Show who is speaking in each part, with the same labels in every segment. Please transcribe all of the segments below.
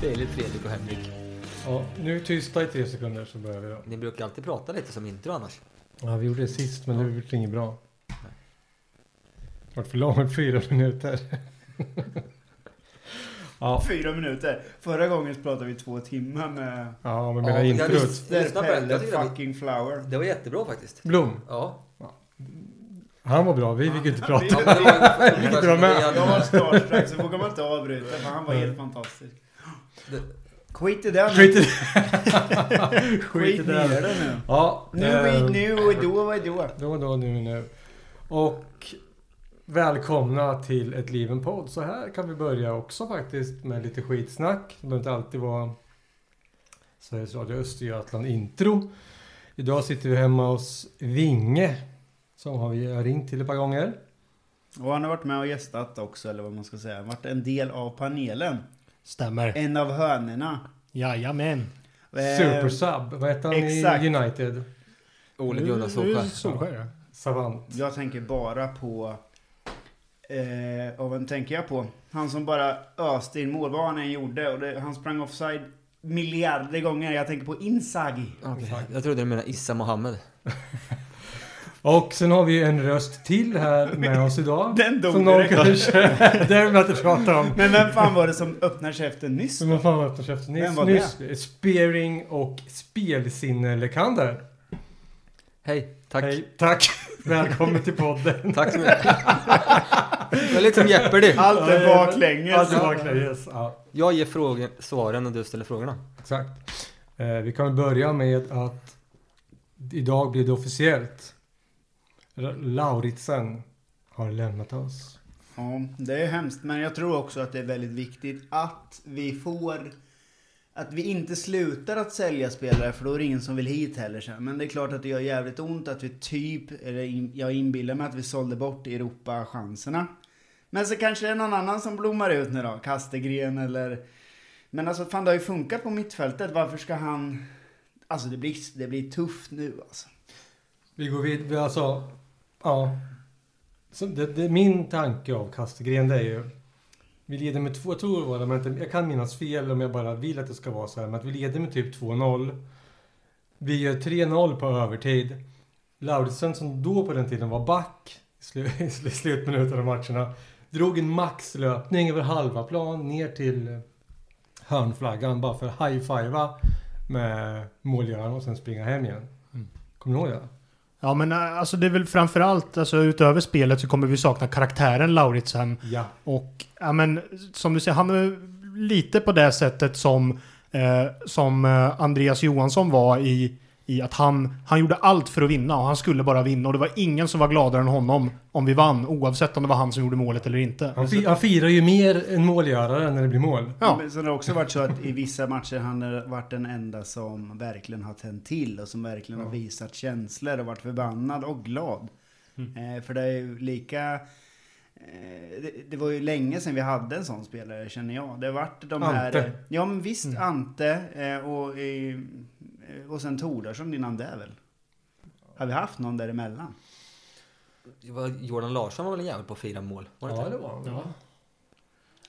Speaker 1: Filip, Fredrik och Henrik.
Speaker 2: Ja, nu tysta i tre sekunder så börjar vi då.
Speaker 1: Ni brukar alltid prata lite som intro annars.
Speaker 2: Ja, vi gjorde det sist men det blev inget bra. Det vart för långt, fyra minuter. ja,
Speaker 3: Fyra minuter. Förra gången pratade vi två timmar med
Speaker 2: ja, men
Speaker 1: Ja,
Speaker 2: mina
Speaker 1: men jag
Speaker 2: introt.
Speaker 1: visste- Lyssna på det.
Speaker 3: Pelle
Speaker 1: Jag tycker det var-
Speaker 3: fucking flower.
Speaker 1: Det var jättebra faktiskt.
Speaker 2: Blom,
Speaker 1: Ja.
Speaker 2: han var bra. Vi fick ju inte prata.
Speaker 1: ja men det var ungefär
Speaker 2: Dra
Speaker 1: som
Speaker 2: med.
Speaker 1: det
Speaker 3: Jag var
Speaker 1: jag-
Speaker 3: starstruck så vågar man inte avbryta för han var helt fantastisk.
Speaker 1: Det-
Speaker 3: Skit i det nu.
Speaker 2: Skit i det.
Speaker 3: Skit i det nu.
Speaker 2: Ja,
Speaker 3: Nu
Speaker 2: eh,
Speaker 3: är nu och då var då.
Speaker 2: Då, då, nu, nu. Och välkomna till ett liven podd. Så här kan vi börja också faktiskt med lite skitsnack. Det behöver inte alltid vara Sveriges Radio Östergötland intro. Idag sitter vi hemma hos Vinge som har vi ringt till ett par gånger.
Speaker 3: Och han har varit med och gästat också eller vad man ska säga. Varit en del av panelen.
Speaker 4: Stämmer.
Speaker 3: En av hönorna.
Speaker 4: Jajamän.
Speaker 3: Eh,
Speaker 2: Super sub. Vad heter han
Speaker 3: exakt.
Speaker 2: i United?
Speaker 1: Ole Gunnar
Speaker 4: Nu är det
Speaker 1: Solskjaer.
Speaker 4: Solskär. ja.
Speaker 2: Savant.
Speaker 3: Jag tänker bara på... Eh, och vem tänker jag på? Han som bara öste in mål, vad han än gjorde. Och det, han sprang offside miljarder gånger. Jag tänker på Inzaghi.
Speaker 1: Okej, Jag trodde du menade Issa Mohammed.
Speaker 2: Och sen har vi en röst till här med oss idag.
Speaker 3: Den dog
Speaker 2: Som någon
Speaker 3: direkt.
Speaker 2: kanske... det vill jag inte prata om.
Speaker 3: Men vem fan var det som öppnade käften nyss?
Speaker 2: Men vad fan öppnar käften?
Speaker 3: Vem
Speaker 2: Nyss,
Speaker 3: var
Speaker 2: nyss Spearing och spelsinnelekander.
Speaker 1: Hej, tack.
Speaker 2: Hej, tack. Välkommen till podden.
Speaker 1: Tack så mycket. Det är liksom Jeopardy.
Speaker 3: Allt är baklänges.
Speaker 2: Alltså, verkligen, yes. ja,
Speaker 1: Jag ger frågor, svaren och du ställer frågorna.
Speaker 2: exakt. Eh, vi kan väl börja med att idag blir det officiellt. R- Lauritsen har lämnat oss.
Speaker 3: Ja, det är hemskt. Men jag tror också att det är väldigt viktigt att vi får... Att vi inte slutar att sälja spelare för då är det ingen som vill hit heller sen. Men det är klart att det gör jävligt ont att vi typ, eller in- jag inbillar mig att vi sålde bort Europa-chanserna. Men så kanske det är någon annan som blommar ut nu då, Kastegren eller... Men alltså fan det har ju funkat på mittfältet, varför ska han... Alltså det blir, det blir tufft nu alltså.
Speaker 2: Vi går vidare. Alltså, ja. Så det, det, min tanke av Kastegren det är ju. Vi leder med två, jag tror det var det, men inte- jag kan minnas fel om jag bara vill att det ska vara så här. Men att vi leder med typ 2-0. Vi gör 3-0 på övertid. Lauritsen som då på den tiden var back i, slu, i slu- slutminuten av matcherna. Drog en maxlöpning över halva plan ner till hörnflaggan bara för att high-fivea med målgöraren och sen springa hem igen. Kommer du ihåg det?
Speaker 4: Ja men eh, alltså det är väl framförallt, alltså utöver spelet så kommer vi sakna karaktären Lauritsen.
Speaker 2: Ja.
Speaker 4: Och ja men som du säger, han är lite på det sättet som, eh, som eh, Andreas Johansson var i, i att han, han gjorde allt för att vinna och han skulle bara vinna och det var ingen som var gladare än honom om vi vann oavsett om det var han som gjorde målet eller inte.
Speaker 2: Han, fi- han firar ju mer än målgörare när det blir mål.
Speaker 4: Ja.
Speaker 3: Men sen har det också varit så att i vissa matcher han har varit den enda som verkligen har tänt till och som verkligen har visat känslor och varit förbannad och glad. Eh, för det är ju lika... eh, Det, det var ju länge sedan vi hade en sån spelare känner jag. Det har varit de här...
Speaker 2: Ante.
Speaker 3: eh, Ja men visst, Ante eh, och, eh, och sen Tordarsson innan det väl? Har vi haft någon däremellan?
Speaker 1: Det var- Jordan Larsson var väl en jävel på fyra mål? Var det inte?
Speaker 2: var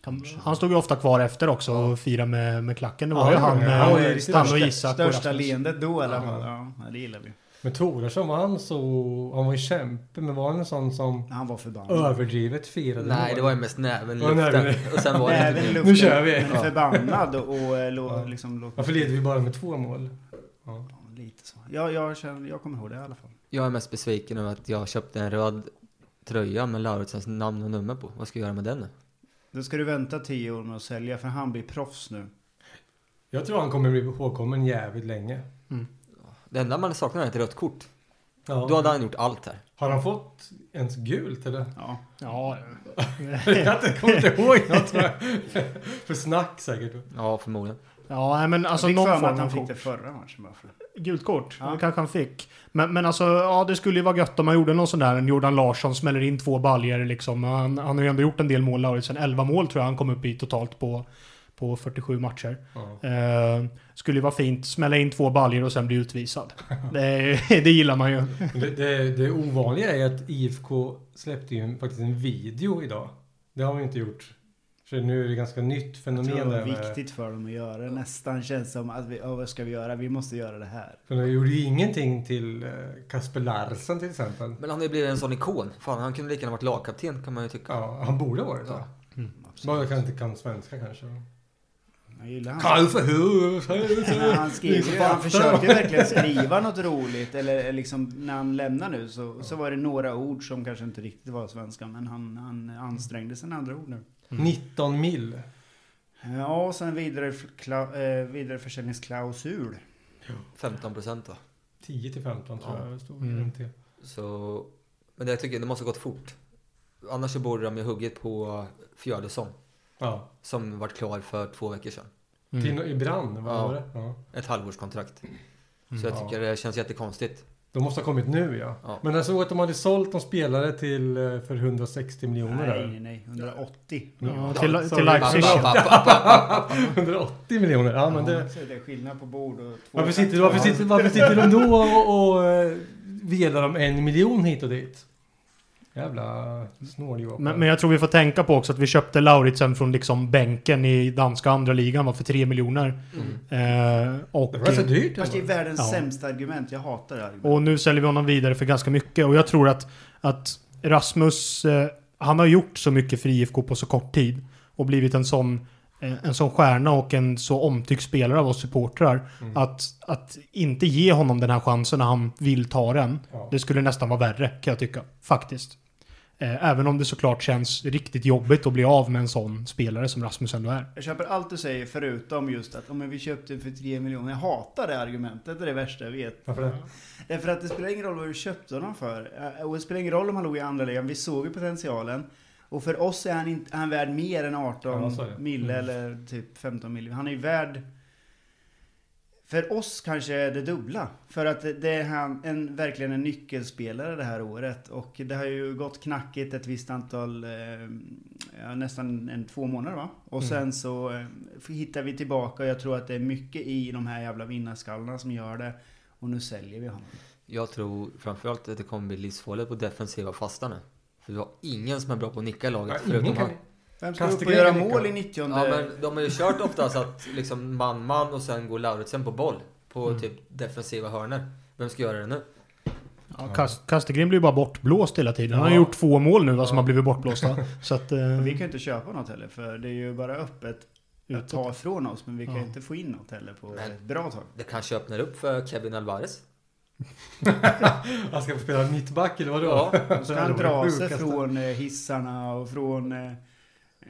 Speaker 2: han.
Speaker 4: Ja. Han stod ju ofta kvar efter också och firade med, med klacken. Det var
Speaker 2: Ja,
Speaker 4: ju
Speaker 2: det var
Speaker 4: han,
Speaker 2: det.
Speaker 4: eh,
Speaker 2: Han var ju
Speaker 4: han,
Speaker 2: riktigt
Speaker 4: och
Speaker 3: Största-
Speaker 4: Isak. och
Speaker 3: Största
Speaker 4: Rasmus.
Speaker 3: leendet då i alla fall. Ja, det gillar vi.
Speaker 2: Men Toresson var han så... Han var ju kämpe, men var han en sån som
Speaker 3: Han var förbannad.
Speaker 2: överdrivet firade
Speaker 1: Nej,
Speaker 2: mål?
Speaker 1: det var ju mest näven,
Speaker 2: Ja,
Speaker 1: luften.
Speaker 2: näven.
Speaker 1: Och sen var det
Speaker 3: Nej,
Speaker 1: inte mycket.
Speaker 3: väl luften,
Speaker 2: Nu kör vi.
Speaker 3: Men
Speaker 2: Ja.
Speaker 3: förbannad och, och lo, liksom låter
Speaker 2: Varför leder vi bara med två mål? Ja.
Speaker 3: lite så. Ja, jag, känner, jag kommer ihåg det i alla fall.
Speaker 1: Jag är mest besviken över att jag köpte en röd tröja med Lauritsens namn och nummer på. Vad ska jag göra med den nu?
Speaker 3: Då ska du vänta tio år med att sälja för han blir proffs nu.
Speaker 2: Jag tror han kommer bli ihågkommen jävligt länge.
Speaker 1: Det enda man saknar är ett rött kort.
Speaker 2: Ja.
Speaker 5: Då hade han gjort allt här.
Speaker 2: Har han fått ens gult eller?
Speaker 3: Ja.
Speaker 4: Ja,
Speaker 2: jag har inte- kommer inte ihåg något tror jag. För snack säkert.
Speaker 5: Ja, förmodligen.
Speaker 4: ja nej, men alltså
Speaker 3: jag fick
Speaker 4: någon
Speaker 3: för mig
Speaker 4: form
Speaker 3: att
Speaker 4: av
Speaker 3: han
Speaker 4: kort.
Speaker 3: fick det förra matchen bara för det.
Speaker 4: Gult kort?
Speaker 3: Ja.
Speaker 4: Det kanske han fick. Men, men alltså, ja det skulle ju vara gött om man gjorde någon sån där en Jordan Larsson smäller in två baljer liksom. Han, han har ju ändå gjort en del mål, Lauritsen. 11 mål tror jag han kom upp i totalt på, på 47 matcher.
Speaker 2: Ja.
Speaker 4: Eh, skulle ju vara fint, smälla in två baljer och sen bli utvisad. det, det gillar man ju. Mm.
Speaker 2: Men Det, det, det ovanliga är att IFK släppte ju en- faktiskt en video idag. Det har vi inte gjort. För nu är det ganska nytt
Speaker 3: Jag
Speaker 2: fenomen.
Speaker 3: tror det var
Speaker 2: där med-
Speaker 3: viktigt för dem att göra. Nästan känns som att vi, ja vad ska vi göra? Vi måste göra det här.
Speaker 2: För de gjorde ju ingenting till eh, Kasper Larsen till exempel.
Speaker 5: Men han har ju blivit en sån ikon. Fan, han kunde lika gärna varit lagkapten kan man ju tycka.
Speaker 2: Ja, han borde ha varit det. Bara
Speaker 3: Absolut.
Speaker 2: att han inte kan svenska kanske.
Speaker 3: Jag gillar han.
Speaker 2: Karl för hur?
Speaker 3: Han, skriver, ju- han försökte ju verkligen skriva något roligt. Eller liksom när han lämnar nu så, så var det några ord som kanske inte riktigt var svenska. Men han, han ansträngde sina andra ord nu.
Speaker 2: 19 mil.
Speaker 3: Ja, och sen vidare, kla, eh, vidareförsäljningsklausul.
Speaker 5: 15 procent då.
Speaker 2: 10 till 15 tror jag det stod.
Speaker 4: Mm.
Speaker 2: runt det.
Speaker 5: Så... Men det, jag tycker det måste ha gått fort. Annars så borde de ju huggit på Fjördesson.
Speaker 2: Ja.
Speaker 5: Som vart klar för två veckor sedan.
Speaker 4: Mm.
Speaker 2: Till, I brand, vad
Speaker 5: Ja.
Speaker 2: var det? Ja.
Speaker 5: Ett halvårskontrakt. Så
Speaker 4: Mm.
Speaker 5: jag
Speaker 2: Ja.
Speaker 5: tycker det känns jättekonstigt.
Speaker 2: De måste ha kommit nu ja.
Speaker 5: Ja.
Speaker 2: Men jag såg att de hade sålt någon spelare till eh, för 160 miljoner
Speaker 3: Nej,
Speaker 2: där.
Speaker 3: nej, nej. 180.
Speaker 4: Ja, till,
Speaker 2: sorry.
Speaker 4: till Leipzig.
Speaker 5: Ba, ba, ba, ba, ba.
Speaker 2: 180 miljoner, ja men det...
Speaker 3: Så är det skillnad på bord och två
Speaker 2: Varför sitter, varför sitter, varför sitter de då och, och eh, velar om en miljon hit och dit? Jävla snåljåpar.
Speaker 4: Men, men jag tror vi får tänka på också att vi köpte Lauritsen från liksom bänken i danska andra ligan var för 3 miljoner. Eh, och,
Speaker 2: Mm. Det var så dyrt. alltså.
Speaker 3: Fast det är
Speaker 2: ändå.
Speaker 3: världens
Speaker 4: Ja.
Speaker 3: sämsta argument. Jag hatar det argumentet.
Speaker 4: Och nu säljer vi honom vidare för ganska mycket. Och jag tror att, att Rasmus, eh, han har gjort så mycket för IFK på så kort tid. Och blivit en sån, eh, en sån stjärna och en så omtyckt spelare av oss supportrar. Att, att inte ge honom den här chansen när han vill ta den.
Speaker 2: Ja.
Speaker 4: Det skulle nästan vara värre kan jag tycka. Faktiskt. Eh, Även om det såklart känns riktigt jobbigt att bli av med en sån spelare som Rasmus ändå är.
Speaker 3: Jag köper allt du säger förutom just att om vi köpte för 3 miljoner. Jag hatar det argumentet. Det är det värsta jag vet.
Speaker 2: Varför det?
Speaker 3: Därför Eh, att det spelar ingen roll vad vi köpte honom för. Eh, Och det spelar ingen roll om han låg i andra ligan. Vi såg ju potentialen. Och för oss är han, inte, är han värd mer än 18
Speaker 2: Ja, så är det. Mm.
Speaker 3: mille eller typ 15 mille. Han är ju värd... För oss kanske det dubbla. För att det- det är han, en, verkligen en nyckelspelare det här året. Och det har ju gått knackigt ett visst antal, eh, ja, nästan en, två månader va? Och
Speaker 2: Mm.
Speaker 3: sen så eh, hittar vi tillbaka och jag tror att det är mycket i de här jävla vinnarskallarna som gör det. Och nu säljer vi honom.
Speaker 5: Jag tror framförallt att det kommer bli livsfarligt på defensiva fasta nu. För vi har ingen som är bra på att nicka i laget.
Speaker 2: Ja,
Speaker 5: förutom
Speaker 2: ingen
Speaker 5: han.
Speaker 2: kan...
Speaker 3: Vem ska
Speaker 2: Kasta
Speaker 3: upp och
Speaker 2: grejer,
Speaker 3: göra
Speaker 2: Rickard.
Speaker 3: mål i 90
Speaker 5: Ja, men de har ju kört ofta så att liksom man, man och sen går Lauritsen på boll. På typ defensiva hörnor. Vem ska göra det nu?
Speaker 4: Ja, Kast- Kastegren blir ju bara bortblåst hela tiden. Han har
Speaker 2: Ja.
Speaker 4: gjort två mål nu va, som har blivit bortblåsta. Så att, eh,
Speaker 3: Vi kan ju inte köpa något heller för det är ju bara öppet att
Speaker 4: Utåt.
Speaker 3: ta ifrån oss men vi kan ju
Speaker 4: Ja.
Speaker 3: inte få in något heller på
Speaker 5: Men-
Speaker 3: ett bra tag.
Speaker 5: Det kanske öppnar upp för Kevin Alvarez.
Speaker 2: Han ska få spela mittback eller vadå?
Speaker 5: Ja,
Speaker 3: Och så kan han
Speaker 2: Det var
Speaker 3: dra
Speaker 2: det
Speaker 3: sig
Speaker 2: sjukaste.
Speaker 3: från eh, hissarna och från... eh,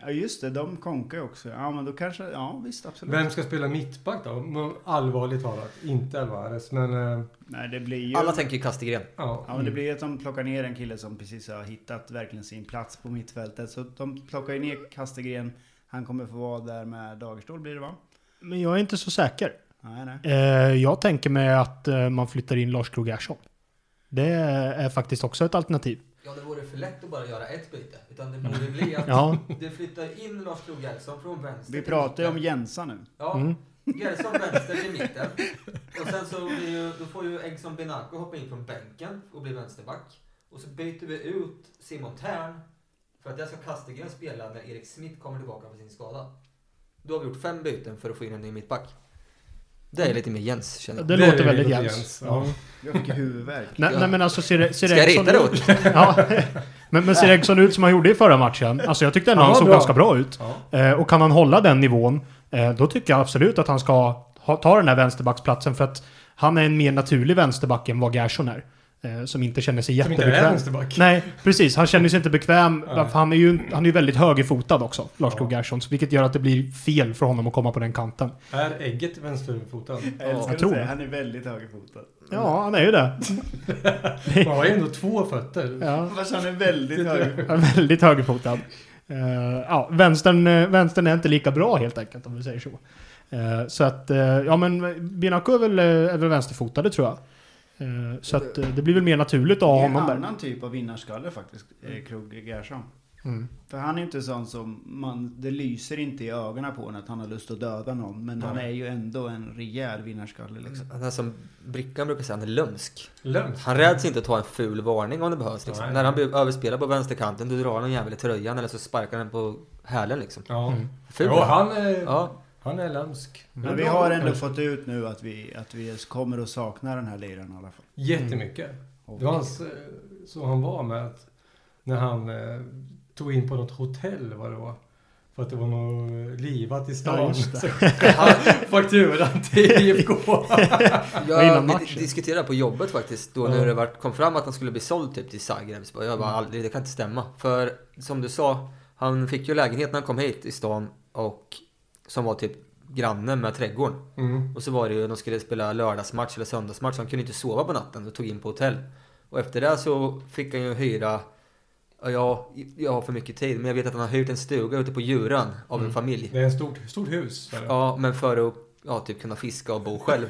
Speaker 3: Ja just det, de konkar ju också. Ja men då kanske, ja visst absolut.
Speaker 2: Vem ska spela mittback då? Om- Allvarligt talat, inte Alvarez men... eh,
Speaker 3: Nej det blir ju...
Speaker 5: Alla tänker Kastegren.
Speaker 2: Ja.
Speaker 3: Ja men det blir ju att de plockar ner en kille som precis har hittat verkligen sin plats på mittfältet. Så de plockar ju ner Kastegren. Han kommer få vara där med Dagerstål blir det va?
Speaker 4: Men jag är inte så säker.
Speaker 3: Nej nej.
Speaker 4: Eh, jag tänker mig att eh, man flyttar in Lars Krogh Gerson. Det är faktiskt också ett alternativ.
Speaker 5: Ja, det vore för lätt att bara göra ett byte. Utan det borde bli att
Speaker 4: Ja.
Speaker 5: det flyttar in Lars Krogh Gerson från vänster
Speaker 3: Vi
Speaker 5: till
Speaker 3: pratar ju om
Speaker 5: mitten.
Speaker 3: Jensa nu.
Speaker 5: Ja,
Speaker 4: Mm.
Speaker 5: Gerson vänster till mitten. Och sen så blir ju, då får ju Engson Benako hoppa in från bänken och bli vänsterback. Och så byter vi ut Simon Tern för att jag ska Kastegren spela när Erik Smith kommer tillbaka från sin skada. Då har vi gjort fem byten för att få in en ny mittback. Det är lite mer Jens känner
Speaker 4: Det,
Speaker 5: jag.
Speaker 2: är
Speaker 4: låter
Speaker 2: det
Speaker 4: väldigt
Speaker 2: lite
Speaker 4: Jens.
Speaker 2: Jens,
Speaker 4: Ja.
Speaker 2: ja.
Speaker 3: Jag fick ju huvudvärk.
Speaker 4: Nej, nej men alltså ser, det- ser
Speaker 5: Ska jag
Speaker 4: Eriksson
Speaker 5: rita det
Speaker 4: ut- ja. Men, men ser Eriksson ut som han gjorde i förra matchen? Alltså jag tyckte ändå
Speaker 2: Han
Speaker 4: han,
Speaker 2: var
Speaker 4: såg
Speaker 2: bra.
Speaker 4: ganska bra ut.
Speaker 2: Ja.
Speaker 4: Eh, och kan han hålla den nivån, eh, då tycker jag absolut att han ska ha, ta den här vänsterbacksplatsen. För att han är en mer naturlig vänsterback än vad Gerson är. Eh, som inte känner sig
Speaker 2: Som inte är
Speaker 4: jättebekväm.
Speaker 2: vänsterback.
Speaker 4: Nej, precis. Han känner sig inte bekväm.
Speaker 2: Nej.
Speaker 4: För han är ju, han är ju väldigt högerfotad också, Lars
Speaker 2: Ja.
Speaker 4: Krogh Gerson. Vilket gör att det blir
Speaker 3: Mm.
Speaker 4: fel för honom att komma på den kanten.
Speaker 2: Är ägget vänsterfotad?
Speaker 3: Jag älskar
Speaker 4: jag
Speaker 3: att
Speaker 4: tror
Speaker 3: säga,
Speaker 4: det.
Speaker 3: han är väldigt högerfotad.
Speaker 4: Ja, han är ju det.
Speaker 2: Man har ju ändå två fötter.
Speaker 4: Ja.
Speaker 3: Fast han är väldigt hög.
Speaker 4: Ja, Väldigt högerfotad. Eh, ja, vänstern, eh, vänstern är inte lika bra helt enkelt om vi säger så. Eh, så att, eh, ja men Binaco är väl, eh, är väl vänsterfotade tror jag. Eh, så att eh, det blir väl mer naturligt
Speaker 3: Det
Speaker 4: av
Speaker 3: är en
Speaker 4: honom där.
Speaker 3: annan typ av vinnarskalle faktiskt, eh, Krogh Gerson.
Speaker 4: Mm.
Speaker 3: För han är inte sån som man, det lyser inte i ögonen på honom att han har lust att döda någon. Men han är ju ändå en rejäl vinnarskalle
Speaker 2: Mm.
Speaker 3: liksom.
Speaker 5: Han är som Brickan brukar säga, han är lömsk.
Speaker 2: Lömsk.
Speaker 5: Han räds inte att ta en ful varning om det behövs. Liksom.
Speaker 2: Nej.
Speaker 5: När han blir överspelad på vänsterkanten, då drar han en jävel i tröjan eller så sparkar han på hälen liksom.
Speaker 2: Ja.
Speaker 5: Ful.
Speaker 2: Jo, han är,
Speaker 5: Ja.
Speaker 2: han är lömsk.
Speaker 3: Mm. Men vi har ändå fått ut nu att vi, att vi kommer att sakna den här liraren i alla fall.
Speaker 2: Jättemycket.
Speaker 3: Och-
Speaker 2: Det var hans, eh, så han var med att när han eh, tog in på något hotell vad det var. För att det var något eh, livat i stan.
Speaker 4: Ja, just det.
Speaker 2: Så skickade han fakturan till IFK.
Speaker 4: var innan
Speaker 5: Jag
Speaker 4: matchen.
Speaker 5: vi diskuterade på jobbet faktiskt då
Speaker 2: Ja.
Speaker 5: när det vart- kom fram att han skulle bli såld typ till Zagreb. Så bara, Jag bara,
Speaker 4: Mm.
Speaker 5: aldrig, det kan inte stämma. För som du sa, han fick ju lägenhet när han kom hit i stan och som var typ granne med trädgården.
Speaker 2: Mm.
Speaker 5: Och så var det ju, de skulle spela lördagsmatch eller söndagsmatch, så han kunde inte sova på natten och tog in på hotell. Och efter det så fick han ju hyra, ja, jag, jag har för mycket tid, men jag vet att han har hyrt en stuga ute på Djuran av
Speaker 4: Mm.
Speaker 5: en familj.
Speaker 2: Det är ett stort, stort hus. för det.
Speaker 5: Ja, men för att ja, typ kunna fiska och bo själv.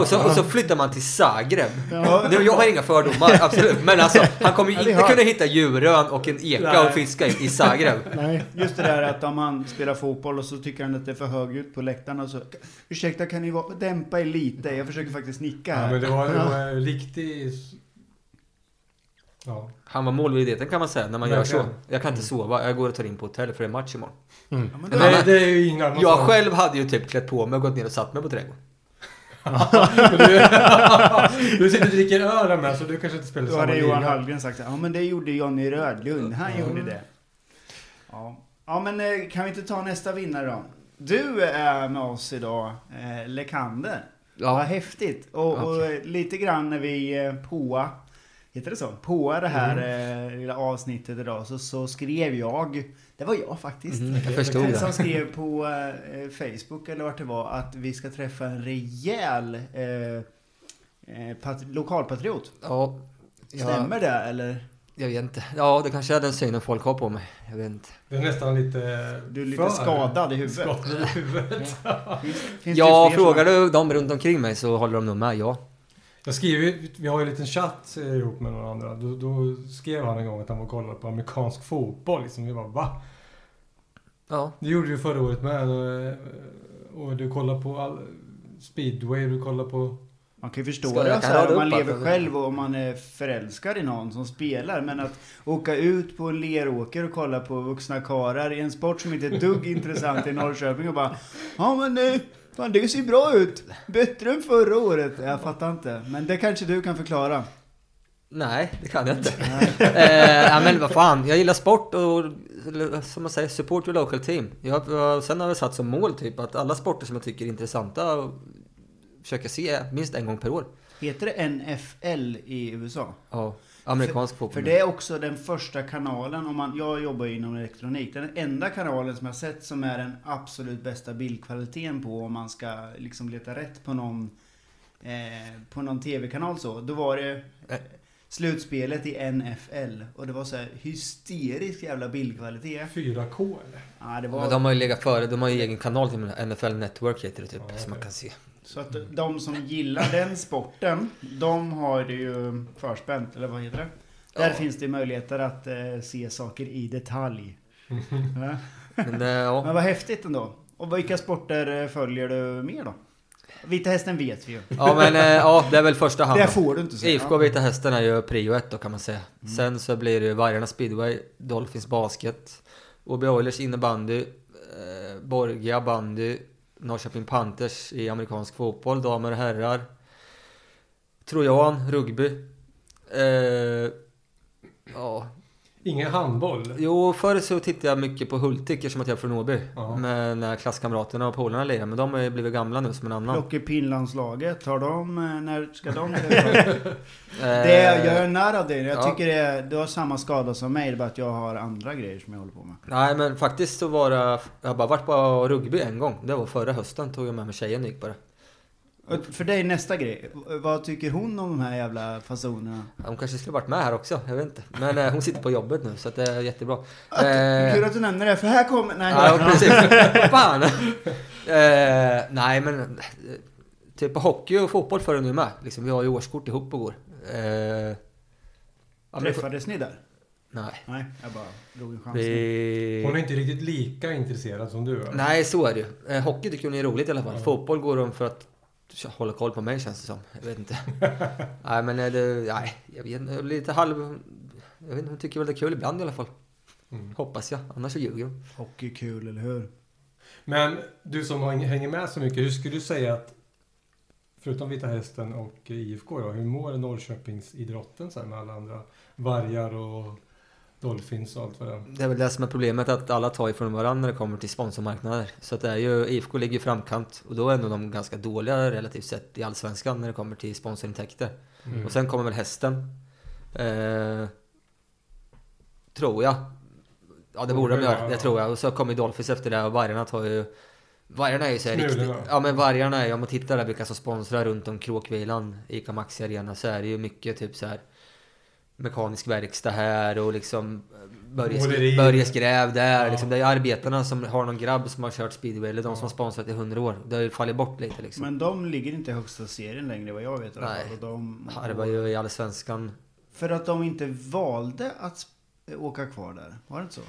Speaker 5: och, så, och så flyttar man till Zagreb. Nu, jag har inga fördomar, absolut. Men alltså, han kommer ju
Speaker 3: Ja, det
Speaker 5: inte
Speaker 3: har-
Speaker 5: kunna hitta Djurön och en eka
Speaker 3: Nej.
Speaker 5: och fiska i, i Zagreb.
Speaker 4: Nej.
Speaker 3: Just det där att om han spelar fotboll och så tycker han att det är för högljutt på läktarna så Ursäkta kan ni vara, dämpa er lite? Jag försöker faktiskt nicka
Speaker 2: Ja,
Speaker 3: här.
Speaker 2: men det var en eh, riktig... Ja.
Speaker 5: Han var målmedveten kan man säga när man gör så.
Speaker 2: Verkligen.
Speaker 5: Jag kan inte sova, jag går och tar in på hotell för det är match imorgon.
Speaker 4: Mm.
Speaker 3: Ja, men då-
Speaker 2: Nej, det är ju ingen annan
Speaker 5: Jag
Speaker 2: sak.
Speaker 5: själv hade ju typ klätt på mig och gått ner och satt mig på trädgården.
Speaker 2: Du, du sitter och dricker öl här med så du kanske inte spelar
Speaker 3: Då
Speaker 2: samma
Speaker 3: hade
Speaker 2: liga.
Speaker 3: Johan Hallgren sagt så här, ja men det gjorde Johnny Rödlund, han gjorde det. Ja. ja men eh, kan vi inte ta nästa vinnare då? Du eh, är med oss idag, eh, Lekander. Ja. Vad häftigt. Och, och eh, lite grann när vi eh, påa, heter det så? Påa det här
Speaker 5: Mm.
Speaker 3: eh, lilla avsnittet idag så, så skrev jag, det var jag faktiskt.
Speaker 5: Mm, Mm-hmm. Jag förstod
Speaker 3: Eh, Som
Speaker 5: det.
Speaker 3: skrev på eh, Facebook eller vart det var att vi ska träffa en rejäl eh, eh, pat- lokalpatriot.
Speaker 5: Ja, jag,
Speaker 3: Stämmer det eller?
Speaker 5: jag vet inte. Ja, det kanske är den synen folk har på mig. Jag vet inte.
Speaker 2: Du är nästan lite...
Speaker 3: Du är lite
Speaker 2: för
Speaker 3: skadad i huvudet.
Speaker 2: Skadad i huvudet.
Speaker 3: Finns, finns
Speaker 5: Ja,
Speaker 3: det fler
Speaker 5: frågar
Speaker 3: sådana?
Speaker 5: du dem runt omkring mig så håller de nog med, ja.
Speaker 2: Jag skriver, ju- vi har ju en liten chatt eh, ihop med några andra. Då, då skrev han en gång att han var och kollade på amerikansk fotboll. Liksom. Vi bara va?
Speaker 5: Ja,
Speaker 2: Det gjorde du förra året med. eh, Och du kollar på all, speedway, du kollar på...
Speaker 3: Man kan ju förstå
Speaker 5: Ska
Speaker 3: det
Speaker 5: jag
Speaker 3: så
Speaker 5: rada
Speaker 3: här, om
Speaker 5: upp
Speaker 3: man
Speaker 5: allt
Speaker 3: lever
Speaker 5: eller?
Speaker 3: själv och om man är förälskad i någon som spelar. Men att åka ut på en leråker och kolla på vuxna karar i en sport som inte är ett dugg intressant i Norrköping och bara Ja men eh, fan, det ser bra ut. Bättre än förra året. Jag fattar inte. Men det kanske du kan förklara.
Speaker 5: nej, det kan jag inte. eh, ja, men vad fan, jag gillar sport och eller, som man säger, support your local team. Jag, jag, sen har jag satt som mål typ att alla sporter som jag tycker är intressanta försöka se minst en gång per år.
Speaker 3: Heter det NFL i USA?
Speaker 5: Ja, amerikansk fotboll.
Speaker 3: För det är också den första kanalen, om man, jag jobbar ju inom elektronik, den enda kanalen som jag sett som är den absolut bästa bildkvaliteten på om man ska liksom leta rätt på någon, eh, på någon tv-kanal så. Då var det eh, slutspelet i NFL och det var så här hysterisk jävla bildkvalitet.
Speaker 2: 4K eller?
Speaker 3: Ja, det
Speaker 5: Men
Speaker 3: var,
Speaker 5: de har ju legat före, de har ju egen kanal till och med, NFL Network heter det typ, som man kan se.
Speaker 3: så att de som gillar den sporten, de har det ju förspänt, eller vad heter det? Där
Speaker 5: Ja.
Speaker 3: finns det möjligheter att eh, se saker i detalj. Ja.
Speaker 5: Men eh, ja,
Speaker 3: Men vad häftigt ändå. Och vilka sporter eh, följer du mer då? Vita hästen vet vi ju.
Speaker 5: ja men eh, ja, det är väl första hand.
Speaker 3: Det
Speaker 5: då.
Speaker 3: får du inte säga. Mm.
Speaker 5: IFK Vita Hästen är ju prio ett då kan man säga. Sen så blir det ju Vargarna speedway, Dolphins basket, OB Oilers innebandy, eh, Borgia bandy, Norrköping Panthers i amerikansk fotboll, damer och herrar. Trojan, rugby. Eh, ja,
Speaker 2: Ingen handboll.
Speaker 5: Jo, förr så tittade jag mycket på Hultik eftersom att jag är från Åby.
Speaker 2: Ja.
Speaker 5: Med när klasskamraterna och polarna lirade. Men de har ju blivit gamla nu som en annan.
Speaker 3: Plockepinlandslaget, har de, eh, när ska de träffas?
Speaker 5: Eh,
Speaker 3: Det är, jag är nära dig. Jag
Speaker 5: Ja.
Speaker 3: tycker det är, du har samma skada som mig, det är bara att jag har andra grejer som jag håller på med.
Speaker 5: Nej, men faktiskt så var det... Jag har bara varit på rugby en gång. Det var förra hösten. Tog jag med mig tjejen och gick på det.
Speaker 3: Och För dig nästa grej. Vad tycker hon om de här jävla fasonerna?
Speaker 5: Hon kanske skulle varit med här också, jag vet inte. Men eh, hon sitter på jobbet nu så att det är jättebra.
Speaker 3: Att,
Speaker 5: Eh,
Speaker 3: Kul att du nämner det, för här kommer... Nej,
Speaker 5: Ja, precis. Fan! Eh, nej, men... eh, Typ på hockey och fotboll för det nu med. Liksom, vi har ju årskort ihop och går. Eh, ja, men det-
Speaker 3: Träffades ni där?
Speaker 5: nej.
Speaker 3: Nej, jag bara drog en chans.
Speaker 5: Vi...
Speaker 2: Hon är inte riktigt lika intresserad som du är.
Speaker 5: Nej, så är det ju. Eh, hockey tycker hon är roligt i alla fall. Fotboll går hon för att tja, hålla koll på mig känns det som. Jag vet inte. nej, men är det, nej, jag vet inte. Lite halv... Jag vet inte, hon tycker väl det är kul ibland i alla fall. Hoppas jag, annars så ljuger hon.
Speaker 3: Hockey är kul, eller hur?
Speaker 2: Men du som har- hänger med så mycket, hur skulle du säga att Förutom Vita Hästen och IFK då, hur mår Norrköpingsidrotten så här med alla andra vargar och Dolphins och allt vad det är?
Speaker 5: Det är väl det som är problemet, att alla tar ifrån varandra när det kommer till sponsormarknader. Så att det är ju, IFK ligger i framkant och då är ändå de ganska dåliga relativt sett i Allsvenskan när det kommer till sponsorintäkter. Och sen kommer väl hästen. Eh, tror jag. Ja det borde de
Speaker 2: Ja,
Speaker 5: göra, det
Speaker 2: ja.
Speaker 5: tror jag. Och så kommer ju Dolphins efter det och vargarna tar ju... Vargarna är ju så här
Speaker 2: Smulorna.
Speaker 5: riktigt... Ja men vargarna är ju, om man tittar där vilka som sponsrar runt om Kråkvilan, ICA Maxi Arena, så är det ju mycket typ så här mekanisk verkstad här och liksom Börje,
Speaker 2: Måleri.
Speaker 5: Börje Skräv där.
Speaker 2: Ja.
Speaker 5: Liksom, det är arbetarna som har någon grabb som har kört speedway, eller de som har sponsrat i 100 år. Det har ju fallit bort lite liksom.
Speaker 3: Men de ligger inte i högsta serien längre vad jag vet i alla
Speaker 5: Nej.
Speaker 3: fall. Och de,
Speaker 5: Harvar ju i Allsvenskan.
Speaker 3: För att de inte valde att sp- åka kvar där. Var det inte så?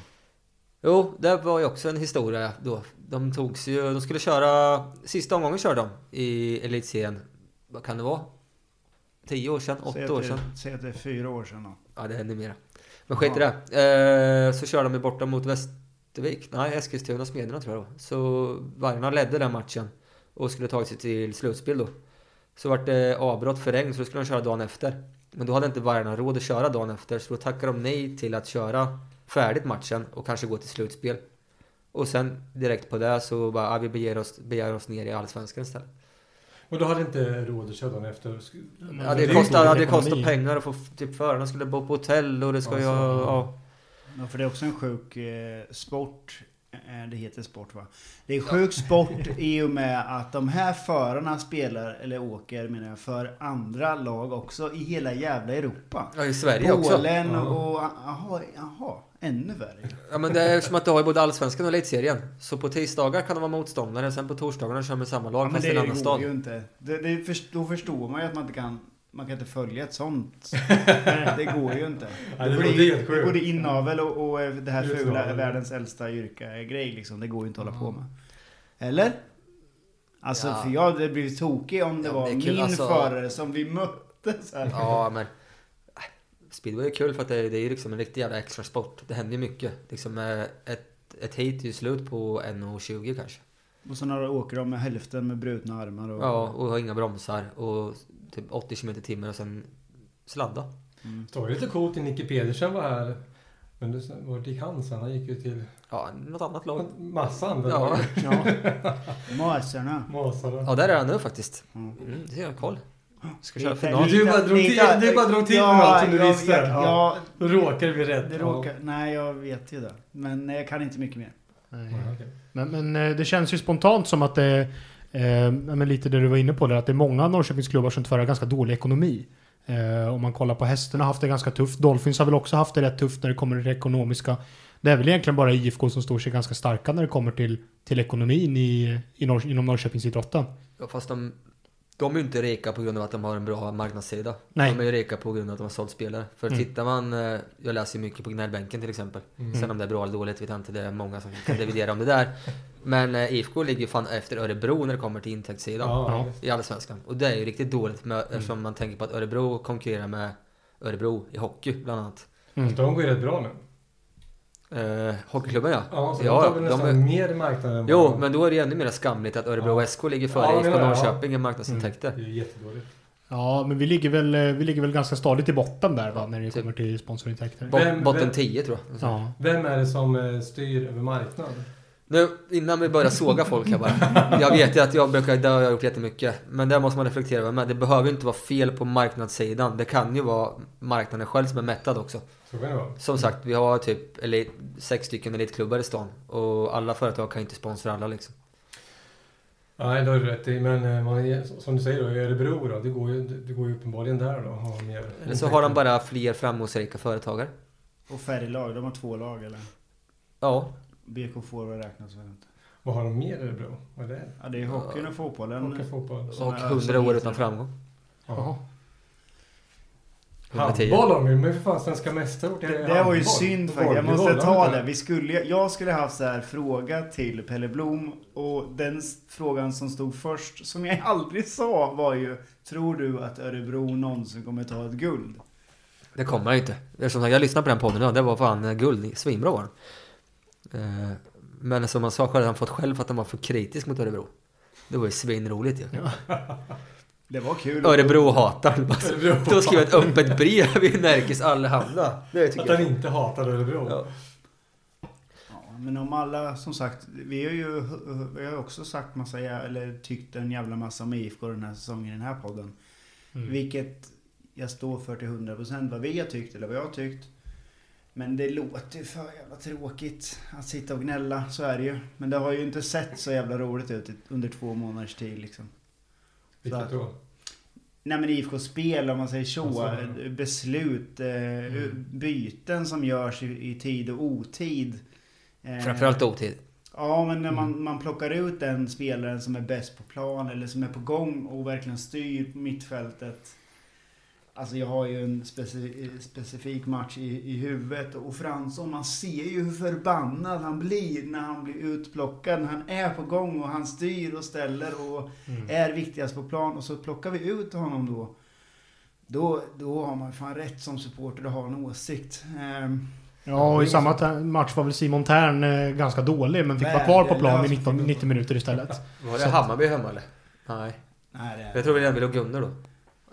Speaker 5: Jo, det var ju också en historia då. De togs ju, de skulle köra, sista omgången körde de i elitserien. Vad kan det vara? 10 år sedan?
Speaker 3: Säg
Speaker 5: 8
Speaker 3: att
Speaker 5: år
Speaker 3: det-
Speaker 5: sedan?
Speaker 3: Säg att det är fyra år sedan då.
Speaker 5: Ja, det är numera. Men skit i det. Eh, så körde de ju borta mot Västervik. Nej, Eskilstuna Smederna tror jag det var. Så Vargarna ledde den matchen och skulle tagit sig till slutspel då. Så vart det avbrott för regn så då skulle de köra dagen efter. Men då hade inte Vargarna råd att köra dagen efter så då tackade de nej till att köra färdigt matchen och kanske gå till slutspel. Och sen direkt på det så bara, ah, vi begär oss, begär oss ner i Allsvenskan istället.
Speaker 2: Och då hade inte råd att köra dagen efter? Sk-
Speaker 5: Ja,
Speaker 2: Det är
Speaker 5: det
Speaker 2: ju
Speaker 5: kostar,
Speaker 2: dålig
Speaker 5: ja, det kostar
Speaker 2: ekonomi.
Speaker 5: pengar att få, typ förarna skulle bo på hotell och det ska
Speaker 2: Ja,
Speaker 5: ju,
Speaker 2: så-
Speaker 5: ja.
Speaker 3: Ja, för det är också en sjuk eh, sport. Eh, Det heter sport va? Det är en sjuk sport i och med att de här förarna spelar, eller åker menar jag, för andra lag också i hela jävla Europa.
Speaker 5: Ja, i Sverige också.
Speaker 3: Polen
Speaker 2: Ja.
Speaker 3: och... Jaha, jaha, ännu värre.
Speaker 5: Ja men det är som att du har ju både Allsvenskan och Elitserien. Så på tisdagar kan de vara motståndare, sen på torsdagarna kör man samma lag
Speaker 3: Ja, men
Speaker 5: fast i
Speaker 3: det,
Speaker 5: en
Speaker 3: det går
Speaker 5: annan stad.
Speaker 3: ju inte. Det, det, först- då förstår man ju att man inte kan, man kan inte följa ett sånt. det går ju inte.
Speaker 2: Ja, det låter helt
Speaker 3: det
Speaker 2: sjukt.
Speaker 3: både inavel och, och det här
Speaker 2: Uttavel.
Speaker 3: fula, världens äldsta yrka-grej liksom. Det går ju inte att hålla på med. Eller? Alltså
Speaker 5: Mm. Ja.
Speaker 3: för jag hade blivit tokig om det
Speaker 5: Ja,
Speaker 3: var
Speaker 5: det är kul,
Speaker 3: min
Speaker 5: alltså.
Speaker 3: förare som vi mötte så här.
Speaker 5: Ja men... äh, Speedway är kul för att det, det är ju liksom en riktig jävla extra sport. Det händer ju mycket. Liksom eh, ett, ett heat är ju slut på 1.20 kanske.
Speaker 3: Och så när de åker de med hälften med brutna armar och...
Speaker 5: Ja, och har inga bromsar och typ 80 km i timmen och sen sladda.
Speaker 2: Det var ju lite coolt när Nicke Pedersen var här. Men du- vart gick han sen? Han gick ju till
Speaker 5: Ja, något annat lag.
Speaker 2: massa andra
Speaker 5: Ja,
Speaker 2: lag.
Speaker 3: Ja. Masarna.
Speaker 2: Masarna.
Speaker 5: ja där är han nu faktiskt.
Speaker 3: Mm.
Speaker 5: Mm, det är jag koll. Ska
Speaker 3: Vi
Speaker 5: köra
Speaker 3: kan-
Speaker 5: final.
Speaker 2: Du bara drog
Speaker 3: vi
Speaker 2: till-
Speaker 3: kan-
Speaker 2: du bara drog till med
Speaker 3: Ja,
Speaker 2: allt som du
Speaker 3: jag-
Speaker 2: visste.
Speaker 3: jag-
Speaker 2: Ja.
Speaker 3: ja,
Speaker 2: Då råkade vi rätt.
Speaker 3: Det
Speaker 2: Ja.
Speaker 3: råkar, Nej, jag vet ju det. Men nej, jag kan inte mycket mer.
Speaker 4: Nej.
Speaker 2: Ja, okej.
Speaker 4: Men, men eh, det känns ju spontant som att det eh, ja, men lite det du var inne på där, att det är många Norrköpingsklubbar som tyvärr har ganska dålig ekonomi. Eh, om man kollar på hästen har haft det ganska tufft. Dolphins har väl också haft det rätt tufft när det kommer till det ekonomiska. Det är väl egentligen bara IFK som står sig ganska starka när det kommer till, till ekonomin i, i Norr, inom Norrköpingsidrotten.
Speaker 5: Ja, fast de, de är ju inte rika på grund av att de har en bra marknadssida.
Speaker 4: Nej.
Speaker 5: De är ju rika på grund av att de har sålt spelare. För tittar man, eh, jag läser ju mycket på Gnällbänken till exempel.
Speaker 2: Mm.
Speaker 5: Sen om det är bra eller dåligt vet jag inte, det är många som kan dividera om det där. Men eh, IFK ligger ju fan efter Örebro när det kommer till intäktssidan
Speaker 2: Ja,
Speaker 5: i Allsvenskan. Och det är ju riktigt dåligt med, eftersom man tänker på att Örebro konkurrerar med Örebro i hockey bland annat.
Speaker 2: ja. De går ju rätt bra nu.
Speaker 5: Eh, hockeyklubben ja.
Speaker 2: Ja, så
Speaker 5: Ja,
Speaker 2: de tar väl
Speaker 5: de
Speaker 2: nästan
Speaker 5: är-
Speaker 2: mer marknad än
Speaker 5: Jo,
Speaker 2: vad-
Speaker 5: men då är det ju ännu mer skamligt att Örebro
Speaker 2: Ja.
Speaker 5: SK ligger
Speaker 2: Ja,
Speaker 5: före
Speaker 2: jag
Speaker 5: IFK
Speaker 2: menar, ja.
Speaker 5: Norrköping i marknadsintäkter.
Speaker 2: Det är ju jättedåligt.
Speaker 4: Ja, men vi ligger väl, eh, vi ligger väl ganska stadigt i botten där va, när det
Speaker 5: Typ.
Speaker 4: kommer till sponsorintäkter.
Speaker 5: Bot,
Speaker 2: Vem-
Speaker 5: botten
Speaker 2: vem-
Speaker 5: 10 tror jag.
Speaker 4: Ja.
Speaker 2: Vem är det som eh, styr över marknad?
Speaker 5: Nu, innan vi börjar såga folk här bara. Jag vet ju att jag brukar, det har jag gjort jättemycket. Men där måste man reflektera över. Men det behöver ju inte vara fel på marknadssidan. Det kan ju vara marknaden själv som är mättad också.
Speaker 2: Så kan det vara.
Speaker 5: Som sagt, vi har typ elit, sex stycken elitklubbar i stan. Och alla företag kan ju inte sponsra alla liksom.
Speaker 2: Nej, det har du rätt i. Men eh, man är, som du säger då, i Örebro då, det går ju, det går ju uppenbarligen där då. Har mer
Speaker 5: Eller så har de bara fler framgångsrika företagare.
Speaker 3: Och färre lag, de har två lag eller?
Speaker 5: Ja,
Speaker 3: BK Forward räknas väl inte?
Speaker 2: Vad har de mer i Örebro? Vad är det?
Speaker 3: Ja, det är hockeyn och fotbollen.
Speaker 2: Hockey, fotboll?
Speaker 5: och 100 år utan framgång.
Speaker 2: Ja.
Speaker 5: Handboll.
Speaker 2: Handboll har vi, men för fan svenska mästerort.
Speaker 3: Det, det var ju synd faktiskt. Jag måste ta det.
Speaker 2: Vi...
Speaker 3: Vi skulle, jag skulle haft så här fråga till Pelle Blom. Och den s- frågan som stod först, som jag aldrig sa, var ju Tror du att Örebro någonsin kommer ta ett guld?
Speaker 5: Det kommer jag inte. Eftersom jag lyssnade på den podden nu, det var fan eh, guld, svinbra var den. Eh, Men som man sa själv, han fått själv för att han var för kritisk mot Örebro. Det var ju svinroligt ju.
Speaker 3: Det var kul.
Speaker 5: Örebro-hataren.
Speaker 2: Örebro-hataren.
Speaker 5: Då skrev jag ett öppet brev i Närkes Allehanda. Det tycker
Speaker 2: Att
Speaker 5: jag.
Speaker 2: han inte hatar Örebro.
Speaker 5: Ja.
Speaker 3: Ja, men om alla, som sagt, vi har ju vi har också sagt massa, jä- eller tyckt en jävla massa om IFK den här säsongen i den här podden.
Speaker 4: Mm.
Speaker 3: Vilket jag står för till 100% vad vi har tyckt eller vad jag har tyckt. Men det låter ju för jävla tråkigt att sitta och gnälla, så är det ju. Men det har ju inte sett så jävla roligt ut i- under två månaders tid liksom.
Speaker 2: Vilket då?
Speaker 3: Nej men IFK-spel om man säger så.
Speaker 2: Alltså,
Speaker 3: eh, beslut, eh, byten som görs i, i tid och otid. Eh,
Speaker 5: Framförallt otid.
Speaker 3: Ja, men när
Speaker 5: Mm.
Speaker 3: man, man plockar ut den spelaren som är bäst på plan eller som är på gång och verkligen styr mittfältet. Alltså jag har ju en speci specifik match i, i huvudet och Fransson, man ser ju hur förbannad han blir när han blir utplockad. När han är på gång och han styr och ställer och
Speaker 5: Mm.
Speaker 3: är viktigast på plan och så plockar vi ut honom då. Då, då har man fan rätt som supporter att ha en åsikt. Ehm,
Speaker 4: Ja, och i samma ter- match var väl Simon Tern eh, ganska dålig men fick vara kvar på plan i 19, 90 minuter istället.
Speaker 5: Var det Hammarby hemma eller? Nej.
Speaker 3: nej, det är...
Speaker 5: Jag tror vi redan vi låg under då.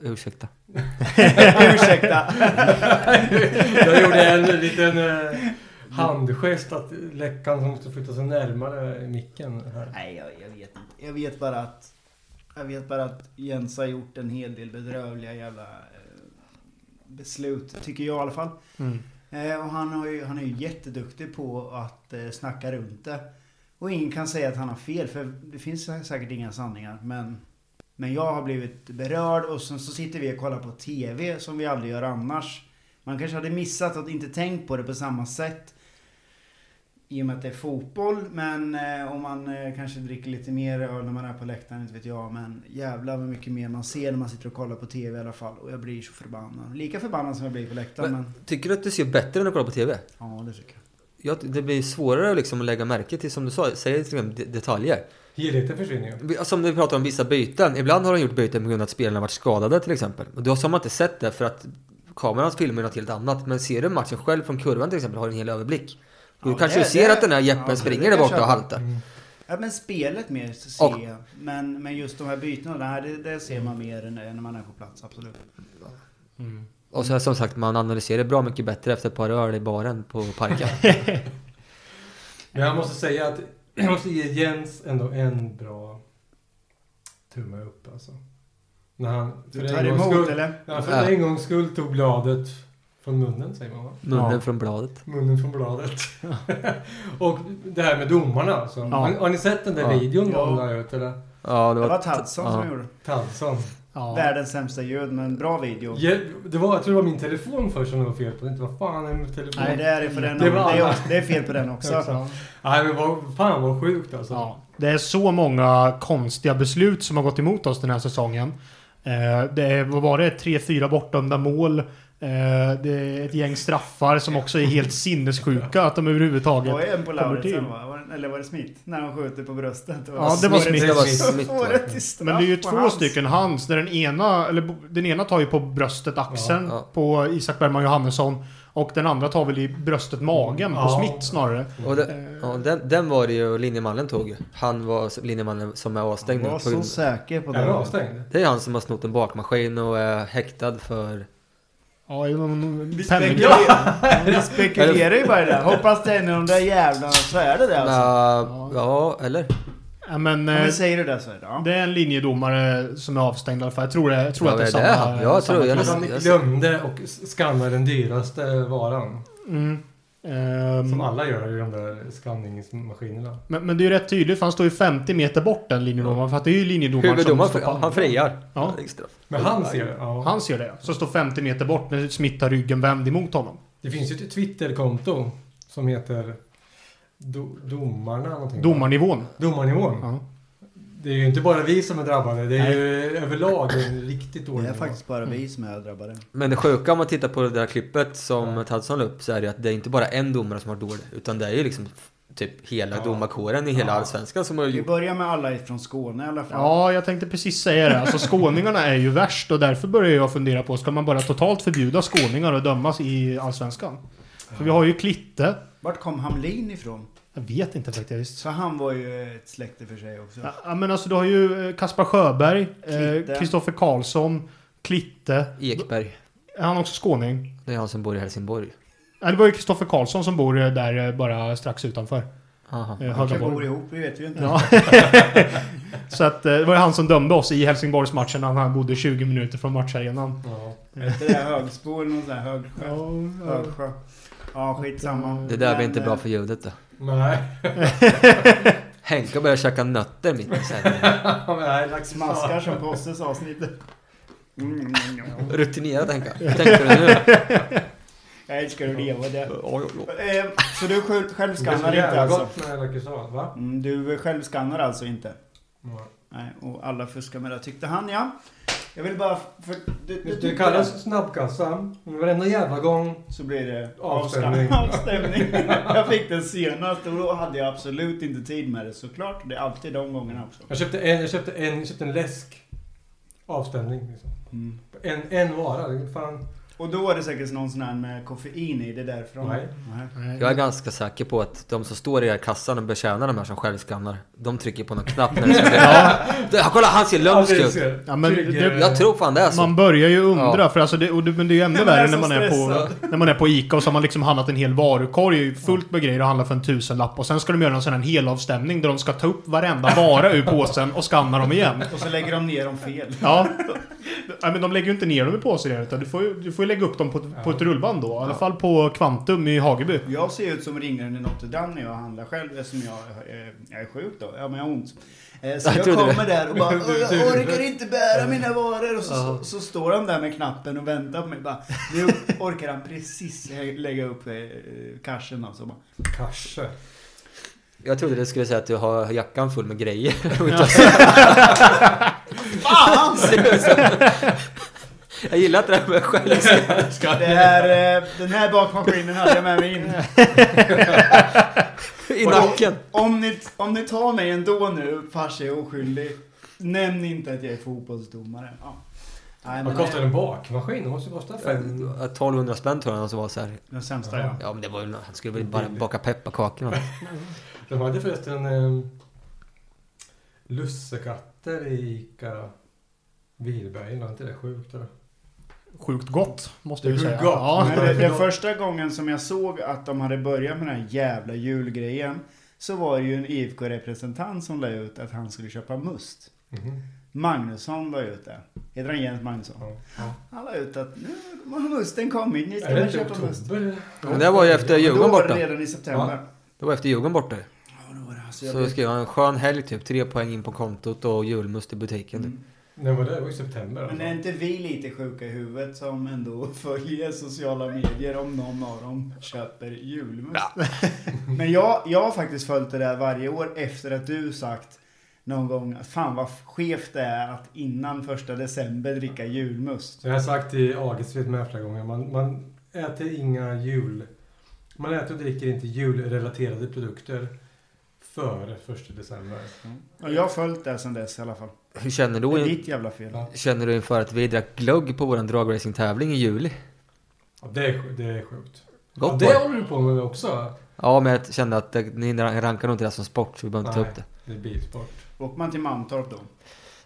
Speaker 5: Ursäkta.
Speaker 3: Ursäkta!
Speaker 2: Jag gjorde en liten eh, handgest att läckan som måste flytta sig närmare micken. Här.
Speaker 3: Nej, jag, jag vet inte. Jag vet bara att... Jag vet bara att Jens har gjort en hel del bedrövliga jävla eh, beslut, tycker jag i alla fall.
Speaker 4: Mm.
Speaker 3: Eh, och han, har ju, han är ju jätteduktig på att eh, snacka runt det. Och ingen kan säga att han har fel, för det finns sä- säkert inga sanningar. Men, men jag har blivit berörd och sen så sitter vi och kollar på TV som vi aldrig gör annars. Man kanske hade missat att inte tänkt på det på samma sätt. I och med att det är fotboll, men eh, om man eh, kanske dricker lite mer öl när man är på läktaren, inte vet jag. Men jävlar vad mycket mer man ser när man sitter och kollar på TV i alla fall. Och jag blir så förbannad. Lika förbannad som jag blir på läktaren, men...
Speaker 5: Men, tycker du att det ser bättre när du kollar på TV?
Speaker 3: Ja, det tycker jag.
Speaker 5: Ja, det blir svårare liksom att lägga märke till, som du sa, säger till exempel de- detaljer.
Speaker 2: Helheten försvinner ju.
Speaker 5: Vi- Som när vi pratar om vissa byten. Ibland har de gjort byten på grund av att spelarna varit skadade till exempel. Och då har man inte sett det för att kameran filmar något helt annat. Men ser du matchen själv från kurvan till exempel har du en hel överblick. Och då
Speaker 3: Ja,
Speaker 5: kanske
Speaker 3: det-
Speaker 5: du ser
Speaker 3: det-
Speaker 5: att den här jeppen
Speaker 3: ja, det-
Speaker 5: springer
Speaker 3: det
Speaker 5: där borta
Speaker 3: köper
Speaker 5: och
Speaker 3: jag.
Speaker 5: haltar.
Speaker 3: Ja, men spelet mer så ser
Speaker 5: Och-
Speaker 3: jag. Men, men just de här bytena, nej, det, det ser man mer än när man är på plats, absolut.
Speaker 5: Och så som sagt, man analyserar bra mycket bättre efter ett par öl i baren på parken.
Speaker 2: Men jag måste säga att jag måste ge Jens ändå en bra tumme upp alltså. När han för
Speaker 3: Du
Speaker 2: en
Speaker 3: tar
Speaker 2: gångs
Speaker 3: emot
Speaker 2: skull-
Speaker 3: eller?
Speaker 2: Ja, för
Speaker 5: Ja.
Speaker 2: en gångs skull tog bladet från munnen säger man va?
Speaker 5: Munnen
Speaker 4: Ja.
Speaker 5: från bladet.
Speaker 2: Munnen från bladet. och det här med domarna alltså. Har, har ni sett den där
Speaker 5: Ja.
Speaker 2: videon
Speaker 3: Ja.
Speaker 2: någon la ut eller?
Speaker 5: Ja,
Speaker 3: Det var Tadsson
Speaker 5: ja.
Speaker 3: som gjorde.
Speaker 2: Tallson.
Speaker 4: Ja.
Speaker 3: Världens sämsta ljud, men bra video.
Speaker 2: Ja, det var, jag tror det var min telefon först som det var fel på. Inte vad fan är min telefon?
Speaker 3: Nej, det är, för den,
Speaker 2: Det
Speaker 3: det,
Speaker 2: var
Speaker 3: är,
Speaker 2: alla.
Speaker 3: också- det är fel på den också.
Speaker 2: Också. Nej men vad, fan vad sjukt alltså.
Speaker 4: Ja. Det är så många konstiga beslut som har gått emot oss den här säsongen. Eh, Det är, vad var det, tre, fyra bortdömda mål. Eh, Det är ett gäng straffar som också är helt sinnessjuka att de
Speaker 3: Det var
Speaker 4: överhuvudtaget...
Speaker 3: ju en på
Speaker 4: Kommer till.
Speaker 3: Lauritsen va? Var det- Eller var det Smith? När han skjuter på bröstet. Och-
Speaker 4: Ja, det var Smith.
Speaker 5: Det var
Speaker 3: Så
Speaker 5: Smith.
Speaker 3: får
Speaker 5: va?
Speaker 3: det till straff
Speaker 4: Men det är ju
Speaker 3: på
Speaker 4: två
Speaker 3: hans.
Speaker 4: stycken hands. Där den, ena, eller, bo- den ena tar ju på bröstet, axeln
Speaker 5: Ja, ja.
Speaker 4: på Isak Bergman Johannesson. Och den andra tar väl i bröstet, magen på
Speaker 2: Ja.
Speaker 4: Smith snarare.
Speaker 5: Och det, ja, den, den var det ju linjemannen tog ju. Han var linjemannen som är avstängd
Speaker 3: Jag
Speaker 5: nu.
Speaker 3: var
Speaker 5: på
Speaker 3: så
Speaker 5: grund-
Speaker 3: säker på
Speaker 2: Är den
Speaker 3: det.
Speaker 2: avstängd?
Speaker 5: Det är han som har snott en bakmaskin och är häktad för...
Speaker 4: Ja, ju någon
Speaker 3: Spekulerar-
Speaker 4: penning.
Speaker 3: Vi spekulerar ju bara i det. Hoppas det är en av de där jävlarna så är det det alltså.
Speaker 5: Nja, ja, eller?
Speaker 4: Ja, men,
Speaker 3: Ja,
Speaker 4: eh,
Speaker 3: Men säger du det så är det. Ja.
Speaker 4: det är en linjedomare som är avstängd i alla fall. Jag tror, det, jag tror
Speaker 5: Ja,
Speaker 4: att det är
Speaker 5: det
Speaker 4: samma.
Speaker 5: är han. Jag
Speaker 4: samma
Speaker 5: tror- jag-
Speaker 4: kille.
Speaker 2: Han glömde och skannade den dyraste varan.
Speaker 4: Mm. Ehm,
Speaker 2: Som alla gör i de där skanningsmaskinerna.
Speaker 4: men, men det är ju rätt tydligt för han står ju 50 meter bort den linjedomaren. För att det är ju linjedomaren
Speaker 5: Huvuddomaren,
Speaker 4: står på
Speaker 5: han,
Speaker 4: andra.
Speaker 5: han friar.
Speaker 4: Ja.
Speaker 5: Det är straff.
Speaker 2: Men han ser ja.
Speaker 4: Han ser det. Så står 50 meter bort men Smith har ryggen vänd emot honom.
Speaker 2: Det finns ju ett Twitterkonto som heter do, Domarna någonting. va?
Speaker 4: Domarnivån.
Speaker 2: Domarnivån.
Speaker 4: Ja.
Speaker 2: Det är ju inte bara vi som är drabbade. Det är
Speaker 4: Nej.
Speaker 2: ju överlag en riktigt dålig
Speaker 3: Det är
Speaker 2: nivå.
Speaker 3: faktiskt bara
Speaker 5: Mm.
Speaker 3: vi som är drabbade.
Speaker 5: Men det sjuka om man tittar på det där klippet som Tadsson la upp så är det att det är inte bara en domare som har dåligt. Utan det är ju liksom typ hela
Speaker 2: Ja.
Speaker 5: domarkåren i hela
Speaker 2: Ja.
Speaker 5: allsvenskan som har
Speaker 3: Vi
Speaker 5: gjort...
Speaker 3: börjar med alla från Skåne i alla fall.
Speaker 4: Ja, jag tänkte precis säga det. Alltså skåningarna är ju värst och därför börjar jag fundera på, ska man bara totalt förbjuda skåningar att dömas i Allsvenskan? För vi har ju Klitte.
Speaker 3: Vart kom Hamlin ifrån?
Speaker 4: Jag vet inte faktiskt.
Speaker 3: Så han var ju ett släkte för sig också.
Speaker 4: Ja, men alltså du har ju eh, Kaspar Sjöberg,
Speaker 3: Klitte.
Speaker 4: Kristoffer Karlsson, Klitte.
Speaker 5: Ekberg.
Speaker 4: Är han också skåning?
Speaker 5: Det är han som bor i Helsingborg.
Speaker 4: Nej, det var ju Kristoffer Karlsson som bor eh, där eh, bara strax utanför.
Speaker 5: Aha.
Speaker 4: eh,
Speaker 3: Han kanske
Speaker 4: Högaborg.
Speaker 3: bor ihop, vi vet ju inte.
Speaker 4: Ja. Så att eh, det var ju han som dömde oss i Helsingborgsmatchen när han bodde 20 minuter från matcharenan.
Speaker 2: Ja.
Speaker 3: Vet du det? Högsbo eller någon sån här högsjö.
Speaker 4: Ja, ja.
Speaker 3: Högsjö. Ja, skitsamma.
Speaker 5: Det där blir
Speaker 3: Men,
Speaker 5: inte bra
Speaker 3: eh,
Speaker 5: för ljudet då.
Speaker 2: Nej,
Speaker 5: Henke börjar käka nötter mitt i sändningen.
Speaker 2: nej, lax
Speaker 3: Smaskar som Posses avsnittet. Mm, mm, mm.
Speaker 5: Rutinerat Henke. Hur tänkte du nu?
Speaker 3: Jag älskar att leva det.
Speaker 5: Oj, oj, oj.
Speaker 3: Eh, Så du själv-
Speaker 2: Det är så
Speaker 3: självskannar inte
Speaker 2: jävla
Speaker 3: alltså?
Speaker 2: gott med lakritssallad, va?
Speaker 3: Mm, Du självskannar alltså inte?
Speaker 2: Ja.
Speaker 3: Nej, och alla fuskar med det tyckte han ja. Jag vill bara... För, du, du,
Speaker 2: Det kallas snabbkassa. Men Varenda jävla gång.
Speaker 3: Så blir det
Speaker 2: Avstämning.
Speaker 3: avstämning. avstämning. Jag fick den senast och då hade jag absolut inte tid med det såklart. Det är alltid de gångerna också.
Speaker 2: Jag köpte en, jag köpte en, jag köpte en läsk. Avstämning. Liksom.
Speaker 3: Mm.
Speaker 2: En, en vara. Det är Fan.
Speaker 3: Och då var det säkert någon sån här med koffein i, det är därifrån.
Speaker 2: Nej.
Speaker 3: Nej.
Speaker 5: Jag är ganska säker på att de som står i den här kassan och betjänar de här som självskannar, de trycker på någon knapp när det ska bli... Ja, kolla han ser lömsk
Speaker 2: Ja, det
Speaker 5: ut!
Speaker 2: ser-
Speaker 4: Ja, men
Speaker 2: Trygg,
Speaker 4: det-
Speaker 2: eh,
Speaker 5: Jag tror fan det är så.
Speaker 4: Man börjar ju undra,
Speaker 5: Ja.
Speaker 4: för alltså det, och det, men det är ju ännu
Speaker 3: Man är
Speaker 4: värre
Speaker 3: så
Speaker 4: när man, är på, när man är på Ica och så har man liksom handlat en hel varukorg fullt med grejer och handlat för en tusenlapp. Och sen ska de göra en sån här helavstämning där de ska ta upp varenda vara ur påsen och skanna dem igen.
Speaker 3: Och så lägger de ner dem fel.
Speaker 4: Ja. Nej, men de lägger ju inte ner dem i påsar igen, utan du får, ju, du får ju lägga upp dem på ett, på ett rullband då. I alla fall på Kvantum i Hageby.
Speaker 3: Jag ser ut som ringaren i Notre Dame när jag handlar själv eftersom jag, eh, jag är sjuk då. Ja men jag har ont. Eh, Så
Speaker 5: Jag
Speaker 3: jag
Speaker 5: trodde det.
Speaker 3: kommer där och bara "Åh,
Speaker 2: Du- du-
Speaker 3: jag orkar inte bära mina varor. Och så,
Speaker 5: Ja.
Speaker 3: så, så står han där med knappen och väntar på mig. Bara, nu orkar han precis lä- lägga upp eh, cashen alltså. Bara,
Speaker 2: Kanske.
Speaker 5: Jag trodde du skulle säga att du har jackan full med grejer.
Speaker 3: Fan!
Speaker 5: jag gillar inte det här med självskanning.
Speaker 3: Det här, eh, den här bakmaskinen hade jag med mig in.
Speaker 5: I nacken.
Speaker 3: Om ni, om ni tar mig ändå nu, fars jag är oskyldig. Nämn inte att jag är fotbollsdomare. Ja. Nej, men
Speaker 2: Vad kostar en bakmaskin? Det måste kosta fem...
Speaker 5: 1200 spänn tror jag han som var så här.
Speaker 3: Den sämsta ja.
Speaker 5: Ja men det var ju... Han skulle väl bara baka pepparkakor. va?
Speaker 2: De hade förresten eh, lussekatter i Ica Vilbergen. Var inte det sjukt? Eller?
Speaker 4: Sjukt gott, måste
Speaker 2: Det är
Speaker 4: jag ju säga.
Speaker 2: sjukt gott.
Speaker 4: Ja.
Speaker 3: Men det, det första gången som jag såg att de hade börjat med den här jävla julgrejen så var det ju en IFK-representant som la ut att han skulle köpa must.
Speaker 2: Mhm.
Speaker 3: Magnusson la ut det. Heter han Jens Magnusson?
Speaker 2: Ja. Ja.
Speaker 3: Han la ut att nu har musten kommit, ni ska
Speaker 2: Är det
Speaker 3: väl
Speaker 2: inte
Speaker 3: köpa must.
Speaker 2: oktober? eller?
Speaker 5: Men det var ju efter
Speaker 3: Då
Speaker 5: Djurgården
Speaker 3: var det
Speaker 5: borta.
Speaker 3: redan i september.
Speaker 5: Det var efter Djurgården borta.
Speaker 3: Ja, då var det alltså, jag
Speaker 5: Så
Speaker 3: blev-
Speaker 5: skrev han en skön helg typ. Tre poäng in på kontot och julmust i butiken.
Speaker 3: Mm.
Speaker 5: typ.
Speaker 2: När var det? Det var i september.
Speaker 3: Men är
Speaker 2: alltså.
Speaker 3: inte vi lite sjuka i huvudet som ändå följer sociala medier om någon av dem köper julmust? Men jag, jag har faktiskt följt det där varje år efter att du sagt någon gång att fan vad skevt det är att innan första december dricka julmust.
Speaker 2: Så jag har sagt i Agesved med flera gånger. Man, man äter inga jul... Man äter och dricker inte julrelaterade produkter före första december.
Speaker 3: Och jag har följt det sedan dess i alla fall.
Speaker 5: Hur känner
Speaker 3: Det är
Speaker 5: du,
Speaker 3: ditt jävla fel.
Speaker 2: Ja.
Speaker 5: känner du inför att vi drack glögg på våran dragracingtävling i juli?
Speaker 2: Ja, det, är, sj- det är sjukt. Ja,
Speaker 5: Gott var
Speaker 2: det
Speaker 5: det.
Speaker 2: håller du på med också.
Speaker 5: Ja men jag kände att det, ni rankar nog inte det som sport så vi behöver inte ta
Speaker 2: Nej,
Speaker 5: upp det.
Speaker 2: det är bilsport.
Speaker 3: Åker man till Mantorp då?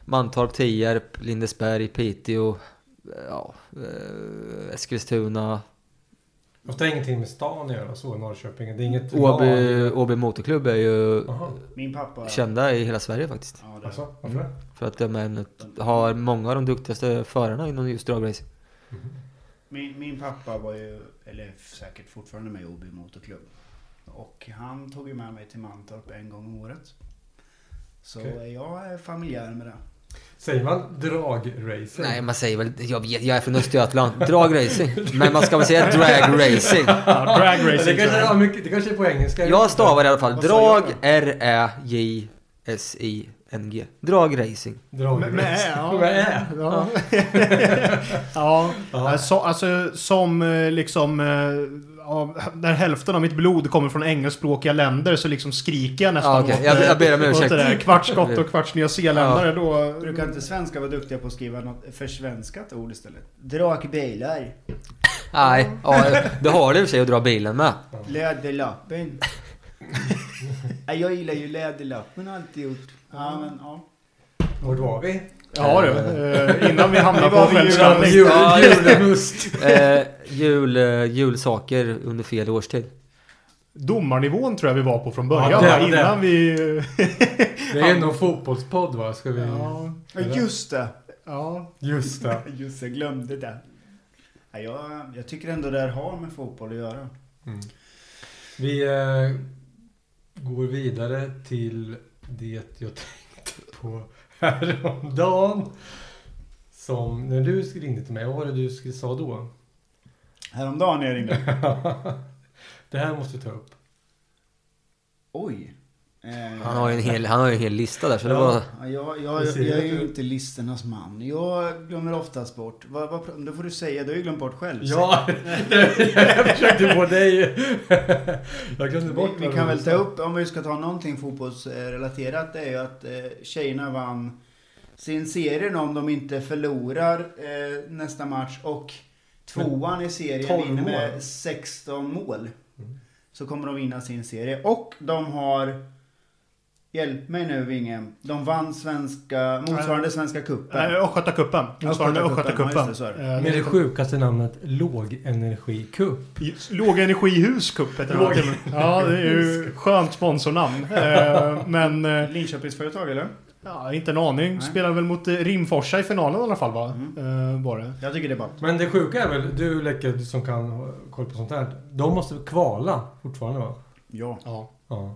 Speaker 5: Mantorp, Tierp, Lindesberg, Piteå, eh, ja, eh, Eskilstuna,
Speaker 2: Fast det har ingenting med stan att göra så, Norrköping. Det är inget
Speaker 5: Åby, Åby Motorklubb är ju
Speaker 2: Jaha,
Speaker 3: Min pappa...
Speaker 5: kända i hela Sverige faktiskt.
Speaker 3: Ja, det är.
Speaker 2: alltså, varför
Speaker 5: Mm.
Speaker 2: det?
Speaker 5: För att de är en, har många av de duktigaste förarna inom just dragracing.
Speaker 3: Min, min pappa var ju, eller säkert fortfarande med i Åby motorklubb. Och han tog ju med mig till Mantorp en gång om året. Så
Speaker 2: Okej.
Speaker 3: jag är familjär med det.
Speaker 2: Säger man dragracer?
Speaker 5: Nej, man säger väl... Jag, vet, jag är från Östergötland. Dragracing. Men man ska väl säga dragracing.
Speaker 4: Ja, drag
Speaker 2: det,
Speaker 4: racing.
Speaker 2: kanske är, ja, mycket, det kanske är på engelska.
Speaker 5: Jag stavar i alla fall
Speaker 3: Vad sa jag
Speaker 5: drag R-Ä-J-S-I-N-G. Dragracing.
Speaker 2: Dragracer.
Speaker 4: Med ä, ja.
Speaker 2: Med ä.
Speaker 4: Ja. ja. Så, alltså som eh, liksom... eh, ja, När hälften av mitt blod kommer från engelskspråkiga länder så liksom skriker jag nästan
Speaker 5: Ja, okej. Jag-
Speaker 4: eh,
Speaker 5: jag ber om ursäkt.
Speaker 4: åt det där. Kvarts skott och kvarts nyzeeländare då...
Speaker 3: Brukar inte svenskar vara duktiga på att skriva något försvenskat ord istället? Drakbilar,
Speaker 5: Nej, ja, det har du i och för sig att dra bilen med.
Speaker 3: läderlappen. Nej, jag gillar ju läderlappen, har alltid gjort. Ja, men ja.
Speaker 2: Vart var vi?
Speaker 4: Ja du, eh, innan vi hamnar
Speaker 3: Det var
Speaker 4: på
Speaker 3: vi
Speaker 2: Jul,
Speaker 3: ju-
Speaker 4: självskattning.
Speaker 5: Ja, just det.
Speaker 2: julmust.
Speaker 5: Eh, jul, eh, julsaker under fel årstid.
Speaker 4: Domarnivån tror jag vi var på från
Speaker 2: Ja,
Speaker 4: början.
Speaker 2: det-
Speaker 4: va?
Speaker 2: det-
Speaker 4: innan vi...
Speaker 2: Det är nog fotbollspodd va? Ska vi...
Speaker 4: ja,
Speaker 3: Ja, just det.
Speaker 4: ja.
Speaker 2: Just det.
Speaker 3: Just det, glömde det. Nej, jag, jag tycker ändå det här har med fotboll att göra.
Speaker 2: Vi eh, går vidare till det jag tänkte på häromdagen. Som när du ringde till mig, vad var det du sk- sa då?
Speaker 3: Häromdagen när jag ringde.
Speaker 2: det här måste vi ta upp.
Speaker 3: Oj. Eh,
Speaker 5: Han har ju en hel, han har ju en hel lista där så det
Speaker 2: Ja.
Speaker 5: var...
Speaker 3: ja, jag, jag,
Speaker 2: Jag
Speaker 3: jag,
Speaker 2: ser
Speaker 3: är
Speaker 2: att
Speaker 3: ju
Speaker 2: du-
Speaker 3: inte listernas man. Jag glömmer oftast bort. Vad, vad, pr- då får du säga, du har ju glömt bort själv.
Speaker 2: Ja, det- jag försökte få dig... jag glömde bort
Speaker 3: vi,
Speaker 2: vad
Speaker 3: vi kan
Speaker 2: du
Speaker 3: väl
Speaker 2: sa.
Speaker 3: ta upp, om vi ska ta någonting fotbollsrelaterat, det är ju att eh, tjejerna vann sin serien om de inte förlorar eh, nästa match och tvåan i serien
Speaker 2: 12
Speaker 3: vinner
Speaker 2: mål.
Speaker 3: med 16 mål. Så kommer de vinna sin serie och de har Hjälp mig nu Vingen. De vann svenska, motsvarande Svenska
Speaker 4: Nej,
Speaker 3: cupen.
Speaker 4: Östgötacupen. Motsvarande
Speaker 3: Östgötacupen, ja,
Speaker 4: Östgötacupen.
Speaker 3: just det, så är det.
Speaker 4: Eh,
Speaker 2: Med det sjukaste namnet lågenergikupp.
Speaker 4: Lågenergihuscup heter
Speaker 2: Låg-
Speaker 4: det. Ja, det är ju skönt sponsornamn. Eh, Men eh,
Speaker 3: Linköpingsföretag eller?
Speaker 4: ja, inte en aning.
Speaker 3: Nej.
Speaker 4: Spelar väl mot eh, Rimforsa i finalen i alla fall va? Eh, Var det.
Speaker 3: Jag tycker det är bara.
Speaker 2: Men det sjuka är väl, du Läcke du som kan ha koll på sånt här. De måste kvala fortfarande va?
Speaker 3: Ja.
Speaker 4: Ja.
Speaker 2: Ja.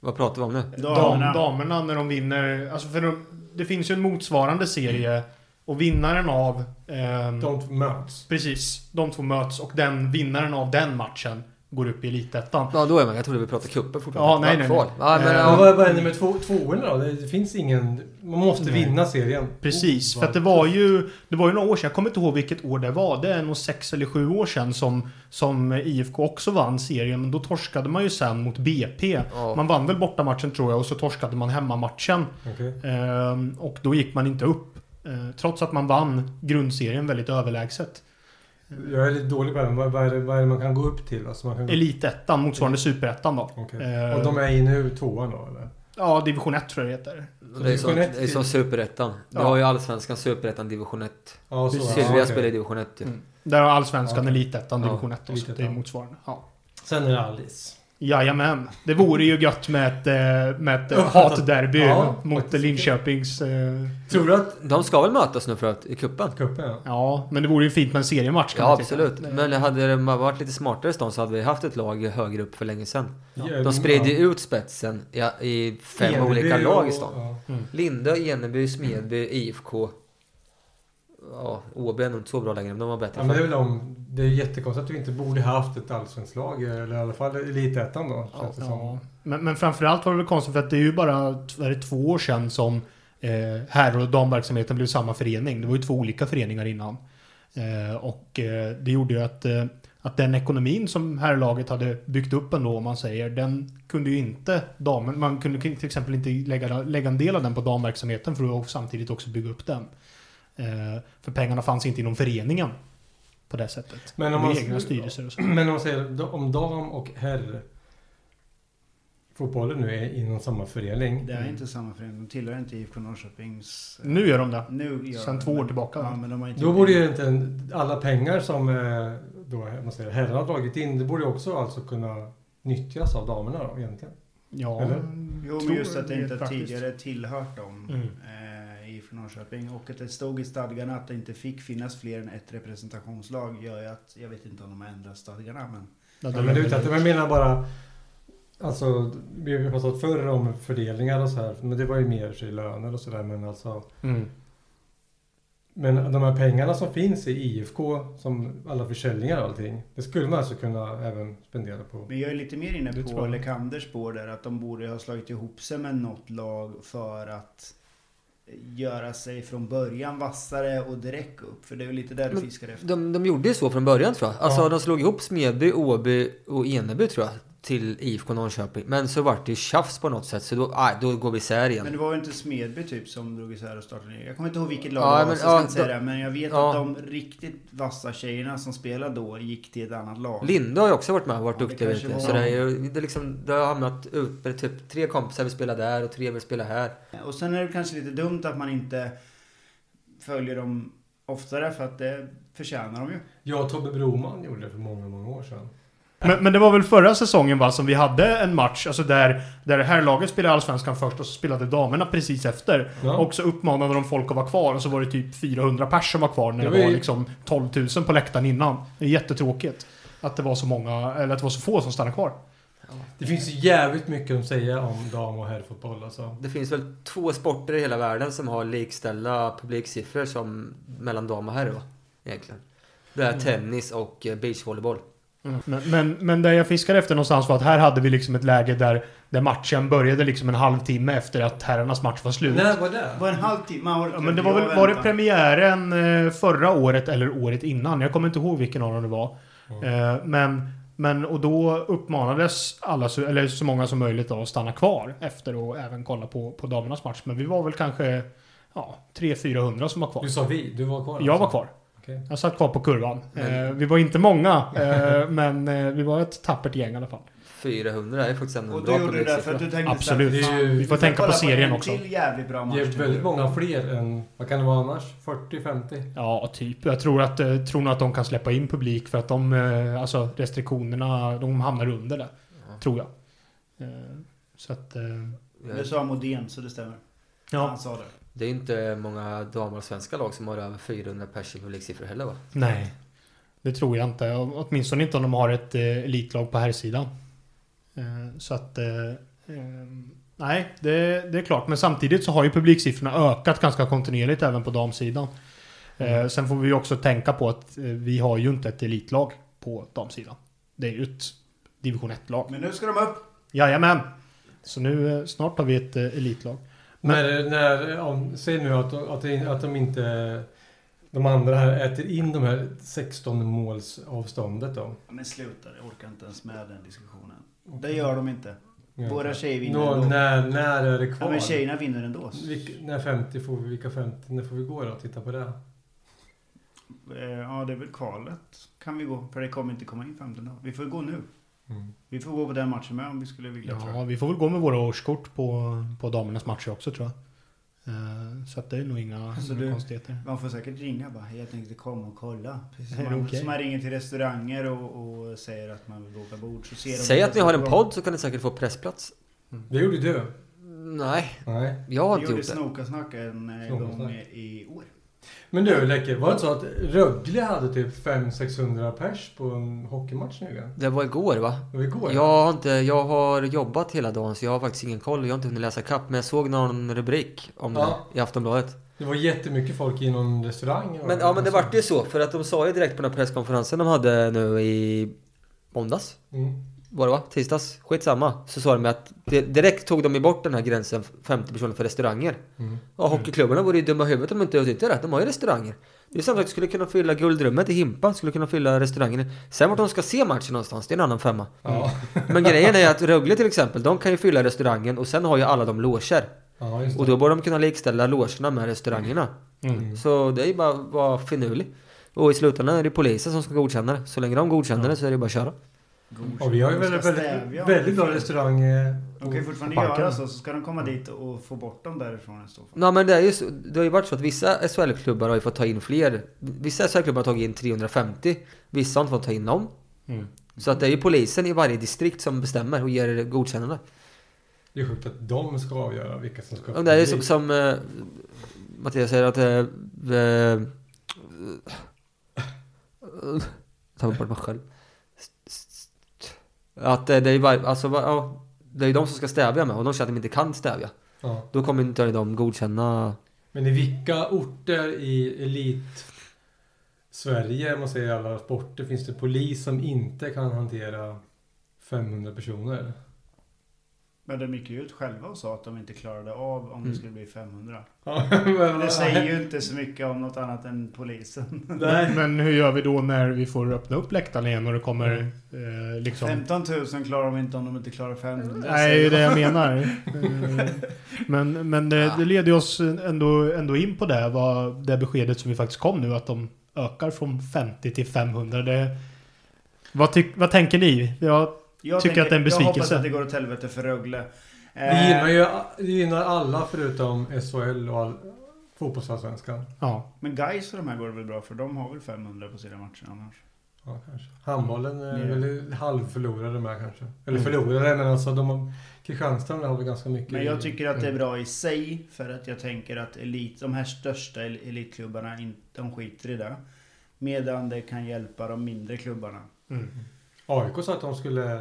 Speaker 5: Vad pratar vi om nu?
Speaker 4: Damerna.
Speaker 3: Damerna.
Speaker 4: Damerna när de vinner. Alltså för de, det finns ju en motsvarande serie. Och vinnaren av... ehm,
Speaker 2: De möts.
Speaker 4: Precis. De två möts och den vinnaren av den matchen går upp i Elitettan.
Speaker 5: Ja, då är man. Jag trodde vi pratade cupen fortfarande.
Speaker 4: Ja, nej, nej,
Speaker 5: Kval.
Speaker 4: nej.
Speaker 5: Ja, men,
Speaker 4: Eh,
Speaker 2: Ja,
Speaker 5: ja.
Speaker 2: vad vad är det med två, tvåorna då? Det finns ingen... Man måste
Speaker 4: Nej.
Speaker 2: vinna serien.
Speaker 4: Precis,
Speaker 2: Oh,
Speaker 4: för att det var ju det var ju några år sedan, jag kommer inte ihåg vilket år det var, det är nog sex eller sju år sedan som, som IFK också vann serien, men då torskade man ju sen mot BP.
Speaker 5: Ja.
Speaker 4: Man vann väl bortamatchen tror jag och så torskade man hemmamatchen.
Speaker 2: Okej.
Speaker 4: Ehm, och då gick man inte upp. Ehm, trots att man vann grundserien väldigt överlägset.
Speaker 2: Jag är lite dålig på det. men Vad, vad, är det, vad är det man kan gå upp till? Alltså man kan... gå-
Speaker 4: Elitettan, motsvarande superettan då.
Speaker 2: Mm. Okej.
Speaker 4: Ehm,
Speaker 2: Och de är i nu tvåan då eller?
Speaker 4: Ja, division 1 tror jag det heter.
Speaker 5: Det är som, det är som superettan. Du
Speaker 4: Ja.
Speaker 5: har ju allsvenskan, superettan, division 1.
Speaker 2: Ja, så,
Speaker 5: Sylvia
Speaker 2: ja, okej.
Speaker 5: spelar i division 1 ju.
Speaker 4: Mm. Där har Allsvenskan
Speaker 2: Ja.
Speaker 4: Elitettan,
Speaker 5: Ja,
Speaker 4: Division 1 också. Det är
Speaker 2: Elitettan.
Speaker 4: motsvarande. Ja.
Speaker 2: Sen är det Alice.
Speaker 4: Jajamän. Det vore ju gött med ett, eh, med ett eh,
Speaker 2: Ja.
Speaker 4: hatderby
Speaker 2: Ja,
Speaker 4: mot
Speaker 2: faktiskt.
Speaker 4: Linköpings... eh,
Speaker 2: Tror du att...
Speaker 5: De ska väl mötas nu för att i cupen?
Speaker 2: Cupen ja.
Speaker 4: Ja, men det vore ju fint med en seriematch. kan
Speaker 5: Ja,
Speaker 4: man tycka.
Speaker 5: absolut. Men hade det varit lite smartare stånd så hade vi haft ett lag högre upp för länge sedan.
Speaker 2: Ja.
Speaker 5: De spred ju ut spetsen i, i fem
Speaker 2: Eneby
Speaker 5: olika lag i
Speaker 2: och-
Speaker 5: stan.
Speaker 2: ja.
Speaker 5: Linde, Eneby, Smedby, IFK. Ja, OB är nog inte så bra längre, men de var bättre
Speaker 2: Ja, men det är
Speaker 5: förr.
Speaker 2: väl de, det är jättekonstigt att vi inte borde haft ett allsvenskt lag, eller i alla fall elitettan då.
Speaker 4: Ja,
Speaker 2: känns det som.
Speaker 4: ja. Men, men framförallt var det väl konstigt för att det är ju bara är det två år sedan som eh, herr och damverksamheten blev samma förening. Det var ju två olika föreningar innan. Eh, och eh, det gjorde ju att, eh, att den ekonomin som herrlaget hade byggt upp ändå, om man säger, den kunde ju inte damen, man kunde till exempel inte lägga, lägga en del av den på damverksamheten för att samtidigt också bygga upp den. Eh, för pengarna fanns inte inom föreningen på det sättet.
Speaker 2: Men om
Speaker 4: Med
Speaker 2: man-
Speaker 4: egna styrelser och så.
Speaker 2: Men om man säger om dam och herr fotbollen nu är inom samma förening.
Speaker 3: Det är inte samma förening. De tillhör inte IFK Norrköpings... eh,
Speaker 4: Nu gör de det.
Speaker 3: Nu gör
Speaker 4: Sen
Speaker 3: de
Speaker 4: två år
Speaker 3: det.
Speaker 4: tillbaka, va?
Speaker 3: Ja, men de har inte
Speaker 2: Då borde ju inte en, alla pengar som eh, då, om man säger, herrarna har dragit in, det borde ju också alltså kunna nyttjas av damerna då egentligen.
Speaker 4: Ja,
Speaker 2: Eller?
Speaker 3: Jo, men
Speaker 4: tror
Speaker 3: just att det
Speaker 4: jag
Speaker 3: inte
Speaker 4: faktiskt.
Speaker 3: tidigare tillhört dem.
Speaker 4: Mm.
Speaker 3: Eh, i för Norrköping och att det stod i stadgarna att det inte fick finnas fler än ett representationslag gör ju att jag vet inte om de har ändrat stadgarna men
Speaker 4: Ja,
Speaker 2: Ja, men det är ute efter- men jag menar bara... Alltså, vi har ju pratat förr om fördelningar och så här. Men det var ju mer i löner och sådär. Men alltså...
Speaker 4: Mm.
Speaker 2: Men de här pengarna som finns i IFK, som alla försäljningar och allting. Det skulle man alltså kunna även spendera på.
Speaker 3: Men jag är lite mer inne
Speaker 2: Det tror
Speaker 3: på
Speaker 2: jag.
Speaker 3: Lekanders spår där att de borde ha slagit ihop sig med något lag för att göra sig från början vassare och direkt upp. För det är väl lite där du
Speaker 5: Men
Speaker 3: fiskar efter.
Speaker 5: De, de gjorde ju så från början tror jag. Alltså
Speaker 2: Ja.
Speaker 5: de slog ihop Smedby, Åby och Eneby tror jag till IFK Norrköping. Men så vart det ju tjafs på något sätt så då, aj, då går vi isär igen.
Speaker 3: Men det var ju inte Smedby typ som drog isär och startade ner. Jag kommer inte ihåg vilket lag
Speaker 5: Ja,
Speaker 3: det var,
Speaker 5: men-
Speaker 3: så jag ska
Speaker 5: ja,
Speaker 3: inte säga
Speaker 5: de-
Speaker 3: det. Men jag vet
Speaker 5: ja.
Speaker 3: att de riktigt vassa tjejerna som spelade då gick till ett annat lag.
Speaker 5: Linda har ju också varit med och varit
Speaker 3: Ja, det
Speaker 5: duktig. Vet
Speaker 3: kanske
Speaker 5: du.
Speaker 3: var-
Speaker 5: Så det, är ju, det, är liksom, det har hamnat ut med typ tre kompisar vill spela där och tre vill spela här.
Speaker 3: Och sen är det kanske lite dumt att man inte följer dem oftare för att det förtjänar de ju.
Speaker 2: Jag och Tobbe Broman gjorde det för många, många år sedan.
Speaker 4: Men, men det var väl förra säsongen va, som vi hade en match, alltså där, där det här laget spelade Allsvenskan först och så spelade damerna precis efter.
Speaker 2: Ja.
Speaker 4: Och så uppmanade de folk att vara kvar och så var det typ 400 pers som var kvar när det
Speaker 2: Det
Speaker 4: var,
Speaker 2: var ju-
Speaker 4: liksom 12 000 på läktaren innan. Det är jättetråkigt. Att det var så många, eller att det var så få som stannade kvar.
Speaker 2: Det finns ju jävligt mycket att säga om dam och herrfotboll alltså.
Speaker 5: Det finns väl två sporter i hela världen som har likställda publiksiffror som mellan dam och herr va? Egentligen. Det
Speaker 3: Mm.
Speaker 5: är tennis och eh, beachvolleyboll.
Speaker 4: Men, men, men det jag fiskade efter någonstans var att här hade vi liksom ett läge där, där matchen började liksom en halvtimme efter att herrarnas match var slut.
Speaker 2: När var det?
Speaker 3: Det var en halvtimme. har
Speaker 4: Ja,
Speaker 3: orkat
Speaker 4: men det var
Speaker 3: jag
Speaker 4: väl, var det
Speaker 3: vänta.
Speaker 4: premiären eh, förra året eller året innan? Jag kommer inte ihåg vilken av dem det var. Eh, Men, men och då uppmanades alla, så- eller så många som möjligt då, att stanna kvar efter och även kolla på, på damernas match. Men vi var väl kanske ja, 300-400 som var kvar.
Speaker 2: Du sa vi, du var kvar? alltså.
Speaker 4: Jag var kvar.
Speaker 2: Okej.
Speaker 4: Jag satt kvar på kurvan.
Speaker 5: Men-
Speaker 4: Eh, Vi var inte många, eh, men eh, vi var ett tappert gäng i alla fall.
Speaker 5: 400 är faktiskt ändå en
Speaker 3: Och du
Speaker 5: bra
Speaker 3: gjorde det där för
Speaker 5: publiksiffra.
Speaker 3: att du tänkte
Speaker 4: Absolut.
Speaker 2: Det
Speaker 3: Så här,
Speaker 2: är ju-
Speaker 4: Vi får tänka på serien också.
Speaker 3: Det till jävligt bra match.
Speaker 2: Det är väldigt
Speaker 3: nu.
Speaker 2: många fler än, vad kan det vara annars? 40-50?
Speaker 4: Ja, typ. Jag tror, att, eh, tror nog att de kan släppa in publik för att de, eh, alltså restriktionerna, de hamnar under det.
Speaker 5: Ja.
Speaker 4: Tror jag. Eh, Så att, eh,
Speaker 5: Ja,
Speaker 3: Det sa Modén så det stämmer.
Speaker 4: ja.
Speaker 3: Han sa det.
Speaker 5: Det är inte många damer och svenska lag som har över 400 pers i publiksiffror heller va?
Speaker 4: Nej. Det tror jag inte. Och- Åtminstone inte om de har ett eh, elitlag på här sidan. Eh, Så att... eh, eh, Nej, det, det är klart. Men samtidigt så har ju publiksiffrorna ökat ganska kontinuerligt även på damsidan. Eh, Sen får vi ju också tänka på att eh, vi har ju inte ett elitlag på damsidan. Det är ju ett division 1-lag.
Speaker 3: Men nu ska de upp.
Speaker 4: Jajamän! Så nu eh, snart har vi ett eh, elitlag. Men-
Speaker 2: När, när, om, säg nu att, de- att, det- att de inte... De andra här äter in de här 16 målsavståndet då.
Speaker 3: Men sluta, jag orkar inte ens med den diskussionen. Det gör de inte.
Speaker 2: Ja.
Speaker 3: Våra tjejer vinner
Speaker 2: Nå,
Speaker 3: ändå.
Speaker 2: när, när är det
Speaker 3: Ja,
Speaker 2: kvar?
Speaker 3: men tjejerna vinner ändå.
Speaker 2: Vilk, när 50 får vi, vilka 50, när får vi gå då? Titta på det.
Speaker 3: Eh, Ja, det är väl kvalet kan vi gå. För det kommer inte komma in 15 dagar. Vi får gå nu. Vi får gå på den matchen med om vi skulle vilja. tror jag.
Speaker 4: Ja, vi får väl gå med våra årskort på, på damernas matcher också tror jag. Eh, Så att det är nog inga
Speaker 3: Så
Speaker 4: inga
Speaker 3: Alltså, du-
Speaker 4: konstigheter.
Speaker 3: Man får säkert ringa bara. Jag tänkte komma och kolla. Precis
Speaker 4: Är
Speaker 3: som
Speaker 4: det
Speaker 3: man,
Speaker 4: okej?
Speaker 3: som man ringer till restauranger och, och säger att man vill boka bord. Så ser de
Speaker 5: Säg att ni har en
Speaker 3: Det
Speaker 5: podd så kan ni säkert få pressplats.
Speaker 2: Det gjorde du.
Speaker 5: Nej,
Speaker 2: Nej.
Speaker 5: jag har
Speaker 3: Vi
Speaker 5: inte
Speaker 3: gjorde
Speaker 5: gjort det.
Speaker 3: Snokasnack en eh,
Speaker 2: Snokasnack.
Speaker 3: gång i- i år.
Speaker 2: Men du Läcke, var det inte så att Rögle hade typ 500-600 pers på en hockeymatch nyligen?
Speaker 5: Det var igår va?
Speaker 2: Det var igår.
Speaker 5: Jag har, inte, jag har jobbat hela dagen så jag har faktiskt ingen koll. Jag har inte hunnit läsa kapp men jag såg någon rubrik om
Speaker 2: Ja.
Speaker 5: det i Aftonbladet.
Speaker 2: Det var jättemycket folk i någon restaurang. och-
Speaker 5: Men ja men det vart ju så för att de sa ju direkt på den här presskonferensen de hade nu i måndags.
Speaker 2: Mm.
Speaker 5: var det va? Tisdags? Skitsamma. Så sa de att di- direkt tog de ju bort den här gränsen 50 personer för restauranger.
Speaker 2: Mm.
Speaker 5: Och hockeyklubbarna vore ju dumma i huvudet om de inte utnyttjade det. De har ju restauranger. Det är samma sak, skulle kunna fylla guldrummet i Himpa, skulle kunna fylla restaurangen. Sen vart de ska se matchen någonstans, det är en annan femma. Mm.
Speaker 2: Ja.
Speaker 5: Men grejen är att Rögle till exempel, de kan ju fylla restaurangen och sen har ju alla de loger.
Speaker 2: ja, just det.
Speaker 5: Och då borde de kunna likställa logerna med restaurangerna.
Speaker 2: Mm.
Speaker 5: Så det är ju bara att vara finurlig. Och i slutändan är det polisen som ska godkänna det. Så länge de godkänner det så är det ju bara att köra.
Speaker 2: Och vi har ju
Speaker 3: De ska
Speaker 2: väldigt, väldigt,
Speaker 3: stävja om
Speaker 2: väldigt
Speaker 3: det
Speaker 2: bra
Speaker 3: finns.
Speaker 2: restaurang. Mm. eh,
Speaker 3: De kan ju fortfarande
Speaker 2: på parken.
Speaker 3: göra så, så ska de komma dit och få bort dem därifrån i så fall.
Speaker 5: Nej men det, är ju så, det har ju varit så att vissa SHL-klubbar har ju fått ta in fler. Vissa SHL-klubbar har tagit in 350. Vissa har inte fått ta in Mm. någon. Så att det är ju polisen i varje distrikt som bestämmer och ger godkännande.
Speaker 2: Det är sjukt att de ska avgöra vilka som ska
Speaker 5: Ja, det är ju som, som eh, Mattias säger att... Eh, eh, tar bort mig själv. Att eh, det är ju bara, alltså, va- ja, det är ju de som ska stävja med och de känner att de inte kan stävja.
Speaker 2: Ja.
Speaker 5: Då kommer inte de godkänna...
Speaker 2: Men i vilka orter i elit Sverige, om man säger alla sporter, finns det polis som inte kan hantera 500 personer?
Speaker 3: Men de gick ju ut själva och sa att de inte klarade av om det
Speaker 2: Mm.
Speaker 3: skulle bli 500.
Speaker 2: Ja, men-
Speaker 3: Det säger ju inte så mycket om något annat än polisen.
Speaker 2: Nej.
Speaker 4: Men hur gör vi då när vi får öppna upp läktaren igen och det kommer
Speaker 3: Mm.
Speaker 4: eh, liksom...
Speaker 3: 15 000 klarar de inte om de inte klarar 500.
Speaker 4: Nej, det är
Speaker 3: säger
Speaker 4: det
Speaker 3: de.
Speaker 4: jag menar. Eh, men men det, det leder ju oss ändå, ändå in på det, vad, det beskedet som vi faktiskt kom nu, att de ökar från 50 till 500. Det, vad, tyck, vad tänker ni? Ja,
Speaker 3: Jag
Speaker 4: Tycker att det är en
Speaker 3: Jag hoppas
Speaker 4: besvikelse.
Speaker 3: att det går åt helvete för Rögle. Eh,
Speaker 2: Det gynnar ju det gynnar alla förutom SHL och all fotbollsallsvenskan.
Speaker 4: ja.
Speaker 3: Men guys och de här går det väl bra för de har väl 500 på sina matcher annars.
Speaker 2: Ja, kanske. Handbollen är
Speaker 3: Mm.
Speaker 2: väl halvförlorade med kanske. Eller
Speaker 4: Mm.
Speaker 2: förlorade, men alltså de har, Kristianstad har väl ganska mycket.
Speaker 3: Men
Speaker 2: i-
Speaker 3: jag tycker att det är bra i sig för att jag tänker att elit, de här största el- elitklubbarna, in- de skiter i det. Medan det kan hjälpa de mindre klubbarna.
Speaker 2: AIK sa att de skulle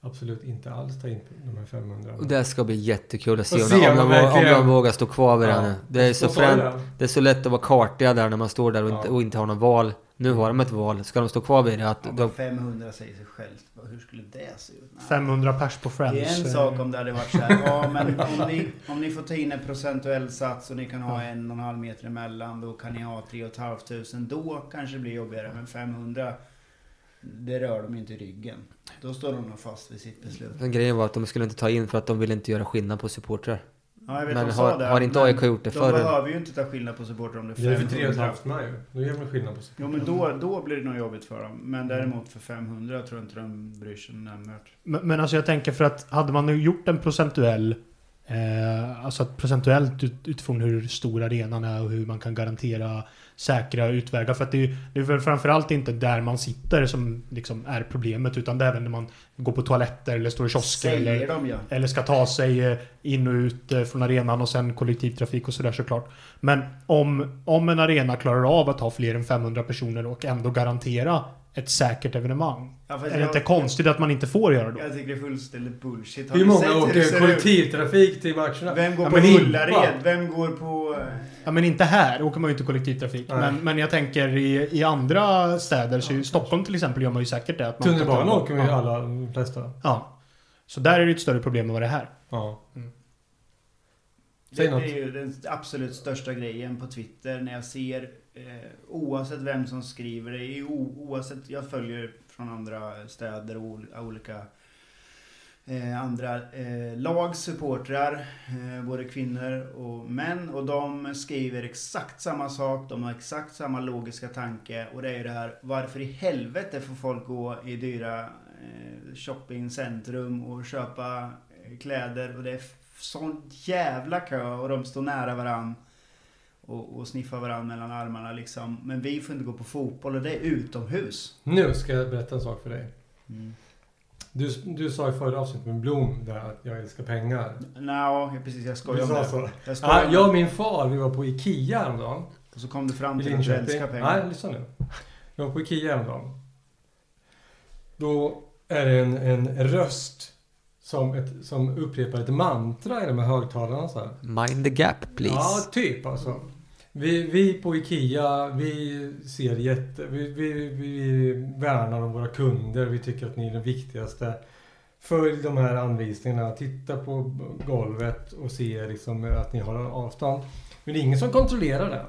Speaker 2: absolut inte alls ta in de här 500.
Speaker 5: Och det ska bli jättekul att se
Speaker 2: Och
Speaker 5: om,
Speaker 2: se
Speaker 5: de, om,
Speaker 2: om de
Speaker 5: de, om
Speaker 2: verkligen-
Speaker 5: de vågar stå kvar vid det här
Speaker 2: Ja.
Speaker 5: nu. Det är, så
Speaker 2: De sa
Speaker 5: frän,
Speaker 2: det.
Speaker 5: det är så lätt att vara kartiga där när man står där och inte,
Speaker 2: Ja.
Speaker 5: och inte har något val. Nu har de ett val. Ska de stå kvar vid det? Att
Speaker 3: Ja,
Speaker 5: de,
Speaker 3: 500 säger sig självt. Hur skulle det se ut? Nej.
Speaker 4: 500 pers på Friends.
Speaker 3: Det är en
Speaker 4: eh,
Speaker 3: sak om det hade varit så här. Ja, men om ni, om ni får ta in en procentuell sats och ni kan ha en och en halv meter emellan. Då kan ni ha 3 500. Då kanske det blir jobbigare. Men 500, det rör de ju inte i ryggen. Då står de nog fast vid sitt beslut.
Speaker 5: den grejen var att de skulle inte ta in för att de ville inte göra skillnad på supportrar.
Speaker 3: Ja, jag vet
Speaker 5: Men
Speaker 3: de
Speaker 5: har-
Speaker 3: sa det,
Speaker 5: har inte
Speaker 3: men
Speaker 5: AIK gjort det
Speaker 3: de
Speaker 5: förr?
Speaker 3: De behöver ju inte ta skillnad på supportrar om det
Speaker 2: Det är för
Speaker 3: är
Speaker 2: tre och ett
Speaker 3: 500.
Speaker 2: halvt med ju. Då gör man skillnad på
Speaker 3: Jo men då, då blir det nog jobbigt för dem.
Speaker 2: Mm.
Speaker 3: Men däremot för 500 tror jag inte de bryr sig nämnvärt.
Speaker 4: Men, men alltså jag tänker för att hade man nu gjort en procentuell eh, Alltså att procentuellt ut, utifrån hur stor arenan är och hur man kan garantera säkra utvägar. För att det är ju det är väl framförallt inte där man sitter som liksom är problemet utan det är även när man går på toaletter eller står i kiosker
Speaker 3: Säger
Speaker 4: eller,
Speaker 3: de ja.
Speaker 4: eller ska ta sig eh, in och ut eh, från arenan och sen kollektivtrafik och sådär såklart. Men om, om en arena klarar av att ha fler än 500 personer och ändå garantera ett säkert evenemang.
Speaker 3: ja fast
Speaker 4: Är det
Speaker 3: jag-
Speaker 4: inte konstigt att man inte får göra då?
Speaker 3: Jag tycker det är fullständigt bullshit. Har
Speaker 2: Hur
Speaker 3: ni
Speaker 2: många
Speaker 3: sett det
Speaker 2: åker
Speaker 3: ser ut?
Speaker 2: kollektivtrafik till matcherna?
Speaker 3: Vem går
Speaker 2: Ja,
Speaker 3: på
Speaker 2: men inte.
Speaker 3: Ullared? Vem går på... eh,
Speaker 4: Ja men inte här, åker man ju inte kollektivtrafik.
Speaker 2: Nej.
Speaker 4: Men, men jag tänker i, i andra städer, så i Stockholm till exempel gör man ju säkert det. Att man
Speaker 2: Tunnelbanan
Speaker 4: tar-
Speaker 2: åker man ju
Speaker 4: ja.
Speaker 2: alla de flesta.
Speaker 4: ja. Så där är det ju ett större problem än vad det är här.
Speaker 2: Ja.
Speaker 3: Det
Speaker 2: Säg
Speaker 3: är
Speaker 2: något.
Speaker 3: ju den absolut största grejen på Twitter när jag ser eh, oavsett vem som skriver det, i o- oavsett, jag följer från andra städer och ol- olika eh, andra eh, lags supportrar, eh, både kvinnor och män. Och de skriver exakt samma sak, de har exakt samma logiska tanke. Och det är ju det här, varför i helvete får folk gå i dyra eh, shoppingcentrum och köpa eh, kläder och det är f- sån jävla kö och de står nära varann och, och sniffar varann mellan armarna liksom. Men vi får inte gå på fotboll och det är utomhus.
Speaker 2: Nu ska jag berätta en sak för dig. Mm. Du, du sa i förra avsnittet med Blom där att jag älskar pengar.
Speaker 3: Nå, jag precis jag skojar
Speaker 2: Du
Speaker 3: om
Speaker 2: sa så.
Speaker 3: det. Jag skojar
Speaker 2: Ja,
Speaker 3: om
Speaker 2: jag
Speaker 3: det.
Speaker 2: och min far, vi var på Ikea häromdagen.
Speaker 3: Och så kom du fram
Speaker 2: I
Speaker 3: till att du
Speaker 2: Linköping.
Speaker 3: älskar pengar.
Speaker 2: Nej, lyssna nu. Jag var på Ikea häromdagen. Då är det en, en röst som, ett, som upprepar ett mantra i de här högtalarna så här.
Speaker 5: Mind the gap please.
Speaker 2: Ja, typ alltså. Vi, vi på IKEA, vi ser jätte... Vi, vi, vi värnar om våra kunder. Vi tycker att ni är det viktigaste. Följ de här anvisningarna. Titta på golvet och se liksom att ni har avstånd. Men det är ingen som kontrollerar det.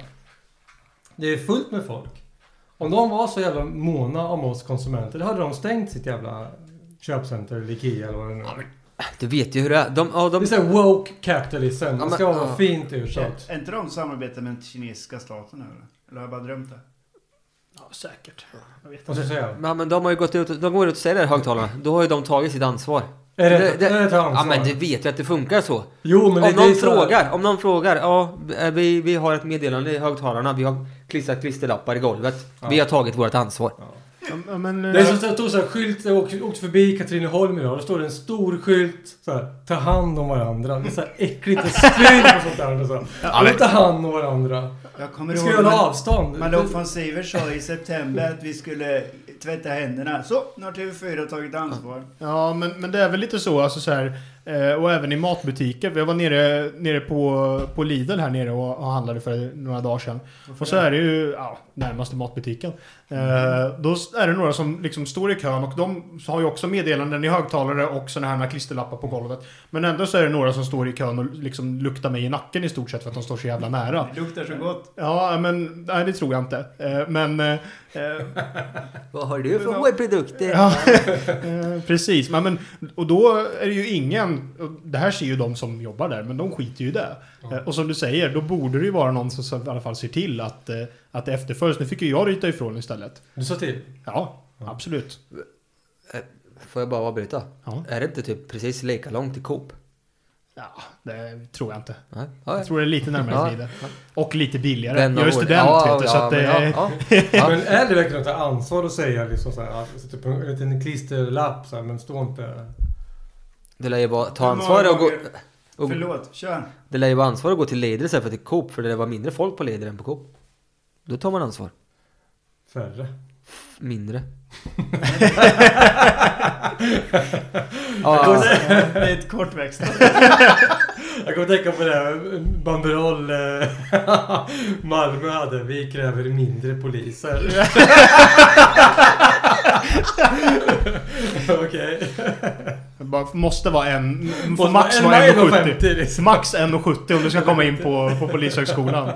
Speaker 2: Det är fullt med folk. Om de var så jävla måna om oss konsumenter, då hade de stängt sitt jävla köpcenter eller IKEA eller vad det nu är.
Speaker 5: Du vet ju hur det är. De, ja,
Speaker 2: Det är
Speaker 5: de,
Speaker 2: såhär woke capitalism.
Speaker 5: men-
Speaker 2: Det ska vara
Speaker 5: ja.
Speaker 2: fint ursatt.
Speaker 3: Är är inte de samarbetar med den kinesiska staten nu eller? Eller har jag bara drömt det?
Speaker 4: Ja, säkert. Jag vet
Speaker 2: Och så säger jag,
Speaker 5: ja, men de har ju gått ut, och- de går ut och säger det i högtalarna. Då har ju de tagit sitt ansvar.
Speaker 2: Är det, det, är det ett
Speaker 5: Ja
Speaker 2: ansvar?
Speaker 5: men du vet ju att det funkar så.
Speaker 2: jo, men det,
Speaker 5: om någon
Speaker 2: det är så-
Speaker 5: frågar, om någon frågar, ja eh, vi, vi har ett meddelande i högtalarna, vi har klistrat klisterlappar i golvet.
Speaker 2: Ja.
Speaker 5: Vi har tagit vårt ansvar.
Speaker 2: Ja.
Speaker 4: Ja, men,
Speaker 2: Det är
Speaker 4: eh,
Speaker 2: som det stod så här skylt, jag åkte, åkte förbi Katrineholm idag. Då står det en stor skylt så här, ta hand om varandra. Det är så här äckligt och spyr och sånt där. Och så. Alla ta hand om varandra.
Speaker 3: Jag kommer
Speaker 2: Vi ska
Speaker 3: ihåg
Speaker 2: göra
Speaker 3: när
Speaker 2: avstånd.
Speaker 3: Malou von Sivers sa i september att vi skulle tvätta händerna. Så, nu har TV4 tagit ansvar.
Speaker 4: Ja, men, men det är väl lite så. Alltså så här, eh, och även i matbutiker. Jag var nere, nere på, på Lidl här nere och, och handlade för några dagar sedan. Och så är det ju ja, närmaste matbutiken. Eh, då är det några som liksom står i kön och de har ju också meddelanden i högtalare och sådana här klisterlappar på golvet. Men ändå så är det några som står i kön och liksom luktar mig i nacken i stort sett för att de står så jävla nära.
Speaker 3: Det luktar så gott.
Speaker 4: Ja, men nej, det tror jag inte. Eh, men eh, eh,
Speaker 5: Vad har du för hårprodukter?
Speaker 4: Ja, eh, precis. Men, men, och då är det ju ingen, och det här ser ju de som jobbar där, men de skiter ju i det. Eh, Och som du säger, då borde det ju vara någon som så- i alla fall ser till att, eh, att det efterföljs. Nu fick ju jag ryta ifrån istället.
Speaker 2: Du sa till.
Speaker 4: Ja, absolut.
Speaker 5: Får jag bara avbryta?
Speaker 4: Ja.
Speaker 5: Är det inte typ precis lika långt till Coop?
Speaker 4: Ja, det tror jag inte.
Speaker 5: Nej.
Speaker 4: Jag tror det är
Speaker 5: Ja.
Speaker 4: lite närmare Lidl. Och lite billigare.
Speaker 5: Vän av
Speaker 4: jag är
Speaker 5: ordning.
Speaker 4: student
Speaker 5: Ja,
Speaker 4: vet du, så
Speaker 5: ja,
Speaker 4: att det
Speaker 5: men
Speaker 4: är...
Speaker 5: ja, ja. Ja.
Speaker 2: Men är det verkligen att ta ansvar att säga liksom så här, alltså, typ en liten klisterlapp så här, men stå inte...
Speaker 5: Det lär ju vara ta
Speaker 3: Hur många
Speaker 5: ansvar och gå...
Speaker 3: gånger-
Speaker 5: Och,
Speaker 3: Förlåt, kör.
Speaker 5: det lär ju vara ansvar att gå till Lidl istället för till Coop för det var mindre folk på Lidl än på Coop. Då tar man ansvar.
Speaker 2: Färre.
Speaker 5: Mindre.
Speaker 2: Jag
Speaker 5: ja,
Speaker 2: kommer-
Speaker 3: Det är ett kortväxt.
Speaker 2: Jag kommer tänka på det här banderoll eh, Malmö hade. Vi kräver mindre poliser. Okej.
Speaker 4: Det bara måste vara en... Får
Speaker 2: Måste
Speaker 4: max
Speaker 2: vara
Speaker 4: vara
Speaker 2: en och
Speaker 4: 1,70.
Speaker 2: 50, liksom.
Speaker 4: Max 1,70 om du ska komma in på, på Polishögskolan.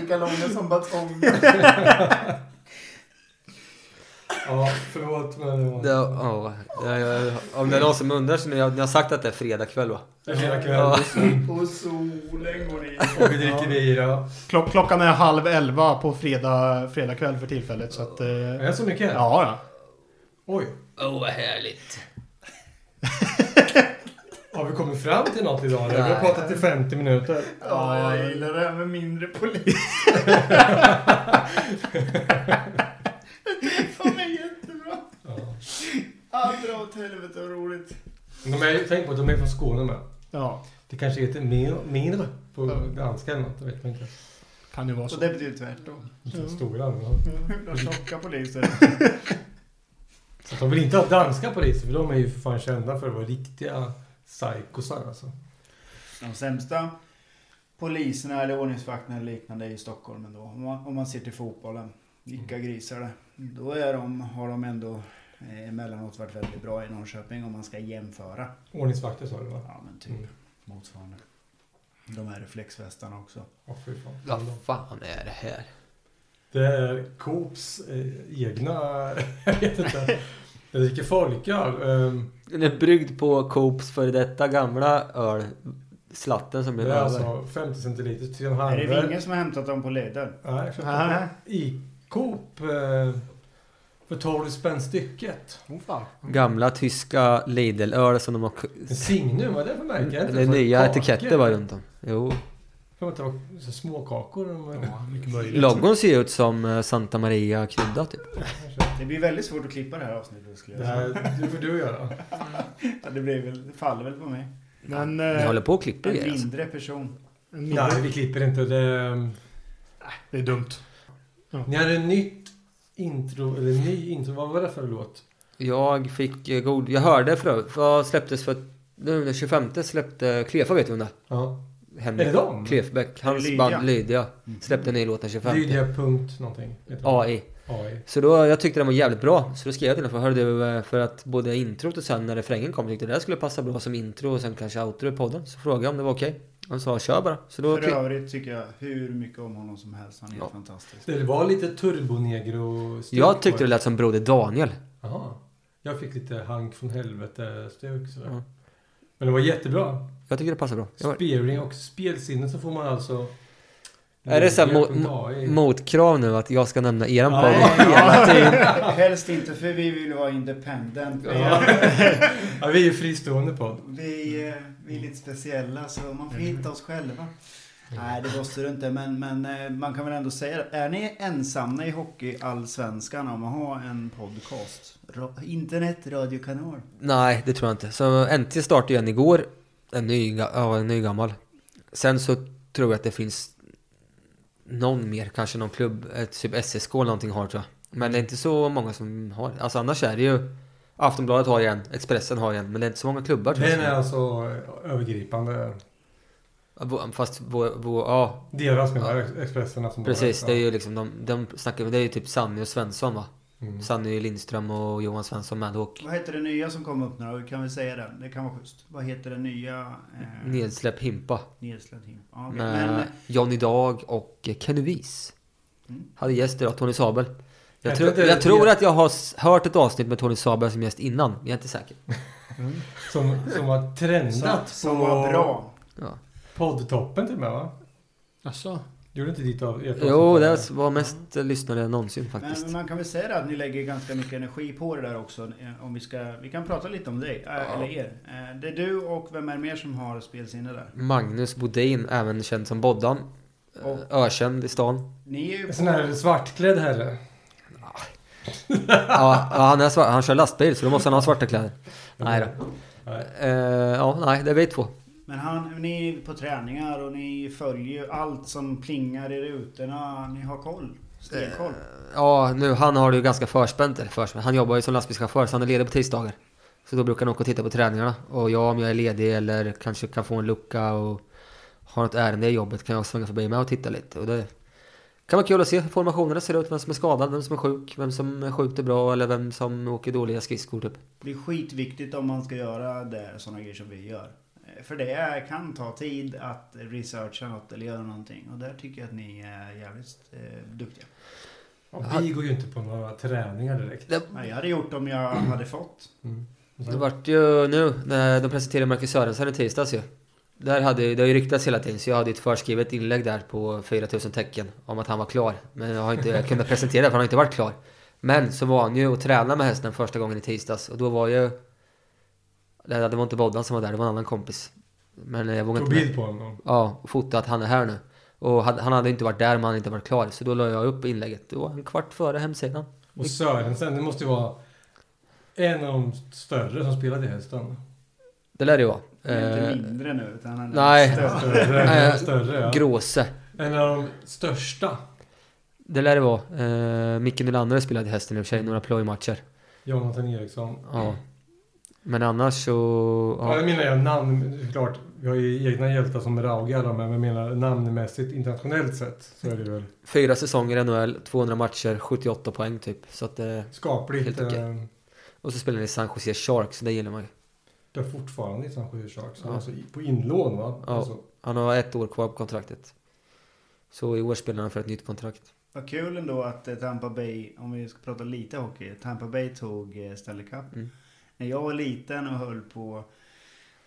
Speaker 6: Lika långa som batong.
Speaker 2: Ja, förlåt men det var...
Speaker 5: det, ja, ja, ja, om det är någon som undrar så nu, jag, ni har sagt att det är fredag kväll va?
Speaker 2: Det är fredag kväll.
Speaker 5: Ja.
Speaker 6: Och solen går in.
Speaker 2: Och vi dricker bira.
Speaker 4: Klock, klockan är halv elva på fredag, fredag kväll för tillfället. Så att, eh,
Speaker 2: Är det så mycket?
Speaker 4: ja, ja.
Speaker 2: Oj.
Speaker 5: Åh vad härligt.
Speaker 2: Har vi kommit fram till något idag? eller? Vi har
Speaker 5: Nej.
Speaker 2: pratat i 50 minuter.
Speaker 3: Ja, jag gillar det här med mindre polis. Fan, är jättebra.
Speaker 2: Ja.
Speaker 3: Allt dra åt helvete vad roligt.
Speaker 2: De är, tänk på att de är från Skåne med.
Speaker 4: ja.
Speaker 2: Det kanske heter min- mindre på danska eller något. Jag vet inte.
Speaker 4: Kan ju vara
Speaker 3: Så
Speaker 4: så.
Speaker 3: det betyder tvärtom.
Speaker 2: Stora. men-
Speaker 3: Jävla tjocka poliser.
Speaker 2: Så att de vill inte ha danska poliser för de är ju för fan kända för att vara riktiga psykosar alltså.
Speaker 3: De sämsta poliserna eller ordningsvakterna eller liknande är i Stockholm ändå. Om man, om man ser till fotbollen. Vilka grisar det. Då är de, har de ändå eh, emellanåt varit väldigt bra i Norrköping om man ska jämföra.
Speaker 2: Ordningsvakter sa du va?
Speaker 3: Ja men typ
Speaker 2: Mm.
Speaker 3: motsvarande. De här reflexvästarna också.
Speaker 2: Ja, fy fan.
Speaker 5: Vad fan är det här?
Speaker 2: Det är Coops eh, egna... Jag vet inte. Jag dricker folköl. ehm,
Speaker 5: Den är bryggd på Coops före detta gamla öl. Slatten som blev
Speaker 2: Det är
Speaker 5: över.
Speaker 2: alltså 50 centiliter, 3,5.
Speaker 3: Är det Vinge som har hämtat dem på Lidl?
Speaker 2: Nej, jag köpte
Speaker 4: Nej.
Speaker 2: det i Coop eh, för 12 spänn stycket.
Speaker 4: Oh, fan.
Speaker 5: Gamla tyska Lidl-öl som de har...
Speaker 2: Men Signum, vad är det för märke? Är
Speaker 5: Det är
Speaker 2: för
Speaker 5: nya
Speaker 2: kakor?
Speaker 5: etiketter var runt om. Jo.
Speaker 2: Jag vet inte, vad- så små kakor. de var-
Speaker 4: Ja, mycket möjligt.
Speaker 5: Logon ser ju ut som eh, Santa Maria krydda typ.
Speaker 3: Det blir väldigt svårt att klippa det här avsnittet skulle
Speaker 2: Det
Speaker 3: jag säga.
Speaker 2: här det får du göra.
Speaker 3: Ja, Det, blir väl, det faller väl på mig.
Speaker 4: Men
Speaker 5: Vi
Speaker 4: eh,
Speaker 5: håller på och klipper
Speaker 3: En
Speaker 5: grejer alltså.
Speaker 3: mindre person.
Speaker 4: en mindre-
Speaker 2: Nej, vi klipper inte. Det,
Speaker 4: det är dumt.
Speaker 2: ni hade en nytt intro, eller ny intro. Vad var det för låt?
Speaker 5: Jag fick eh, god... Jag hörde för övrigt- Vad släpptes för... Nu den 25 släppte Klefa vet du om det?
Speaker 2: Ja.
Speaker 5: Henrik
Speaker 2: Är det dem?
Speaker 5: Klefbäck. Hans
Speaker 3: Lydia.
Speaker 5: band Lydia. Släppte en ny låt den 25.
Speaker 2: Lydia punkt någonting. heter den.
Speaker 5: AI.
Speaker 2: AI.
Speaker 5: Så då, jag tyckte den var jävligt bra. Så då skrev jag till honom, för, hörde du, eh, för att både introt och sen när refrängen kom tyckte jag det där skulle passa bra som intro och sen kanske outro i podden. Så frågade jag om det var okej. Han sa kör bara. Så då...
Speaker 3: För övrigt tycker jag hur mycket om honom som helst. Han är
Speaker 5: Ja.
Speaker 3: helt fantastisk.
Speaker 2: Det var lite turbonegro
Speaker 5: Jag tyckte det lät som Broder Daniel.
Speaker 2: Jaha. Jag fick lite Hank från helvete-stuk sådär.
Speaker 5: Ja.
Speaker 2: Men det var jättebra.
Speaker 5: Jag tycker det passar bra. Jag var...
Speaker 2: Spearing och spelsinne så får man alltså...
Speaker 5: Är det så här
Speaker 2: Lydia.ai.
Speaker 5: mot, motkrav nu att jag ska nämna eran
Speaker 2: Ja.
Speaker 5: podd hela tiden?
Speaker 3: Helst inte för vi vill vara independent. Vi
Speaker 2: Ja.
Speaker 3: är,
Speaker 2: ja, vi är ju fristående podd.
Speaker 3: vi, eh, vi är lite speciella så man får hitta oss själva. Nej, det måste du inte. Men, men eh, man kan väl ändå säga det. Är ni ensamma i Hockeyallsvenskan om att ha en podcast? Ra- Internetradiokanal?
Speaker 5: Nej, det tror jag inte. Så NT startade igen igår. En ny, ja, en ny gammal. Sen så tror jag att det finns någon mer, kanske någon klubb, ett typ SSK eller någonting har tror jag. Men det är inte så många som har. Alltså annars är det ju Aftonbladet har ju en, Expressen har ju en, men det är inte så många klubbar tror
Speaker 2: Den är
Speaker 5: jag.
Speaker 2: alltså övergripande.
Speaker 5: Vå- Fast vår, vår, ja,
Speaker 2: Deras menar jag, Expressen. Som
Speaker 5: precis.
Speaker 2: bara-
Speaker 5: Det är ju liksom de, de snackar, det är ju typ Sanny och Svensson va?
Speaker 2: Mm.
Speaker 5: Sanny Lindström och Johan Svensson med och
Speaker 3: Vad heter det nya som kom upp nu då? Kan vi säga det? Det kan vara schysst. Vad heter det nya? Eh,
Speaker 5: nedsläpp Himpa.
Speaker 3: Nedsläpp team. Ja, okej. Men,
Speaker 5: med Johnny Dag och Kenny Wies.
Speaker 3: Mm.
Speaker 5: Hade gäster av Tony Sabel. Jag,
Speaker 2: Jag
Speaker 5: tror-
Speaker 2: tror att det-
Speaker 5: jag tror att jag har s- hört ett avsnitt med Tony Sabel som gäst innan, men jag är inte säker.
Speaker 2: Som, som har
Speaker 3: som,
Speaker 2: trendat
Speaker 3: som
Speaker 2: på
Speaker 3: var bra.
Speaker 5: Ja.
Speaker 2: poddtoppen till och med va?
Speaker 4: Alltså.
Speaker 2: Gjorde inte ditt av ert
Speaker 5: Jo,
Speaker 2: avsnitt?
Speaker 5: det var mest lyssnare någonsin faktiskt.
Speaker 3: Men man kan väl säga det att ni lägger ganska mycket energi på det där också. eh, Om vi, ska, vi kan prata lite om dig, eh, eller er. Eh, Det är du och vem är det mer som har spelsinne där?
Speaker 5: Magnus Bodin, även känd som Boddan. eh,
Speaker 3: Och-
Speaker 5: Ökänd i stan.
Speaker 3: Ni är ju
Speaker 2: En sån här svartklädd herre.
Speaker 5: Ja, ja, han, är svart, han kör lastbil så då måste han ha svarta kläder. Nej då.
Speaker 2: Mm. Nej.
Speaker 5: Eh, ja, nej, det är vi två.
Speaker 3: Men han, ni är på träningar och ni följer ju allt som plingar i rutorna. Ni har koll. Stenkoll.
Speaker 5: Ja, nu han har det ju ganska förspänt. Eller förspänt. Han jobbar ju som lastbilschaufför så han är ledig på tisdagar. Så då brukar han åka och titta på träningarna. Och jag om jag är ledig eller kanske kan få en lucka och har något ärende i jobbet kan jag svänga förbi med och titta lite. Och det kan vara kul att se hur formationerna ser ut. Vem som är skadad, vem som är sjuk, vem som skjuter bra eller vem som åker dåliga skridskor typ.
Speaker 3: Det är skitviktigt om man ska göra det, sådana grejer som vi gör. Eh, För det är- kan ta tid att researcha något eller göra någonting. Och där tycker jag att ni är jävligt eh, duktiga.
Speaker 2: Och vi går ju inte på några träningar direkt.
Speaker 5: Det,
Speaker 3: Nej, Jag hade gjort om jag hade fått.
Speaker 5: det vart ju nu när de presenterade Marcus Sörensen i tisdags ju. Där hade, ju- det har ju ryktats hela tiden så jag hade ett förskrivet inlägg där på 4000 tecken om att han var klar. Men jag har inte kunnat presentera det för han har inte varit klar. Men så var han ju och tränade med hästen första gången i tisdags och då var ju... Nej, Det var inte Boddan som var där, det var en annan kompis. Men jag vågade
Speaker 2: Tog
Speaker 5: inte...
Speaker 2: bild på honom.
Speaker 5: Ja, och fota att han är här nu. Och hade- han hade inte varit där om han inte varit klar. Så då la jag upp inlägget. Det var en kvart före hemsidan.
Speaker 2: Och Sörensen, det måste ju vara en av de större som spelade i hästen.
Speaker 5: Det lär det ju vara.
Speaker 3: Det är
Speaker 5: Eh,
Speaker 3: inte mindre nu utan han är
Speaker 5: nej.
Speaker 3: större.
Speaker 2: Större, större ja.
Speaker 5: Gråse.
Speaker 2: En av de största.
Speaker 5: Det lär det vara. Eh, Micke Nylander spelade hästen i och för sig, några plojmatcher.
Speaker 2: Jonathan Eriksson.
Speaker 5: Ja.
Speaker 3: Mm.
Speaker 5: Men annars så...
Speaker 2: Ja.
Speaker 5: Ja.
Speaker 2: Jag menar jag namn, såklart. Vi har ju egna hjältar som Rauga då, men jag menar namnmässigt internationellt sett så är det väl
Speaker 5: Fyra säsonger i NHL, 200 matcher, 78 poäng typ. Så att, eh, Helt
Speaker 2: skapligt.
Speaker 5: okej.
Speaker 2: eh,
Speaker 5: och så spelar han i San Jose Sharks, det gillar man ju.
Speaker 2: Det är fortfarande i San Jose Sharks.
Speaker 5: Ja.
Speaker 2: Alltså i- på inlån va?
Speaker 5: Ja.
Speaker 2: Alltså,
Speaker 5: Han har ett år kvar på kontraktet. Så i år spelar han för ett nytt kontrakt.
Speaker 3: Vad kul ändå att eh, Tampa Bay, om vi ska prata lite hockey, Tampa Bay tog eh, Stanley Cup.
Speaker 5: Mm.
Speaker 3: När jag var liten och höll på...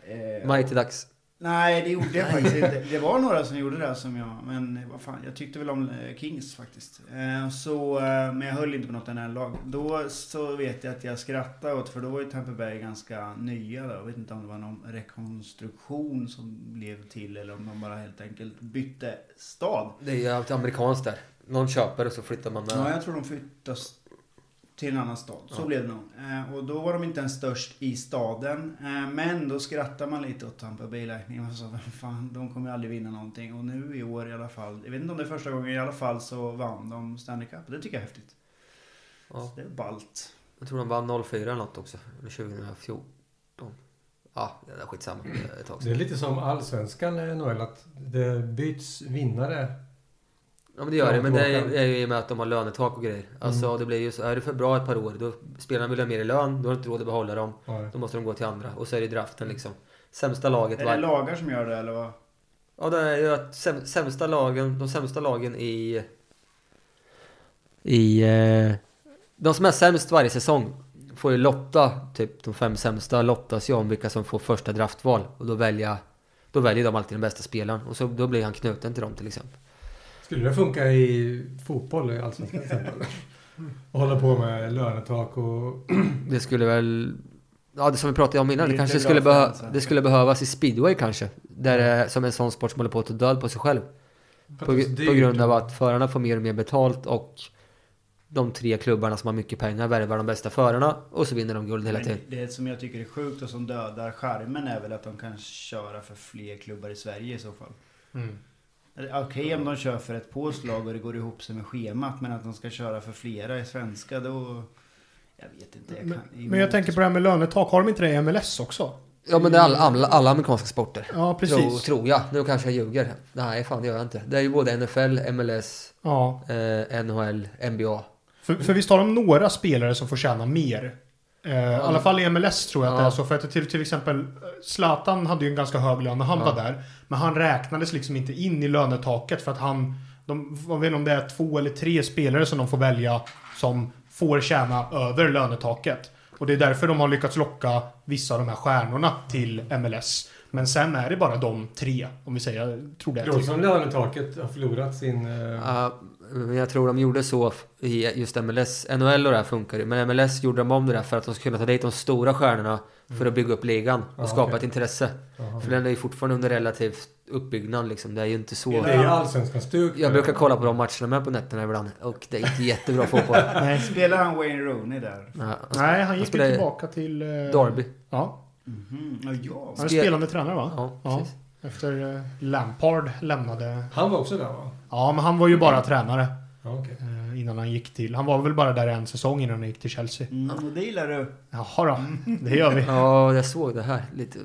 Speaker 3: eh,
Speaker 5: Mighty Ducks.
Speaker 3: Nej, det gjorde jag faktiskt inte. Det var några som gjorde det som jag, men eh, vad fan, jag tyckte väl om eh, Kings faktiskt. Eh, Så, eh, men jag höll inte på något annat lag. Då så vet jag att jag skrattade åt, för då var ju Tampa Bay ganska nya då. Jag vet inte om det var någon rekonstruktion som blev till eller om de bara helt enkelt bytte stad.
Speaker 5: Det är ju allt amerikanskt där. Någon köper och så flyttar man med.
Speaker 3: Ja, jag tror de flyttas till en annan stad. Så
Speaker 5: Ja.
Speaker 3: blev det nog. Eh, och då var de inte ens störst i staden. Eh, men då skrattar man lite åt Tampa Bay Lightning. Man sa, "Vad fan, de kommer ju aldrig vinna någonting. Och nu i år i alla fall, jag vet inte om det är första gången, i alla fall så vann de Stanley Cup. Det tycker jag är häftigt.
Speaker 5: Ja.
Speaker 3: Så det är ballt.
Speaker 5: Jag tror de vann 04 eller något också. Eller 2014. Ja, det där skitsamma. Det är Ett tag sedan.
Speaker 2: det är lite som allsvenskan i NHL att det byts vinnare.
Speaker 5: Ja men det gör det, men det är,
Speaker 2: Tillbaka.
Speaker 5: är ju i och med att de har lönetak och grejer. Alltså
Speaker 3: Mm.
Speaker 5: det blir ju så, är du för bra ett par år, då spelarna vill ha mer i lön, då har du inte råd att behålla dem.
Speaker 2: Ja.
Speaker 5: Då måste de gå till andra. Och så är det draften liksom. Sämsta laget
Speaker 3: Mm. Är det
Speaker 5: var...
Speaker 3: lagar som gör det eller vad?
Speaker 5: Ja det är ju att säm, sämsta lagen, de sämsta lagen i... I... Eh, de som är sämst varje säsong får ju lotta, typ de fem sämsta lottas ju om vilka som får första draftval. Och då välja... Då väljer de alltid den bästa spelaren. Och så, då blir han knuten till dem till exempel.
Speaker 2: Skulle det funka i fotboll i allsvenskan till exempel? Och hålla på med lönetak och...
Speaker 5: Det skulle väl... Ja, det som vi pratade om innan,
Speaker 3: Det
Speaker 5: det,
Speaker 3: är
Speaker 5: kanske
Speaker 3: inte
Speaker 5: skulle,
Speaker 3: bra för
Speaker 5: behö-
Speaker 3: hälsan.
Speaker 5: det skulle behövas i speedway kanske. Där det är som en sån sport som håller på att ta död på sig själv. På,
Speaker 2: För att det är
Speaker 5: på
Speaker 2: dyrt.
Speaker 5: grund av att förarna får mer och mer betalt och de tre klubbarna som har mycket pengar värvar de bästa förarna och så vinner de guld hela tiden.
Speaker 3: Men det som jag tycker är sjukt och som dödar charmen är väl att de kan köra för fler klubbar i Sverige i så fall.
Speaker 2: Mm.
Speaker 3: Eller, Okej om de kör för ett påslag och det går ihop sig med schemat men att de ska köra för flera i svenska då... Jag vet inte. Jag kan,
Speaker 4: Men jag tänker på det här med lönetak. Har de inte det i MLS också?
Speaker 5: Ja men det är alla, alla, alla amerikanska sporter.
Speaker 4: Ja,
Speaker 5: Tror,
Speaker 4: precis.
Speaker 5: tror jag. Nu kanske jag ljuger. Nej, fan det gör jag inte. Det är ju både NFL, MLS,
Speaker 4: Ja.
Speaker 5: eh, NHL, NBA.
Speaker 4: För, för visst har de några spelare som får tjäna mer? Eh, I alla fall i MLS tror jag att det
Speaker 5: Ja.
Speaker 4: är så. För att till, till exempel eh, Zlatan hade ju en ganska hög lön när han
Speaker 5: Ja.
Speaker 4: var där. Men han räknades liksom inte in i lönetaket för att han... De, jag vet inte om det är två eller tre spelare som de får välja som får tjäna över lönetaket. Och det är därför de har lyckats locka vissa av de här stjärnorna till MLS. Men sen är det bara de tre, om vi säger, jag tror
Speaker 2: Det
Speaker 4: det är
Speaker 2: låter
Speaker 4: tre.
Speaker 2: som lönetaket har förlorat sin... eh,
Speaker 5: Ja, men jag tror de gjorde så f- i just MLS. NHL och det här funkar ju. Men MLS gjorde de om det där för att de skulle kunna ta dit de stora stjärnorna för att bygga upp ligan och
Speaker 2: Mm. Ja,
Speaker 5: skapa
Speaker 2: okej.
Speaker 5: ett intresse.
Speaker 2: jaha.
Speaker 5: För den är ju fortfarande under relativt uppbyggnad liksom. Det är ju inte
Speaker 2: Det
Speaker 5: så...
Speaker 2: är ju allsvenskans stuk.
Speaker 5: Jag brukar kolla på de matcherna med på nätterna ibland och det är inte jättebra fotboll.
Speaker 3: Nej. Spelar han Wayne Rooney där?
Speaker 5: Ja, han sp-
Speaker 4: Nej, han gick ju
Speaker 5: spelar i
Speaker 4: tillbaka till... eh,
Speaker 5: Derby.
Speaker 4: Ja,
Speaker 3: Mhm, ja, ja.
Speaker 4: han är
Speaker 5: Spel-
Speaker 4: spelande tränare va?
Speaker 5: Ja,
Speaker 4: Ja.
Speaker 5: precis.
Speaker 4: Efter eh, Lampard lämnade.
Speaker 2: Han var också där va?
Speaker 4: Ja, men han var ju bara tränare
Speaker 2: Ja, okej.
Speaker 4: eh, innan han gick till... Han var väl bara där en säsong innan han gick till Chelsea.
Speaker 3: Mm, och det gillar du.
Speaker 4: Jaha då, det gör vi.
Speaker 5: Ja, jag såg det här. Lite...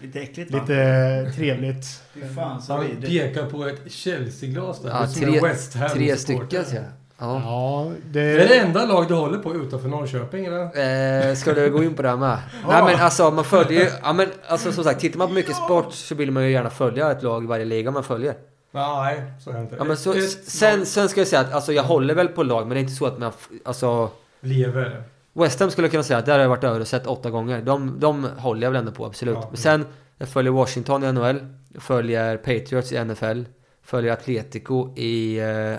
Speaker 3: Lite äckligt va?
Speaker 4: Lite eh, trevligt.
Speaker 3: Fy fan så
Speaker 2: Han
Speaker 3: vidrigt.
Speaker 2: pekar på ett Chelsea-glas där.
Speaker 5: Ja,
Speaker 2: med sina
Speaker 5: tre-
Speaker 2: West Ham
Speaker 5: Tre stycken ser jag. Ja.
Speaker 4: Ja,
Speaker 2: Det är det
Speaker 4: det...
Speaker 2: enda lag du håller på utanför Norrköping eller?
Speaker 5: Eh, ska du gå in på det här med? Nej men alltså man följer ju, ja men alltså som sagt tittar man på mycket sport så vill man ju gärna följa ett lag i varje liga man följer.
Speaker 2: Nej, så är det inte.
Speaker 5: Ja men så,
Speaker 2: Ett- ett
Speaker 5: sen, sen ska jag säga att alltså jag håller väl på lag men det är inte så att man, f- alltså
Speaker 2: lever.
Speaker 5: West Ham skulle jag kunna säga att där har jag varit över och sett åtta gånger. De, de håller jag väl ändå på, absolut.
Speaker 2: Ja.
Speaker 5: Men sen, jag följer Washington i NHL, jag följer Patriots i NFL, följer Atletico i eh,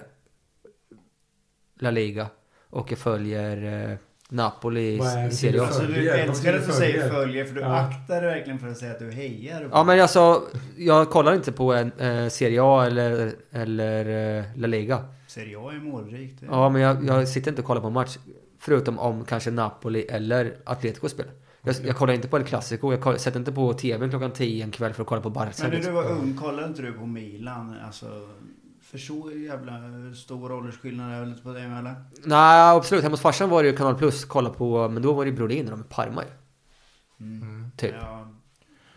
Speaker 5: La Liga och jag följer eh, Napoli i
Speaker 2: Vad är det
Speaker 5: Serie A.
Speaker 2: för-
Speaker 3: Alltså du
Speaker 2: Följer,
Speaker 3: älskar att du
Speaker 2: följer.
Speaker 3: säger följer för du
Speaker 2: Ja.
Speaker 3: aktar dig verkligen för att säga att du hejar.
Speaker 5: Ja men alltså, jag kollar inte på en, eh, Serie A eller, eller eh, La Liga.
Speaker 3: Ser jag är målrikt. det.
Speaker 5: Ja men jag, jag sitter inte och kollar på match, förutom om kanske Napoli eller Atletico spelar. Jag, jag kollar inte på El Clasico, jag koll, sätter inte på TVn klockan 10 en kväll för att kolla på Barca.
Speaker 3: Men när du
Speaker 5: Liksom.
Speaker 3: var ung, kollade inte du på Milan? Alltså, för så jävla stor åldersskillnad är väl inte på dig eller?
Speaker 5: Nej absolut, hemma hos farsan var det ju Kanal Plus, kolla på, men då var det ju Brodin och de i Parma ju.
Speaker 3: Mm.
Speaker 5: Typ.
Speaker 3: Ja,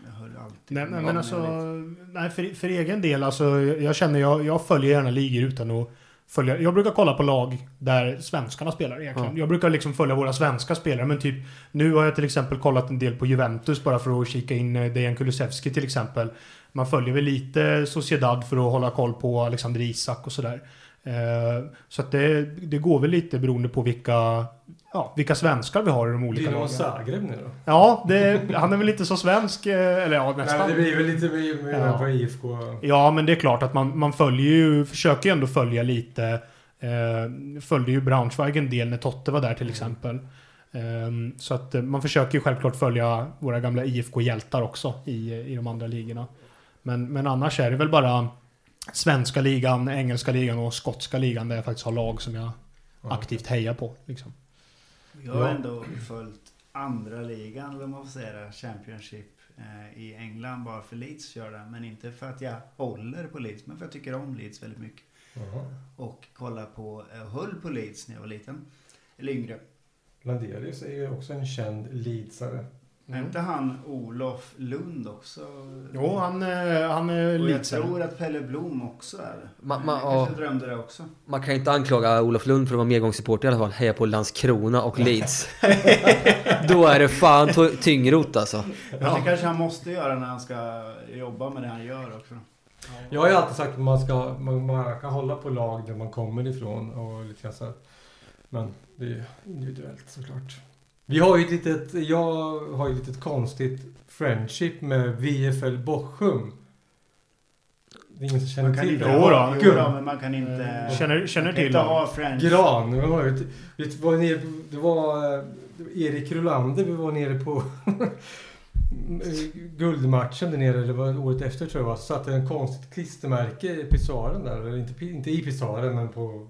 Speaker 3: jag höll alltid
Speaker 4: Nej,
Speaker 2: Typ
Speaker 3: på
Speaker 4: men, men
Speaker 3: Milan
Speaker 4: alltså,
Speaker 3: när jag var liten.
Speaker 4: nej, för, för egen del, alltså, jag känner, jag, jag följer gärna ligor utan att följa. Jag brukar kolla på lag där svenskarna spelar egentligen.
Speaker 5: Ja.
Speaker 4: Jag brukar liksom följa våra svenska spelare, men typ nu har jag till exempel kollat en del på Juventus bara för att kika in eh, Dejan Kulusevski till exempel. Man följer väl lite Sociedad för att hålla koll på Alexander Isak och sådär. Eh, Så att det, det går väl lite beroende på vilka, ja, vilka svenskar vi har i de olika
Speaker 2: Dynamo
Speaker 4: lagen.
Speaker 2: Zagreb nu då?
Speaker 4: Ja, det, han är väl inte så svensk, eh, eller ja nästan.
Speaker 2: Nej, det blir väl lite mer mer
Speaker 4: Ja.
Speaker 2: på IFK.
Speaker 4: Ja, men det är klart att man, man följer ju, försöker ju ändå följa lite. Eh, följde ju Braunschweig en del när Totte var där
Speaker 3: Mm.
Speaker 4: till exempel. Ehm, så att eh, man försöker ju självklart följa våra gamla IFK-hjältar också i, i de andra ligorna. Men, men annars är det väl bara svenska ligan, engelska ligan och skotska ligan där jag faktiskt har lag som jag aktivt hejar på. Liksom.
Speaker 3: Jag har
Speaker 2: Ja.
Speaker 3: ändå följt andra ligan, eller om man får säga det, Championship eh, i England bara för Leeds gör det. Men inte för att jag håller på Leeds, men för att jag tycker om Leeds väldigt mycket.
Speaker 2: Jaha.
Speaker 3: Och kolla på, jag höll på Leeds när jag var liten. Eller yngre.
Speaker 2: Landelius är ju också en känd leadsare.
Speaker 4: Mm.
Speaker 3: Är inte han Olof Lund också?
Speaker 4: Jo, han, eh, han är
Speaker 3: Och jag
Speaker 4: lite...
Speaker 3: tror att Pelle Blom också är det.
Speaker 5: Ma- ma-
Speaker 3: jag kanske
Speaker 5: ja.
Speaker 3: drömde det också.
Speaker 5: Man kan ju inte anklaga Olof Lund för att vara medgångssupporter i alla fall. Heja på Landskrona och Leeds. då är det fan to- tyngrot alltså.
Speaker 3: Men Det kanske han måste göra när han ska jobba med det han gör också.
Speaker 2: Jag har ju alltid sagt att man ska man, man kan hålla på lag där man kommer ifrån och lite grann så här. Men det är ju individuellt såklart. Vi har ju ett litet, jag har ju ett litet konstigt friendship med VFL Bochum. Det är ingen som känner
Speaker 3: Man kan
Speaker 2: till
Speaker 3: inte
Speaker 2: det.
Speaker 3: ha,
Speaker 4: Jodå.
Speaker 3: jo då, men man kan inte...
Speaker 4: Eh, känner- känner
Speaker 3: man kan
Speaker 4: till
Speaker 3: inte
Speaker 4: dem.
Speaker 3: ha French.
Speaker 2: Gran. Vi var, ute- vet, du, var nere, på- det var eh, Erik Rolander vi var nere på guldmatchen där nere, det var året efter tror jag det var, så satte en konstigt klistermärke i pisaren där, eller inte, inte i pisaren men på,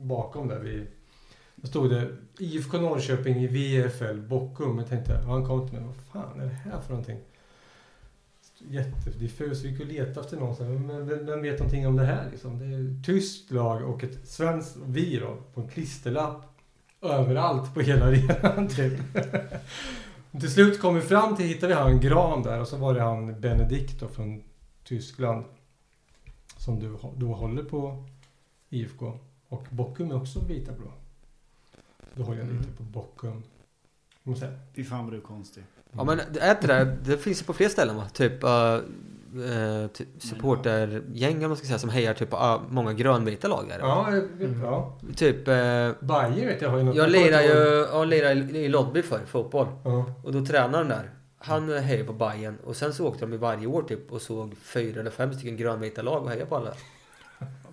Speaker 2: bakom där. Vi, då stod det IFK Norrköping i VFL Bockum. Jag tänkte, och han kom till mig, vad fan är det här för någonting? Jättediffus. Vi gick och letade efter någon. så här, Men vem, vem vet någonting om det här? Liksom? Det är ett tyskt lag och ett svenskt, vi då, på en klisterlapp överallt på hela arenan. Typ. till slut kom vi fram till, hittade vi han Gran där och så var det han Benedikt då, från Tyskland. Som du, hå- då håller på IFK. Och Bockum är också vita blå. Då håller jag
Speaker 5: Mm.
Speaker 2: lite på Bockum. Jag måste säga,
Speaker 3: Fy fan vad du är konstig.
Speaker 5: Ja men det är inte det där, det finns ju på fler ställen va? Typ, eh, eh, typ supportergäng om man ska säga som hejar typ på ah, många grönvita lag här.
Speaker 2: Ja, jag- ja.
Speaker 5: Typ, eh,
Speaker 2: Bayer vet jag har ju något.
Speaker 5: jag
Speaker 2: kommer
Speaker 5: lirar
Speaker 2: inte
Speaker 5: ju
Speaker 2: ihåg.
Speaker 5: jag lirar i i Lodby för fotboll.
Speaker 2: Ja.
Speaker 5: Och då tränaren där, han hejade på Bayern och sen så åkte de i varje år typ och såg fyra eller fem stycken grönvita lag och hejade på alla.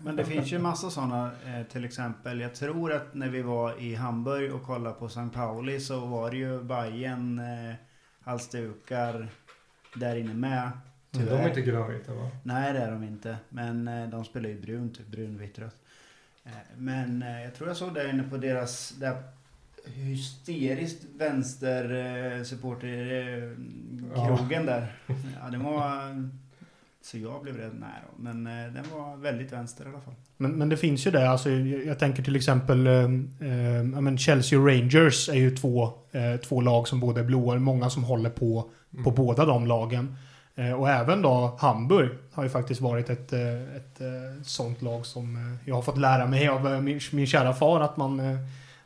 Speaker 3: Men det finns ju massa sådana. Eh, till exempel, jag tror att när vi var i Hamburg och kollade på St. Pauli så var det ju Bayern eh, halsdukar där inne med.
Speaker 2: Mm,
Speaker 3: Tyvärr.
Speaker 2: De är inte grönvita va?
Speaker 3: Nej det är de inte. Men eh, de spelar ju brunt, typ brunvitt rött. Eh, Men eh, jag tror jag såg där inne på deras där hysteriskt vänster eh, supporter eh,
Speaker 2: Ja.
Speaker 3: krogen där. Ja den var... Så jag blev rädd nära. Men eh, den var väldigt vänster i alla fall.
Speaker 4: Men, men det finns ju det. Alltså, jag, jag tänker till exempel eh, eh, ja, men Chelsea och Rangers är ju två, eh, två lag som båda är blåa. Många som håller på,
Speaker 2: Mm.
Speaker 4: på båda de lagen. Eh, och även då Hamburg har ju faktiskt varit ett, eh, ett eh, sånt lag som eh, jag har fått lära mig av eh, min, min kära far att man, eh,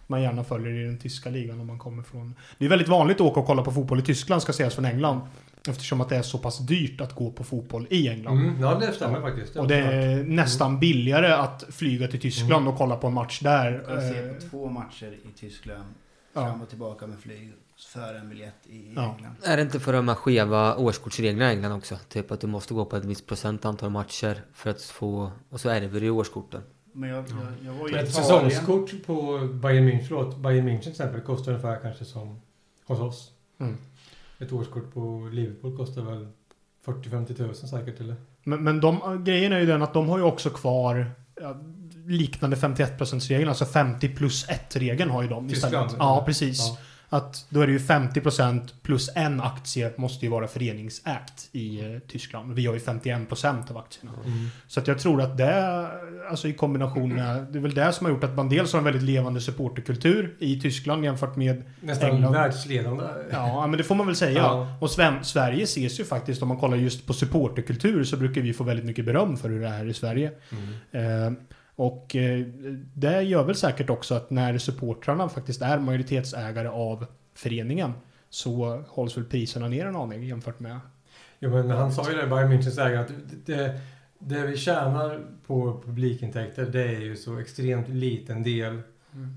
Speaker 4: man gärna följer i den tyska ligan om man kommer från... Det är väldigt vanligt att åka och kolla på fotboll i Tyskland ska sägas från England. Eftersom att det är så pass dyrt att gå på fotboll i England.
Speaker 2: Mm, ja, det stämmer faktiskt.
Speaker 4: Och det är
Speaker 2: Mm.
Speaker 4: nästan billigare att flyga till Tyskland och kolla på en match där.
Speaker 3: Jag se
Speaker 4: Eh,
Speaker 3: på två matcher i Tyskland.
Speaker 4: Ja.
Speaker 3: Fram och tillbaka med flyg. För en biljett i
Speaker 4: Ja.
Speaker 3: England.
Speaker 5: Är det inte för de här skeva årskortsreglerna i England också? Typ att du måste gå på ett visst procent antal matcher för att få... Och så ärver du årskorten.
Speaker 3: Men jag, jag, jag var ju i
Speaker 2: Ett
Speaker 3: Italien.
Speaker 2: säsongskort på Bayern München, förlåt, Bayern München till exempel kostar ungefär kanske som hos oss.
Speaker 4: Mm.
Speaker 2: Ett årskort på Liverpool kostar väl 40-50 tusen säkert eller?
Speaker 4: Men, men de, grejen är ju den att de har ju också kvar ja, liknande 51%-regeln. Alltså 50 plus 1-regeln har ju de
Speaker 2: Tyskland,
Speaker 4: istället.
Speaker 2: eller?
Speaker 4: Ja, precis.
Speaker 2: Ja.
Speaker 4: Att då är det ju 50% plus en aktie måste ju vara föreningsägt i eh, Tyskland. Vi har ju 51% av aktierna.
Speaker 2: Mm.
Speaker 4: Så att jag tror att det, alltså i kombination med, det är väl det som har gjort att man dels har en väldigt levande supporterkultur i Tyskland jämfört med
Speaker 2: Nästan
Speaker 4: England.
Speaker 2: världsledande.
Speaker 4: Ja, men det får man väl säga.
Speaker 2: Ja.
Speaker 4: Och Sven- Sverige ses ju faktiskt, om man kollar just på supporterkultur, så brukar vi få väldigt mycket beröm för hur det är i Sverige.
Speaker 2: Mm.
Speaker 4: Eh, och eh, det gör väl säkert också att när supportrarna faktiskt är majoritetsägare av föreningen så hålls väl priserna ner en aning jämfört med...
Speaker 2: Jo, men han sa ju det, Bayern Münchens ägare, att det, det, det vi tjänar på publikintäkter, det är ju så extremt liten del.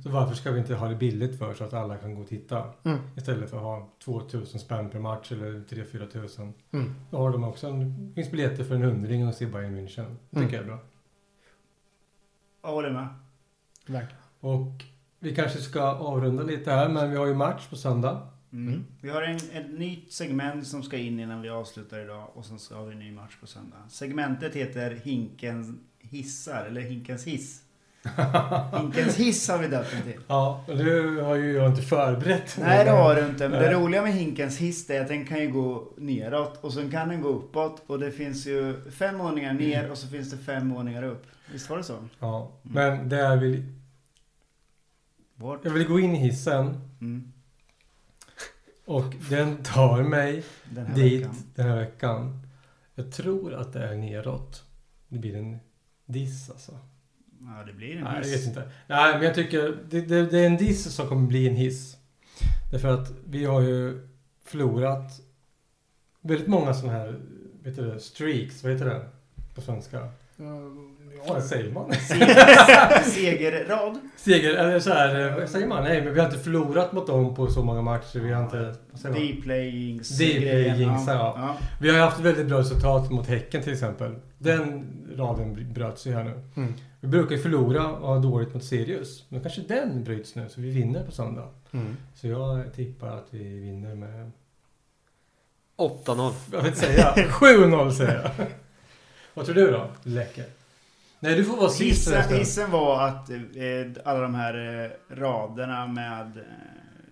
Speaker 2: Så varför ska vi inte ha det billigt för så att alla kan gå och titta?
Speaker 4: Mm.
Speaker 2: Istället för att ha 2000 spänn per match eller 3-4 tusen.
Speaker 4: Mm.
Speaker 2: Då har de också en, det finns biljetter för en hundring och se Bayern München. Det
Speaker 4: Mm.
Speaker 2: tycker jag är bra.
Speaker 3: Jag håller med.
Speaker 4: verkligen.
Speaker 2: Och vi kanske ska avrunda lite här, men vi har ju match på söndag.
Speaker 3: Mm.
Speaker 4: Mm.
Speaker 3: Vi har en, ett nytt segment som ska in innan vi avslutar idag och sen så har vi en ny match på söndag. Segmentet heter Hinkens hissar, eller Hinkens hiss. Hinkens hiss har vi döpt den till.
Speaker 2: Ja, och du har ju jag inte förberett.
Speaker 3: Nej det har du inte, men det
Speaker 2: Nej.
Speaker 3: roliga med Hinkens hiss är att den kan ju gå neråt och sen kan den gå uppåt och det finns ju fem våningar
Speaker 2: Mm.
Speaker 3: ner och så finns det fem våningar upp. Visst var det så?
Speaker 2: Ja, men det jag vill...
Speaker 3: Bort.
Speaker 2: Jag vill gå in i hissen
Speaker 3: Mm.
Speaker 2: och den tar mig
Speaker 3: Den här
Speaker 2: dit
Speaker 3: veckan.
Speaker 2: den här veckan. Jag tror att det är neråt. Det blir en diss alltså.
Speaker 3: Ja det blir en
Speaker 2: Nej, jag
Speaker 3: hiss.
Speaker 2: vet inte. Nej, men jag tycker det, det, det är en diss som kommer bli en hiss. Därför att vi har ju förlorat väldigt många sådana här, vet du det, streaks, vad heter det på svenska?
Speaker 3: Mm.
Speaker 2: Vad säger man?
Speaker 3: Seger, segerrad.
Speaker 2: Seger, eller så här, eh, vad säger man? Nej, men vi har inte förlorat mot dem på så många matcher. Vi har inte... Vad säger man?
Speaker 3: Dplayings.
Speaker 2: Dplayings, ja. Vi har ju haft väldigt bra resultat mot Häcken till exempel. Den raden br- bröts ju här nu.
Speaker 4: Mm.
Speaker 2: Vi brukar ju förlora och ha dåligt mot Sirius. Men kanske den bryts nu, så vi vinner på söndag.
Speaker 4: Mm.
Speaker 2: Så jag tippar att vi vinner med...
Speaker 5: 8-0.
Speaker 2: Jag vill inte säga. 7-0 säger jag. Vad tror du då? Läcker. Nej, du får vara sist.
Speaker 3: Hissen,
Speaker 2: förresten.
Speaker 3: hissen var att eh, alla de här eh, raderna med... eh,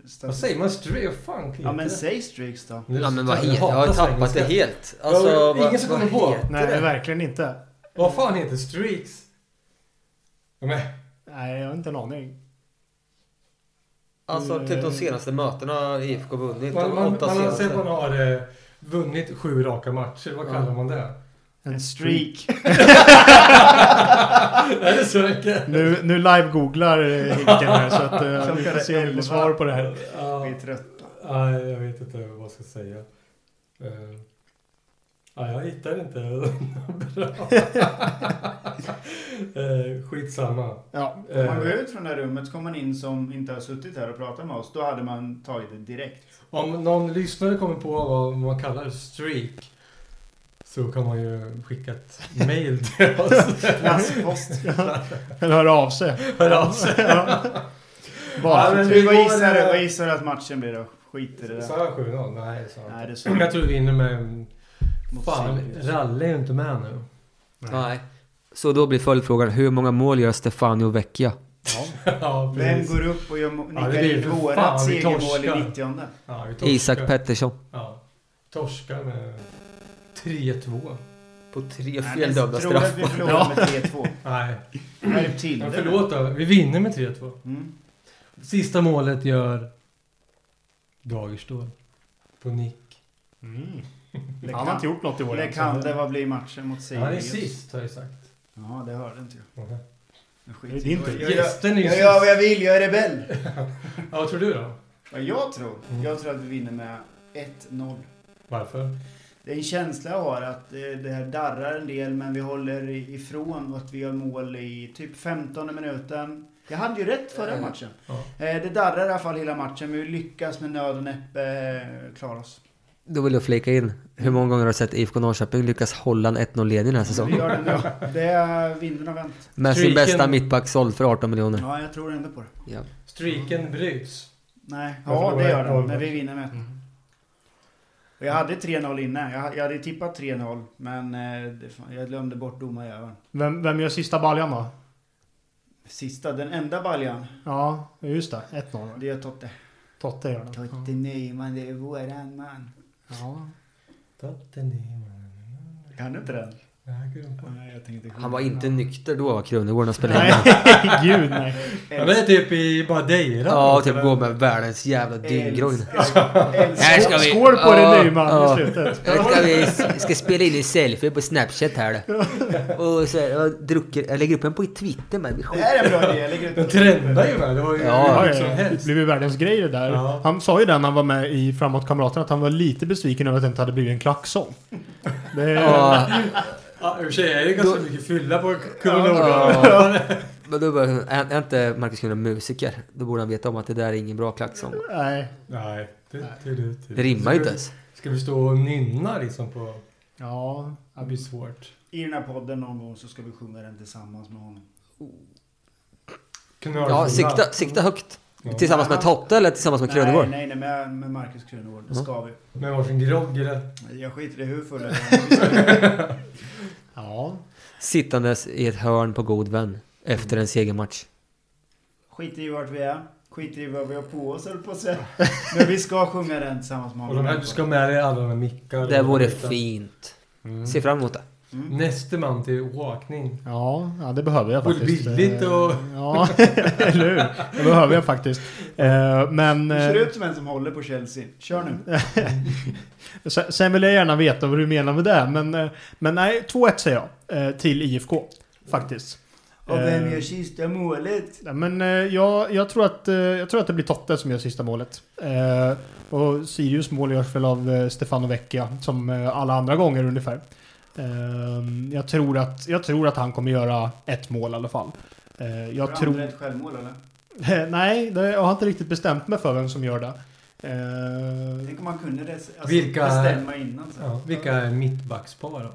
Speaker 3: statistik-
Speaker 2: Vad säger man? Stray? Vad fan heter
Speaker 3: Ja men
Speaker 2: det?
Speaker 3: säg streaks då.
Speaker 2: Nu-
Speaker 5: Ja men vad
Speaker 2: jag
Speaker 5: heter Jag har
Speaker 2: hatar
Speaker 5: tappat det
Speaker 2: engelska.
Speaker 5: helt. Alltså,
Speaker 2: Ja, det är ingen
Speaker 5: vad-
Speaker 2: som
Speaker 5: vad
Speaker 2: kommer på.
Speaker 5: heter-
Speaker 4: Nej,
Speaker 2: Det där.
Speaker 4: verkligen inte.
Speaker 2: Vad fan heter streaks? Ja, men,
Speaker 4: Nej, jag har inte en aning.
Speaker 5: Alltså typ de senaste mötena har IFK vunnit.
Speaker 2: man,
Speaker 5: de
Speaker 2: man,
Speaker 5: åtta
Speaker 2: man, har
Speaker 5: senaste.
Speaker 2: sett att man har eh, vunnit sju raka matcher. Vad
Speaker 5: Ja.
Speaker 2: kallar man det?
Speaker 4: En streak.
Speaker 2: är det så mycket?
Speaker 4: Nu, nu live-googlar eh, Hinken här så att eh,
Speaker 3: Klockan
Speaker 4: vi får se
Speaker 3: är
Speaker 4: om vi får
Speaker 3: elva.
Speaker 4: svar på det här.
Speaker 2: Ja,
Speaker 3: Vi är trötta.
Speaker 2: ja, jag vet inte vad jag ska säga. Eh, ja, jag hittar inte något bra. Eh, skitsamma.
Speaker 4: Ja.
Speaker 3: Om
Speaker 2: Eh,
Speaker 3: man går ut från det här rummet så kommer man in som inte har suttit här och pratat med oss. Då hade man tagit det direkt.
Speaker 2: Om någon lyssnare kommer på vad man kallar streak så kan man ju skicka ett mail till oss.
Speaker 3: Flaskpost.
Speaker 4: Eller höra av sig.
Speaker 2: Hör av sig.
Speaker 4: Ja. Bara
Speaker 2: Ja,
Speaker 4: för
Speaker 2: men
Speaker 4: att-
Speaker 2: vi
Speaker 3: Vi vad
Speaker 2: går-
Speaker 3: gissar du? Vad gissar du att matchen blir då? Skit i det
Speaker 2: Sa
Speaker 3: där.
Speaker 2: jag 7-0? Nej, det sa jag
Speaker 3: Nej,
Speaker 2: inte.
Speaker 3: det sa
Speaker 2: Jag tror vi vinner med...
Speaker 3: Mot
Speaker 2: Fan,
Speaker 3: Sirius.
Speaker 2: Ralle är ju inte med nu.
Speaker 5: Nej. Så då blir följdfrågan, hur många mål gör Stefano Vecchia?
Speaker 2: ja,
Speaker 3: Vem
Speaker 2: precis.
Speaker 3: går upp och gör, mo-
Speaker 2: Ja, det
Speaker 3: nickar
Speaker 2: blir
Speaker 3: in
Speaker 2: för fan,
Speaker 3: vårat
Speaker 2: vi
Speaker 3: segermål
Speaker 2: torskar.
Speaker 3: i 90
Speaker 2: Ja, vi torskar.
Speaker 5: Isak Pettersson.
Speaker 2: Ja. Torskar med 3-2.
Speaker 5: På tre
Speaker 3: Nej, men
Speaker 5: feldömda
Speaker 3: Tror att vi
Speaker 5: straffar.
Speaker 3: förlorar med 3-2.
Speaker 2: Nej,
Speaker 3: Skärp till
Speaker 2: men
Speaker 3: det.
Speaker 2: förlåt då. Vi vinner med 3-2.
Speaker 3: Mm.
Speaker 2: Sista målet gör Dagerstål. På nick.
Speaker 4: Mm.
Speaker 3: Det
Speaker 4: Han har inte
Speaker 3: kan,
Speaker 4: gjort något i år.
Speaker 3: det
Speaker 4: än, så-
Speaker 3: kan det vad blir matchen mot
Speaker 2: Han är
Speaker 3: Sirius.
Speaker 2: sist har jag sagt.
Speaker 3: Ja, det hörde inte jag.
Speaker 2: Mhm.
Speaker 3: Men skit
Speaker 4: Det är
Speaker 3: i
Speaker 4: inte-
Speaker 3: Jag, jag,
Speaker 2: Gästen är ju
Speaker 3: jag gör vad
Speaker 2: sist.
Speaker 3: jag vill, jag är rebell.
Speaker 2: Ja, vad tror du då?
Speaker 3: Vad jag tror?
Speaker 2: Mm.
Speaker 3: Jag tror att vi vinner med 1-0.
Speaker 2: Varför?
Speaker 3: Det är en känsla jag har att eh, det här darrar en del men vi håller i- ifrån och att vi gör mål i typ 15 minuten. Jag hade ju rätt förra
Speaker 5: Ja.
Speaker 3: matchen.
Speaker 2: Ja.
Speaker 3: Eh, Det darrar i alla fall hela matchen men vi lyckas med nöd och näppe eh, klara oss.
Speaker 5: Då vill jag flika in. Hur många gånger har du sett IFK Norrköping lyckas hålla en 1-0-ledning den här
Speaker 3: Vi
Speaker 5: säsongen?
Speaker 3: gör det nu. Det är vinden har vänt.
Speaker 5: Med sin
Speaker 2: Streaken-
Speaker 5: bästa mittback såld för 18 miljoner.
Speaker 3: Ja, jag tror ändå på det.
Speaker 5: Ja.
Speaker 3: Mm.
Speaker 2: Streaken bryts.
Speaker 3: Nej,
Speaker 2: Jag
Speaker 3: ja
Speaker 2: förlorar
Speaker 3: det gör den.
Speaker 2: 1-0.
Speaker 3: Men vi vinner med 1 Och Jag hade 3-0 innan. Jag, jag hade tippat 3-0 men eh, det, fan, jag glömde bort domarjäveln.
Speaker 4: Vem, vem gör sista baljan då?
Speaker 3: Sista, den enda baljan,
Speaker 4: Ja, just det. 1-0.
Speaker 3: det är Totte.
Speaker 4: Totte gör den.
Speaker 3: Totte Nyman, det är våran man.
Speaker 4: Ja.
Speaker 3: Kan du inte den? Nej, jag tänkte
Speaker 5: Han var inte nykter då va, Krunegården, när spelade in
Speaker 4: Nej,
Speaker 5: den?
Speaker 4: gud nej.
Speaker 2: Ja, men det är typ i Madeira.
Speaker 5: Ja, typ gå med världens jävla dyngrogn. Här ska vi-
Speaker 4: Skål på
Speaker 5: Ja,
Speaker 4: dig Nyman
Speaker 5: ja.
Speaker 4: i slutet.
Speaker 5: Jag ska, vi ska spela in en selfie på Snapchat här då. Och så här, jag, drucker, jag lägger upp en på Twitter men vi
Speaker 3: Det
Speaker 5: skiter
Speaker 3: här är en bra idé, jag lägger ut
Speaker 2: Den trendar ju med. Det var ju
Speaker 5: Ja,
Speaker 2: hur
Speaker 4: Ja,
Speaker 2: mycket som
Speaker 4: ja, det
Speaker 2: helst.
Speaker 4: blev ju världens grej det där.
Speaker 2: Ja.
Speaker 4: Han sa ju det när han var med i Framåt Kamraterna att han var lite besviken över att det inte hade blivit en klacksång. Det,
Speaker 5: Ja,
Speaker 2: Ja, i och för sig är det ganska mycket fylla på Kullen
Speaker 5: ja. Men då börjar, är, är inte Marcus Krunegård musiker? Då borde han veta om att det där är ingen bra klacksång.
Speaker 4: Nej.
Speaker 2: Nej, det, det, det,
Speaker 5: Det rimmar ju inte ens.
Speaker 2: Ska vi stå och nynna liksom på...
Speaker 4: Ja.
Speaker 2: Det blir svårt.
Speaker 3: I den här podden någon gång så ska vi sjunga den tillsammans med honom.
Speaker 2: Knörfulla.
Speaker 5: Ja, sikta, sikta högt.
Speaker 2: Ja.
Speaker 5: Tillsammans med Totte eller tillsammans med
Speaker 3: nej,
Speaker 5: Krunegård?
Speaker 3: nej, nej, med, med Marcus Krunegård.
Speaker 5: Mm.
Speaker 3: Det ska vi.
Speaker 2: Med varsin grogg eller?
Speaker 3: Jag skiter i hur full jag
Speaker 4: Ja.
Speaker 5: Sittandes i ett hörn på god vän efter en segermatch.
Speaker 3: Skiter i vart vi är. Skiter i vad vi har på oss, höll på att säga. Men vi ska sjunga den tillsammans med
Speaker 2: Och
Speaker 3: honom.
Speaker 2: de här, du ska ha med dig alla de här mickarna.
Speaker 5: Det vore fint.
Speaker 2: Mm.
Speaker 5: Se fram emot det.
Speaker 3: Mm.
Speaker 2: Näste man till åkning.
Speaker 4: Ja, ja, det behöver jag
Speaker 2: Både
Speaker 4: faktiskt.
Speaker 2: billigt och-
Speaker 4: Ja, eller hur? Det behöver jag faktiskt. Eh, Men...
Speaker 3: Du ser
Speaker 4: eh,
Speaker 3: ut som en som håller på Chelsea. Kör nu.
Speaker 4: Sen sen vill jag gärna veta vad du menar med det. Men, eh, men nej, 2-1 säger jag. eh, Till IFK. Faktiskt.
Speaker 3: Och vem
Speaker 4: Eh,
Speaker 3: gör sista målet?
Speaker 4: Nej, Men eh, jag, jag, tror att, eh, jag tror att det blir Totte som gör sista målet. Eh, och Sirius mål görs väl av eh, Stefano Vecchia, som eh, alla andra gånger ungefär. Ehm, jag, tror att, jag tror att han kommer göra ett mål i alla fall. Eh, jag
Speaker 3: Var det
Speaker 4: tror...
Speaker 3: ett självmål eller?
Speaker 4: Nej, det, jag har inte riktigt bestämt mig för vem som gör det. Ehm,
Speaker 3: Tänk om man kunde det, alltså,
Speaker 2: Vilka-
Speaker 3: bestämma innan. Så.
Speaker 2: Ja, vilka är mittbackspar då?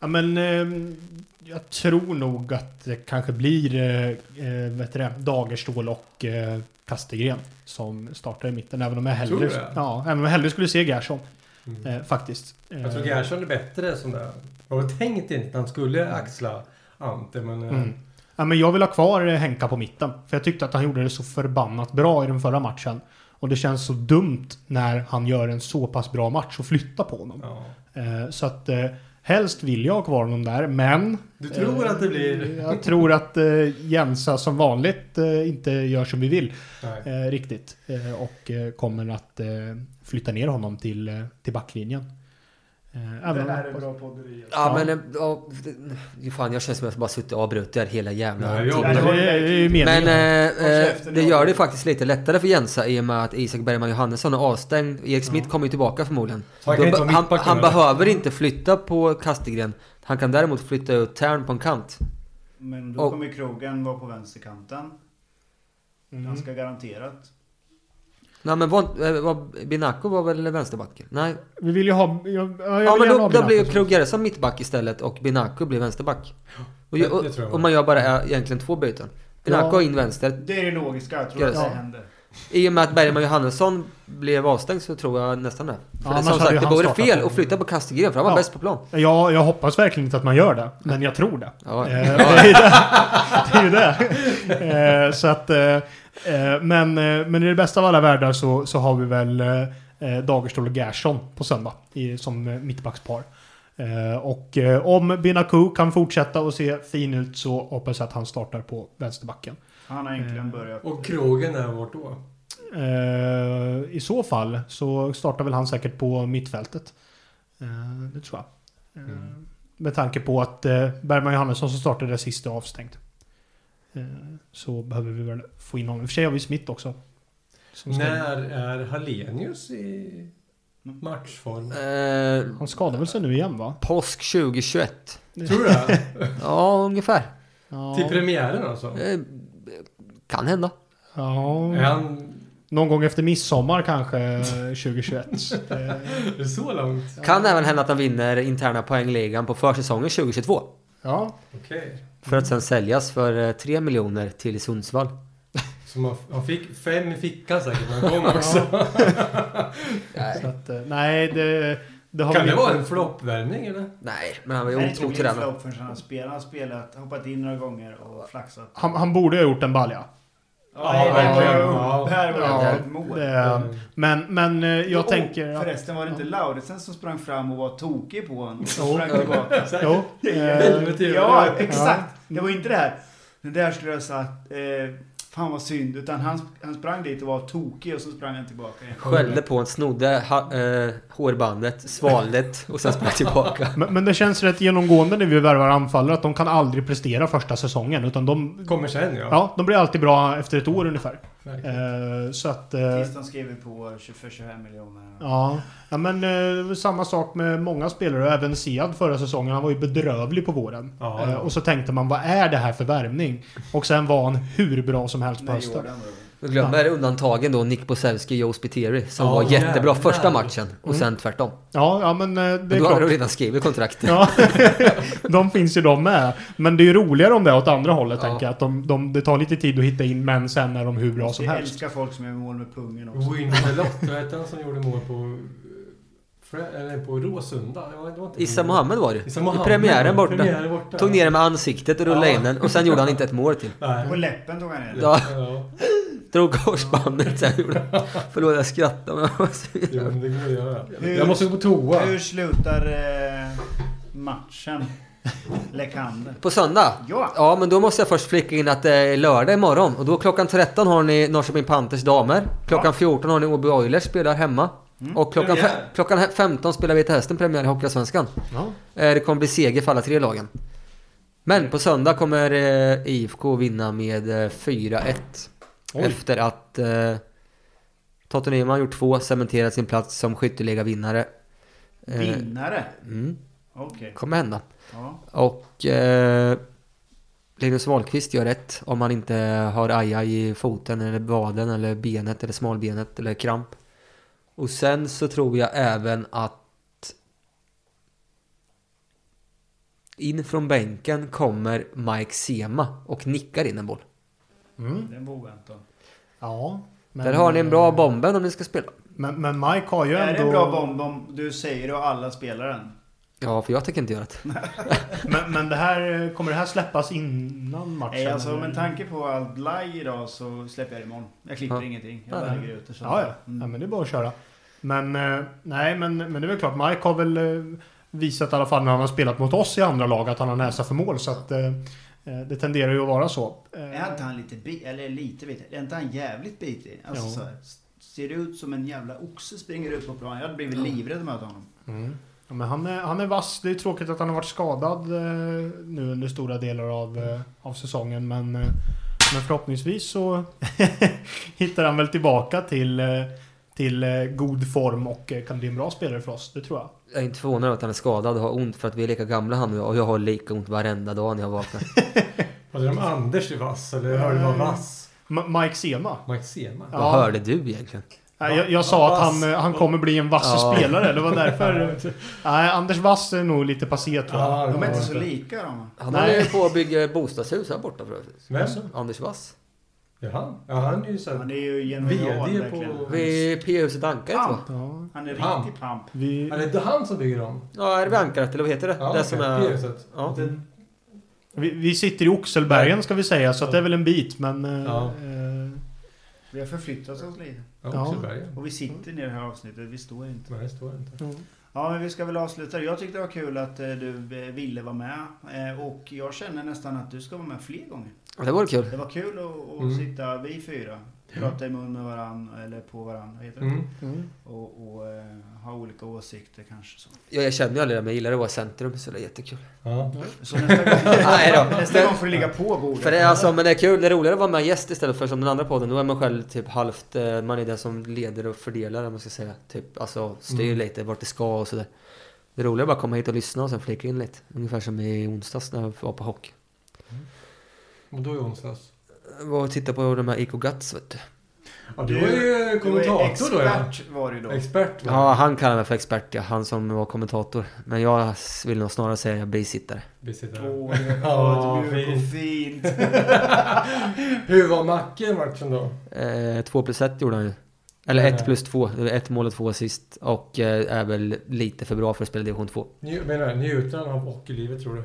Speaker 4: Ja, men ehm, jag tror nog att det kanske blir eh, eh, vad heter det, Dagerstål och eh, Kastegren som startar i mitten. Även om jag
Speaker 2: Tror du
Speaker 4: hellre,
Speaker 2: det?
Speaker 4: ja, även om jag hellre skulle se Gerson eh, faktiskt.
Speaker 2: Mm. Jag tror
Speaker 4: Eh,
Speaker 2: Gerson är bättre som det. Jag hade tänkt inte att han skulle axla Ante, men... eh,
Speaker 4: Mm. Ja, men jag vill ha kvar eh, Henka på mitten. För jag tyckte att han gjorde det så förbannat bra i den förra matchen. Och det känns så dumt när han gör en så pass bra match och flytta på honom.
Speaker 2: Ja.
Speaker 4: Eh, Så att eh, helst vill jag ha kvar honom där, men...
Speaker 2: Du tror
Speaker 4: eh,
Speaker 2: att det blir-
Speaker 4: Jag tror att eh, Jensa som vanligt eh, inte gör som vi vill
Speaker 2: Nej.
Speaker 4: eh, riktigt. Eh, Och eh, kommer att eh, flytta ner honom till, eh, till backlinjen. Eh,
Speaker 6: Det
Speaker 4: även om-
Speaker 6: här är bra podderi. alltså.
Speaker 5: Ja,
Speaker 4: Ja.
Speaker 5: men... eh, Ja, det- fan, jag känns som att jag bara suttit och avbrutit det här hela jävla
Speaker 2: Nej, jag-
Speaker 4: Nej, det var ju- det är ju meningen.
Speaker 5: Men eh,
Speaker 3: Håll
Speaker 5: eh,
Speaker 3: käften,
Speaker 5: det
Speaker 3: jag
Speaker 5: gör
Speaker 3: håller.
Speaker 5: det faktiskt lite lättare för Jensa i och med att Isak Bergman Johannesson är avstängd. Erik Smith kommer ju tillbaka förmodligen.
Speaker 2: Så han kan
Speaker 5: Då
Speaker 2: inte
Speaker 5: be-
Speaker 2: vara
Speaker 5: han,
Speaker 2: mittback
Speaker 5: han
Speaker 2: nu, eller?
Speaker 5: behöver inte flytta på Kastegren. Han kan däremot flytta ut Tern på en kant.
Speaker 3: Men då
Speaker 5: Och-
Speaker 3: kommer Krogan vara på vänsterkanten. Ganska garanterat.
Speaker 5: Nej men var, eh, var, Binako var väl vänsterback? Nej.
Speaker 4: Vi vill ju ha... Jag, jag vill
Speaker 5: Ja men
Speaker 4: gärna
Speaker 5: då, då
Speaker 4: ha Binaco
Speaker 5: blir ju
Speaker 4: som-
Speaker 5: Krogerson mittback istället och Binako blir vänsterback. Och, ju-
Speaker 2: det- det tror jag
Speaker 5: och,
Speaker 2: var.
Speaker 5: och man gör bara eh, egentligen två byten. Binako
Speaker 4: Ja.
Speaker 5: in vänster.
Speaker 3: Det är det logiska, jag tror
Speaker 5: Ja.
Speaker 3: att det händer.
Speaker 5: I och med att Bergman Johannesson blev avstängd så tror jag nästan det. För det
Speaker 4: annars
Speaker 5: som
Speaker 4: hade ju
Speaker 5: sagt, det
Speaker 4: han
Speaker 5: vore
Speaker 4: startat
Speaker 5: fel
Speaker 4: på-
Speaker 5: att flytta på Kastegren för han var
Speaker 4: Ja.
Speaker 5: bäst på plan.
Speaker 4: Ja, jag hoppas verkligen inte att man gör det, men jag tror det.
Speaker 5: Ja.
Speaker 4: Eh, det är ju det. Det är ju det. Eh, Så att, eh, eh, men, eh, men i det bästa av alla världar så, så har vi väl eh, Dagerstål och Gerson på söndag i, som eh, mittbackspar. Eh, Och eh, om Binaku kan fortsätta och se fin ut så hoppas jag att han startar på vänsterbacken.
Speaker 3: Han har egentligen
Speaker 4: Eh,
Speaker 3: börjat.
Speaker 2: Och krogen är vart då?
Speaker 4: Eh, I så fall så startar väl han säkert på mittfältet. Eh, Det tror jag. Eh,
Speaker 2: Mm.
Speaker 4: Med tanke på att eh, Bergman Johannesson som startade det sista är avstängd. Eh, Så behöver vi väl få in honom. I och för sig har vi Smith också. Som ska- Mm.
Speaker 2: När är Hallenius i matchform?
Speaker 5: Eh,
Speaker 4: Han skadar väl sig nu igen va?
Speaker 5: påsk 2021.
Speaker 2: Tror du det?
Speaker 5: Ja, ungefär.
Speaker 4: Ja.
Speaker 2: Till premiären alltså?
Speaker 5: Eh, kan hända.
Speaker 2: Är
Speaker 4: ja.
Speaker 2: han...
Speaker 4: Någon gång efter midsommar kanske eh, 2021. Eh,
Speaker 2: Är det så långt?
Speaker 5: Kan även hända att han vinner interna poängligan på försäsongen 2022.
Speaker 4: ja.
Speaker 2: Okej.
Speaker 5: För att sen säljas för 3 miljoner till Sundsvall.
Speaker 2: Så man, han fick fem i fickan säkert när han kom också.
Speaker 4: Så att, eh, nej, det, det har
Speaker 2: Kan
Speaker 4: vi
Speaker 2: det vara
Speaker 4: inte-
Speaker 2: en floppvärmning eller?
Speaker 5: Nej, men han var
Speaker 3: Det
Speaker 5: ju
Speaker 3: är inte
Speaker 5: otroligt
Speaker 3: min
Speaker 5: tränad.
Speaker 3: flopp förrän han har spelat. Han har spelat, hoppat in några gånger och flaxat.
Speaker 4: han, han borde ha gjort en balja.
Speaker 3: Ja,
Speaker 2: Ja,
Speaker 3: här var jag
Speaker 2: ja.
Speaker 3: upp. Här var
Speaker 4: Ja,
Speaker 3: jag upp.
Speaker 2: Mm.
Speaker 3: mål.
Speaker 4: Det, eh, men men eh, jag
Speaker 3: Och
Speaker 4: tänker... att-
Speaker 3: Förresten var det inte Lauritsen som sprang fram och var tokig på honom? Och sprang tillbaka.
Speaker 4: Jo. eh,
Speaker 2: Helvete,
Speaker 3: Ja,
Speaker 2: vad-
Speaker 3: exakt. Det var inte det här. Den där skulle jag ha sagt, eh, fan vad synd. Utan han, han sprang dit och var tokig och så sprang han tillbaka igen.
Speaker 5: Skällde på en snodde ha, eh, hårbandet, svalde det och sen sprang tillbaka.
Speaker 4: men, men det känns rätt genomgående när vi värvar anfallare att de kan aldrig prestera första säsongen. Utan de,
Speaker 2: Kommer sen ja.
Speaker 4: ja, de blir alltid bra efter ett år ungefär.
Speaker 2: Verkligen.
Speaker 4: Eh, så att... eh,
Speaker 3: Tills de skrev på 20 för 25 miljoner.
Speaker 4: Ja, ja men eh, det var samma sak med många spelare och även Sead förra säsongen. Han var ju bedrövlig på våren.
Speaker 2: Ja,
Speaker 4: Eh,
Speaker 2: ja.
Speaker 4: Och så tänkte man, vad är det här för värvning? Och sen var han hur bra som helst på
Speaker 3: När
Speaker 4: hösten.
Speaker 3: Jordan drog.
Speaker 5: Jag glömmer undantagen då Nick Bosevski och Joe Spiteri som
Speaker 2: Ja,
Speaker 5: var jättebra
Speaker 2: jävlar.
Speaker 5: första matchen och sen tvärtom.
Speaker 4: Ja, ja men eh, det
Speaker 5: Men
Speaker 4: är
Speaker 5: då hade
Speaker 4: klart.
Speaker 5: de redan skrivit kontrakt.
Speaker 4: Ja, de finns ju de med. Men det är ju roligare om det är åt andra hållet,
Speaker 5: Ja.
Speaker 4: tänker jag. Att de, de, det tar lite tid att hitta in, men sen är de hur bra som
Speaker 3: Jag
Speaker 4: helst.
Speaker 3: älskar folk som är i mål med pungen också.
Speaker 2: Winterlott, vad hette han som gjorde mål på... eh, Fre- Eller på Råsunda? Det var- det var inte-
Speaker 5: Issa Mohammed var det ju.
Speaker 2: Issa Mohammed.
Speaker 5: I premiären borta.
Speaker 2: Premiären borta.
Speaker 5: Tog ner den med ansiktet och rullade
Speaker 2: Ja.
Speaker 5: in den och sen gjorde han inte ett mål till.
Speaker 2: Nej.
Speaker 3: På läppen tog han ner.
Speaker 5: Ja,
Speaker 2: Ja,
Speaker 5: drog korsbandet sen gjorde han. Förlåt jag skrattar men jag var så
Speaker 2: jo,
Speaker 5: jävla-
Speaker 2: men det går att göra.
Speaker 3: Hur-
Speaker 2: Jag måste gå på toa.
Speaker 3: Hur slutar eh, matchen? Lekander.
Speaker 5: På söndag?
Speaker 3: Ja.
Speaker 5: Ja, men då måste jag först flicka in att det är lördag imorgon. Och då klockan 13 har ni Norrköping Panthers damer. Klockan 14 har ni Åby Oilers spelar hemma. Och klockan, fe-
Speaker 2: Premiär.
Speaker 5: klockan he- 15 spelar Vita Hästen premiär i Hockeyallsvenskan.
Speaker 4: Ja.
Speaker 5: Eh, Det kommer bli seger för alla tre lagen. Men på söndag kommer eh, IFK vinna med eh, 4-1. Efter att eh, Totte Nyman gjort två, cementerat sin plats som skytteliga vinnare. Eh,
Speaker 3: Vinnare.
Speaker 5: Mm.
Speaker 3: Okej.
Speaker 5: kommer hända.
Speaker 3: Ja.
Speaker 5: Och eh, Linus Wahlqvist gör rätt om han inte har ajaj i foten eller vaden eller benet eller smalbenet eller kramp. Och sen så tror jag även att in från bänken kommer Mike Sema och nickar in en boll.
Speaker 4: Mm.
Speaker 3: Den var oväntad.
Speaker 4: Ja. men- eh,
Speaker 5: Där har ni en bra bomben om ni ska spela.
Speaker 4: Men, men Mike har ju
Speaker 3: Är det
Speaker 4: ändå...
Speaker 3: en bra bomb om du säger det och alla spelar den?
Speaker 5: Ja, för jag tänker inte göra det.
Speaker 4: Men, men det här, kommer det här släppas innan matchen?
Speaker 3: Nej, alltså
Speaker 4: eller?
Speaker 3: med tanke på allt laj idag så släpper jag det imorgon. Jag klipper
Speaker 5: Ja.
Speaker 3: ingenting.
Speaker 4: Ja,
Speaker 3: Jag bara
Speaker 4: nej.
Speaker 3: lägger ut det så.
Speaker 4: Ja, ja. ja,
Speaker 3: Mm.
Speaker 4: men det är bara att köra. Men eh, nej, men, men det är väl klart. Mike har väl eh, visat i alla fall när han har spelat mot oss i andra lag att han har näsa för mål. Så att eh, eh, det tenderar ju att vara så.
Speaker 3: Är
Speaker 4: Eh,
Speaker 3: inte han lite bit, eller lite bit, är inte han jävligt bitig? Alltså
Speaker 4: Jo.
Speaker 3: så här, ser ut som en jävla oxe springer ut på plan. Jag hade blivit livrädd att möta honom.
Speaker 4: mm. ja, men han, är, han är vass. Det är tråkigt att han har varit skadad eh, nu under stora delar av,
Speaker 3: Mm.
Speaker 4: eh, av säsongen. Men, eh, men förhoppningsvis så hittar han väl tillbaka till, eh, till eh, god form och eh, kan bli en bra spelare för oss. Det tror jag.
Speaker 5: Jag är inte förvånad över att han är skadad och har ont för att vi är lika gamla han och jag. Och jag har lika ont varenda dag när jag vaknar.
Speaker 2: Hade de Anders i vass eller hörde
Speaker 4: Eh.
Speaker 2: man vass?
Speaker 4: Ma- Mike Sema.
Speaker 2: Mike Sema?
Speaker 4: Ja.
Speaker 5: Vad hörde du egentligen?
Speaker 4: Nej, jag, jag sa att han,
Speaker 2: Vass.
Speaker 4: eh, han kommer bli en vass
Speaker 5: Ja.
Speaker 4: spelare. Det var därför... Nej, Anders Vass är nog lite passé tror jag.
Speaker 2: Ja, det
Speaker 3: De
Speaker 2: var
Speaker 3: är inte
Speaker 2: det.
Speaker 3: så lika de.
Speaker 5: Han
Speaker 4: Nej.
Speaker 5: håller ju på att bygga bostadshus här borta för övrigt.
Speaker 2: Vem?
Speaker 5: Anders Wass.
Speaker 2: Jaha. Ja, han är ju så
Speaker 3: Han
Speaker 2: här...
Speaker 3: är ju genial
Speaker 2: VD
Speaker 3: verkligen.
Speaker 2: på...
Speaker 5: Vid P-huset Ankaret
Speaker 2: Ah.
Speaker 5: va?
Speaker 3: Pamp!
Speaker 4: Ja,
Speaker 3: Han är
Speaker 2: Pamp.
Speaker 3: riktig pamp.
Speaker 4: vi,
Speaker 2: Är det inte han som bygger dem?
Speaker 5: Ja, är det vid Ankaret eller vad heter det? det som är...
Speaker 2: P-huset. Mm.
Speaker 5: Ja.
Speaker 2: Det-
Speaker 4: vi, vi sitter i Oxelbergen ska vi säga, så att det är väl en bit men... eh,
Speaker 2: Ja.
Speaker 4: eh,
Speaker 3: Vi har förflyttat oss lite.
Speaker 4: Ja.
Speaker 2: Ja, Oxelberga.
Speaker 3: Och vi sitter ner i det här avsnittet, vi står inte.
Speaker 2: Nej, det står inte.
Speaker 3: Ja, men vi ska väl avsluta. Jag tyckte det var kul att eh, du eh, ville vara med. Eh, Och jag känner nästan att du ska vara med fler gånger.
Speaker 5: Ja, Det vore kul.
Speaker 3: Det var kul att, att
Speaker 2: Mm.
Speaker 3: sitta, vi fyra, prata i mun med varandra, eller på varandra, heter det.
Speaker 2: Mm.
Speaker 3: Och, och eh, ha olika åsikter kanske. Så,
Speaker 5: Jag jag känner ju aldrig det, men jag gillar att vara i centrum så det är jättekul.
Speaker 2: Ja.
Speaker 3: så nästa,
Speaker 5: Nej
Speaker 3: gång,
Speaker 5: då.
Speaker 3: nästa gång får du ligga på bordet.
Speaker 5: För det är alltså, men det är kul, det är roligare att vara med gäst istället för som den andra podden. Då är man själv typ halvt, eh, man är den som leder och fördelar, om man ska säga. Typ, alltså styr
Speaker 2: Mm.
Speaker 5: lite vart det ska och sådär. Det roliga är bara att komma hit och lyssna och sen flika in lite. Ungefär som i onsdags när jag var på hockey.
Speaker 2: Och då i onsdags.
Speaker 5: Jag var och tittade på de här IK Guts vet du.
Speaker 2: Ja, du var ju kommentator då ja.
Speaker 3: expert var du då.
Speaker 2: Expert va?
Speaker 5: Ja, han kallar mig för expert ja. Han som var kommentator. Men jag vill nog snarare säga bisittare.
Speaker 2: Besittare.
Speaker 3: Åh, det
Speaker 2: Ja,
Speaker 3: var mjukt och
Speaker 2: fint.
Speaker 3: fint.
Speaker 2: Hur var Macke i matchen då?
Speaker 5: Eh, två plus ett gjorde han ju. Eller
Speaker 2: Nej.
Speaker 5: ett
Speaker 3: Eh.
Speaker 5: plus två. Det var Ett mål och två assist. Och eh, är väl lite för bra för att spela division 2.
Speaker 2: Nju- Menar du, njuter han av hockeylivet tror du?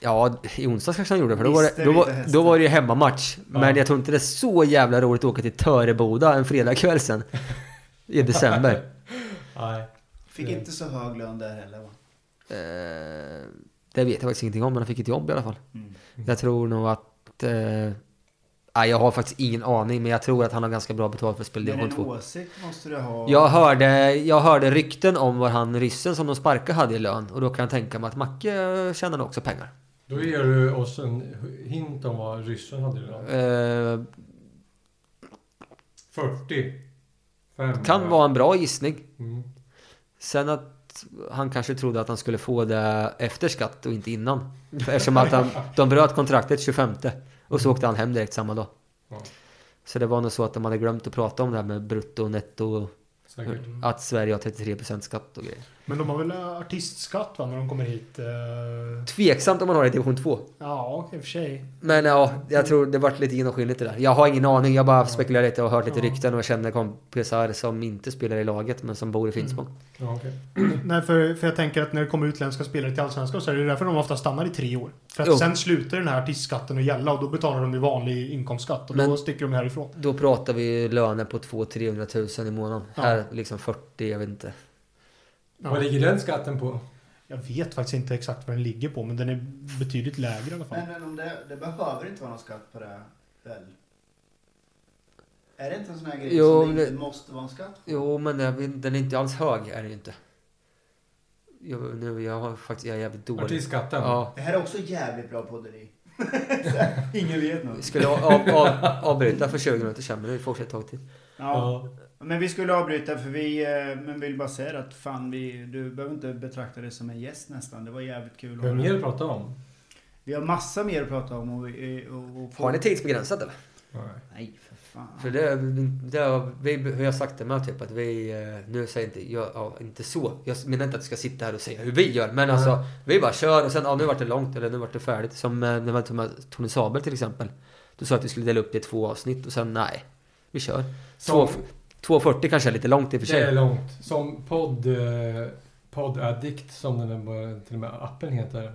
Speaker 5: Ja, i onsdags kanske han gjorde det. För då var
Speaker 3: Visste
Speaker 5: det, då
Speaker 3: vi inte
Speaker 5: var,
Speaker 3: hästen.
Speaker 5: då var det ju hemmamatch. Men
Speaker 2: Ja.
Speaker 5: jag tror inte det är så jävla roligt att åka till Töreboda en fredagkväll sen. I december.
Speaker 2: Nej.
Speaker 3: Fick inte så hög lön där heller va?
Speaker 5: Eh, det vet jag faktiskt ingenting om, men han fick ett jobb i alla fall.
Speaker 3: Mm.
Speaker 5: Jag tror nog att... Eh, nej, jag har faktiskt ingen aning, men jag tror att han har ganska bra betalt för att spela
Speaker 3: Men
Speaker 5: division
Speaker 3: en
Speaker 5: 2.
Speaker 3: åsikt måste du ha.
Speaker 5: Jag hörde, jag hörde rykten om vad han ryssen som de sparkade hade i lön och då kan jag tänka mig att Macke eh, tjänar nog också pengar.
Speaker 2: Då ger du oss en hint om vad ryssen hade idag.
Speaker 5: Eh,
Speaker 2: 40. Fem,
Speaker 5: kan vara en bra gissning.
Speaker 2: Mm.
Speaker 5: Sen att han kanske trodde att han skulle få det efter skatt och inte innan. Eftersom att han, de bröt kontraktet 25 och så åkte han hem direkt samma dag.
Speaker 2: Ja.
Speaker 5: Så det var nog så att de hade glömt att prata om det här med brutto och netto. och
Speaker 2: Säkert.
Speaker 5: Att Sverige har 33% skatt och grejer.
Speaker 4: Men de har väl artistskatt va, när de kommer hit? eh,
Speaker 5: Tveksamt om man har det i division 2.
Speaker 4: Ja, i och för sig.
Speaker 5: Men ja, jag tror det vart lite genomskinligt det där. Jag har ingen aning, jag bara spekulerar lite och har hört lite rykten och känner kompisar som inte spelar i laget men som bor i Finspång.
Speaker 2: Ja, okej.
Speaker 4: Nej, för, för jag tänker att när det kommer utländska spelare till Allsvenskan så är det därför de ofta stannar i tre år. För att
Speaker 5: Jo.
Speaker 4: sen slutar den här artistskatten att gälla och då betalar de ju vanlig inkomstskatt och då
Speaker 5: Men-
Speaker 4: sticker de härifrån.
Speaker 5: Då pratar vi löner på 200-300 000 i månaden.
Speaker 4: Ja.
Speaker 5: Här liksom 40, jag vet inte.
Speaker 4: Ja.
Speaker 2: Vad ligger den skatten på?
Speaker 4: Jag vet faktiskt inte exakt vad den ligger på men den är betydligt lägre i alla fall.
Speaker 3: Men, men om det, det behöver inte vara någon skatt på det väl? Är det inte en sån här grej
Speaker 5: Jo,
Speaker 3: som det inte
Speaker 5: det-
Speaker 3: måste vara en skatt?
Speaker 5: Jo, men jag vet- den är inte alls hög är den ju inte. Jag, nu, jag har faktiskt, jag är jävligt dålig.
Speaker 2: Artistskatten?
Speaker 5: Ja.
Speaker 3: Det här är också jävligt bra podderi. Ingen vet nog.
Speaker 5: Skulle av, av, avbryta för 20 minuter sen men det fortsätter ett tag till.
Speaker 3: Ja. Men vi skulle avbryta för vi, eh, men vill bara säga att fan vi, du behöver inte betrakta dig som en gäst nästan. Det var jävligt kul.
Speaker 2: Vi har mer att prata om.
Speaker 3: vi har massa mer att prata om och... vi- eh, och, och
Speaker 5: Har ni tidsbegränsat eller?
Speaker 2: Nej.
Speaker 3: Nej, för fan.
Speaker 5: För det, det har vi vi har sagt det med typ att vi, eh, nu säger jag inte jag, ja, inte så. Jag menar inte att du ska sitta här och säga hur vi gör. Men alltså, vi bara kör och sen, ja nu vart det långt eller nu vart det färdigt. Som eh, när vi tog med Tony Sabel till exempel. Du sa att vi skulle dela upp det i två avsnitt och sen nej, vi kör.
Speaker 2: Som-
Speaker 5: Två- 2.40 kanske är lite långt i och för
Speaker 2: Det är
Speaker 5: sig.
Speaker 2: långt. Som podd... Eh, Poddaddict som den där, till och med appen heter.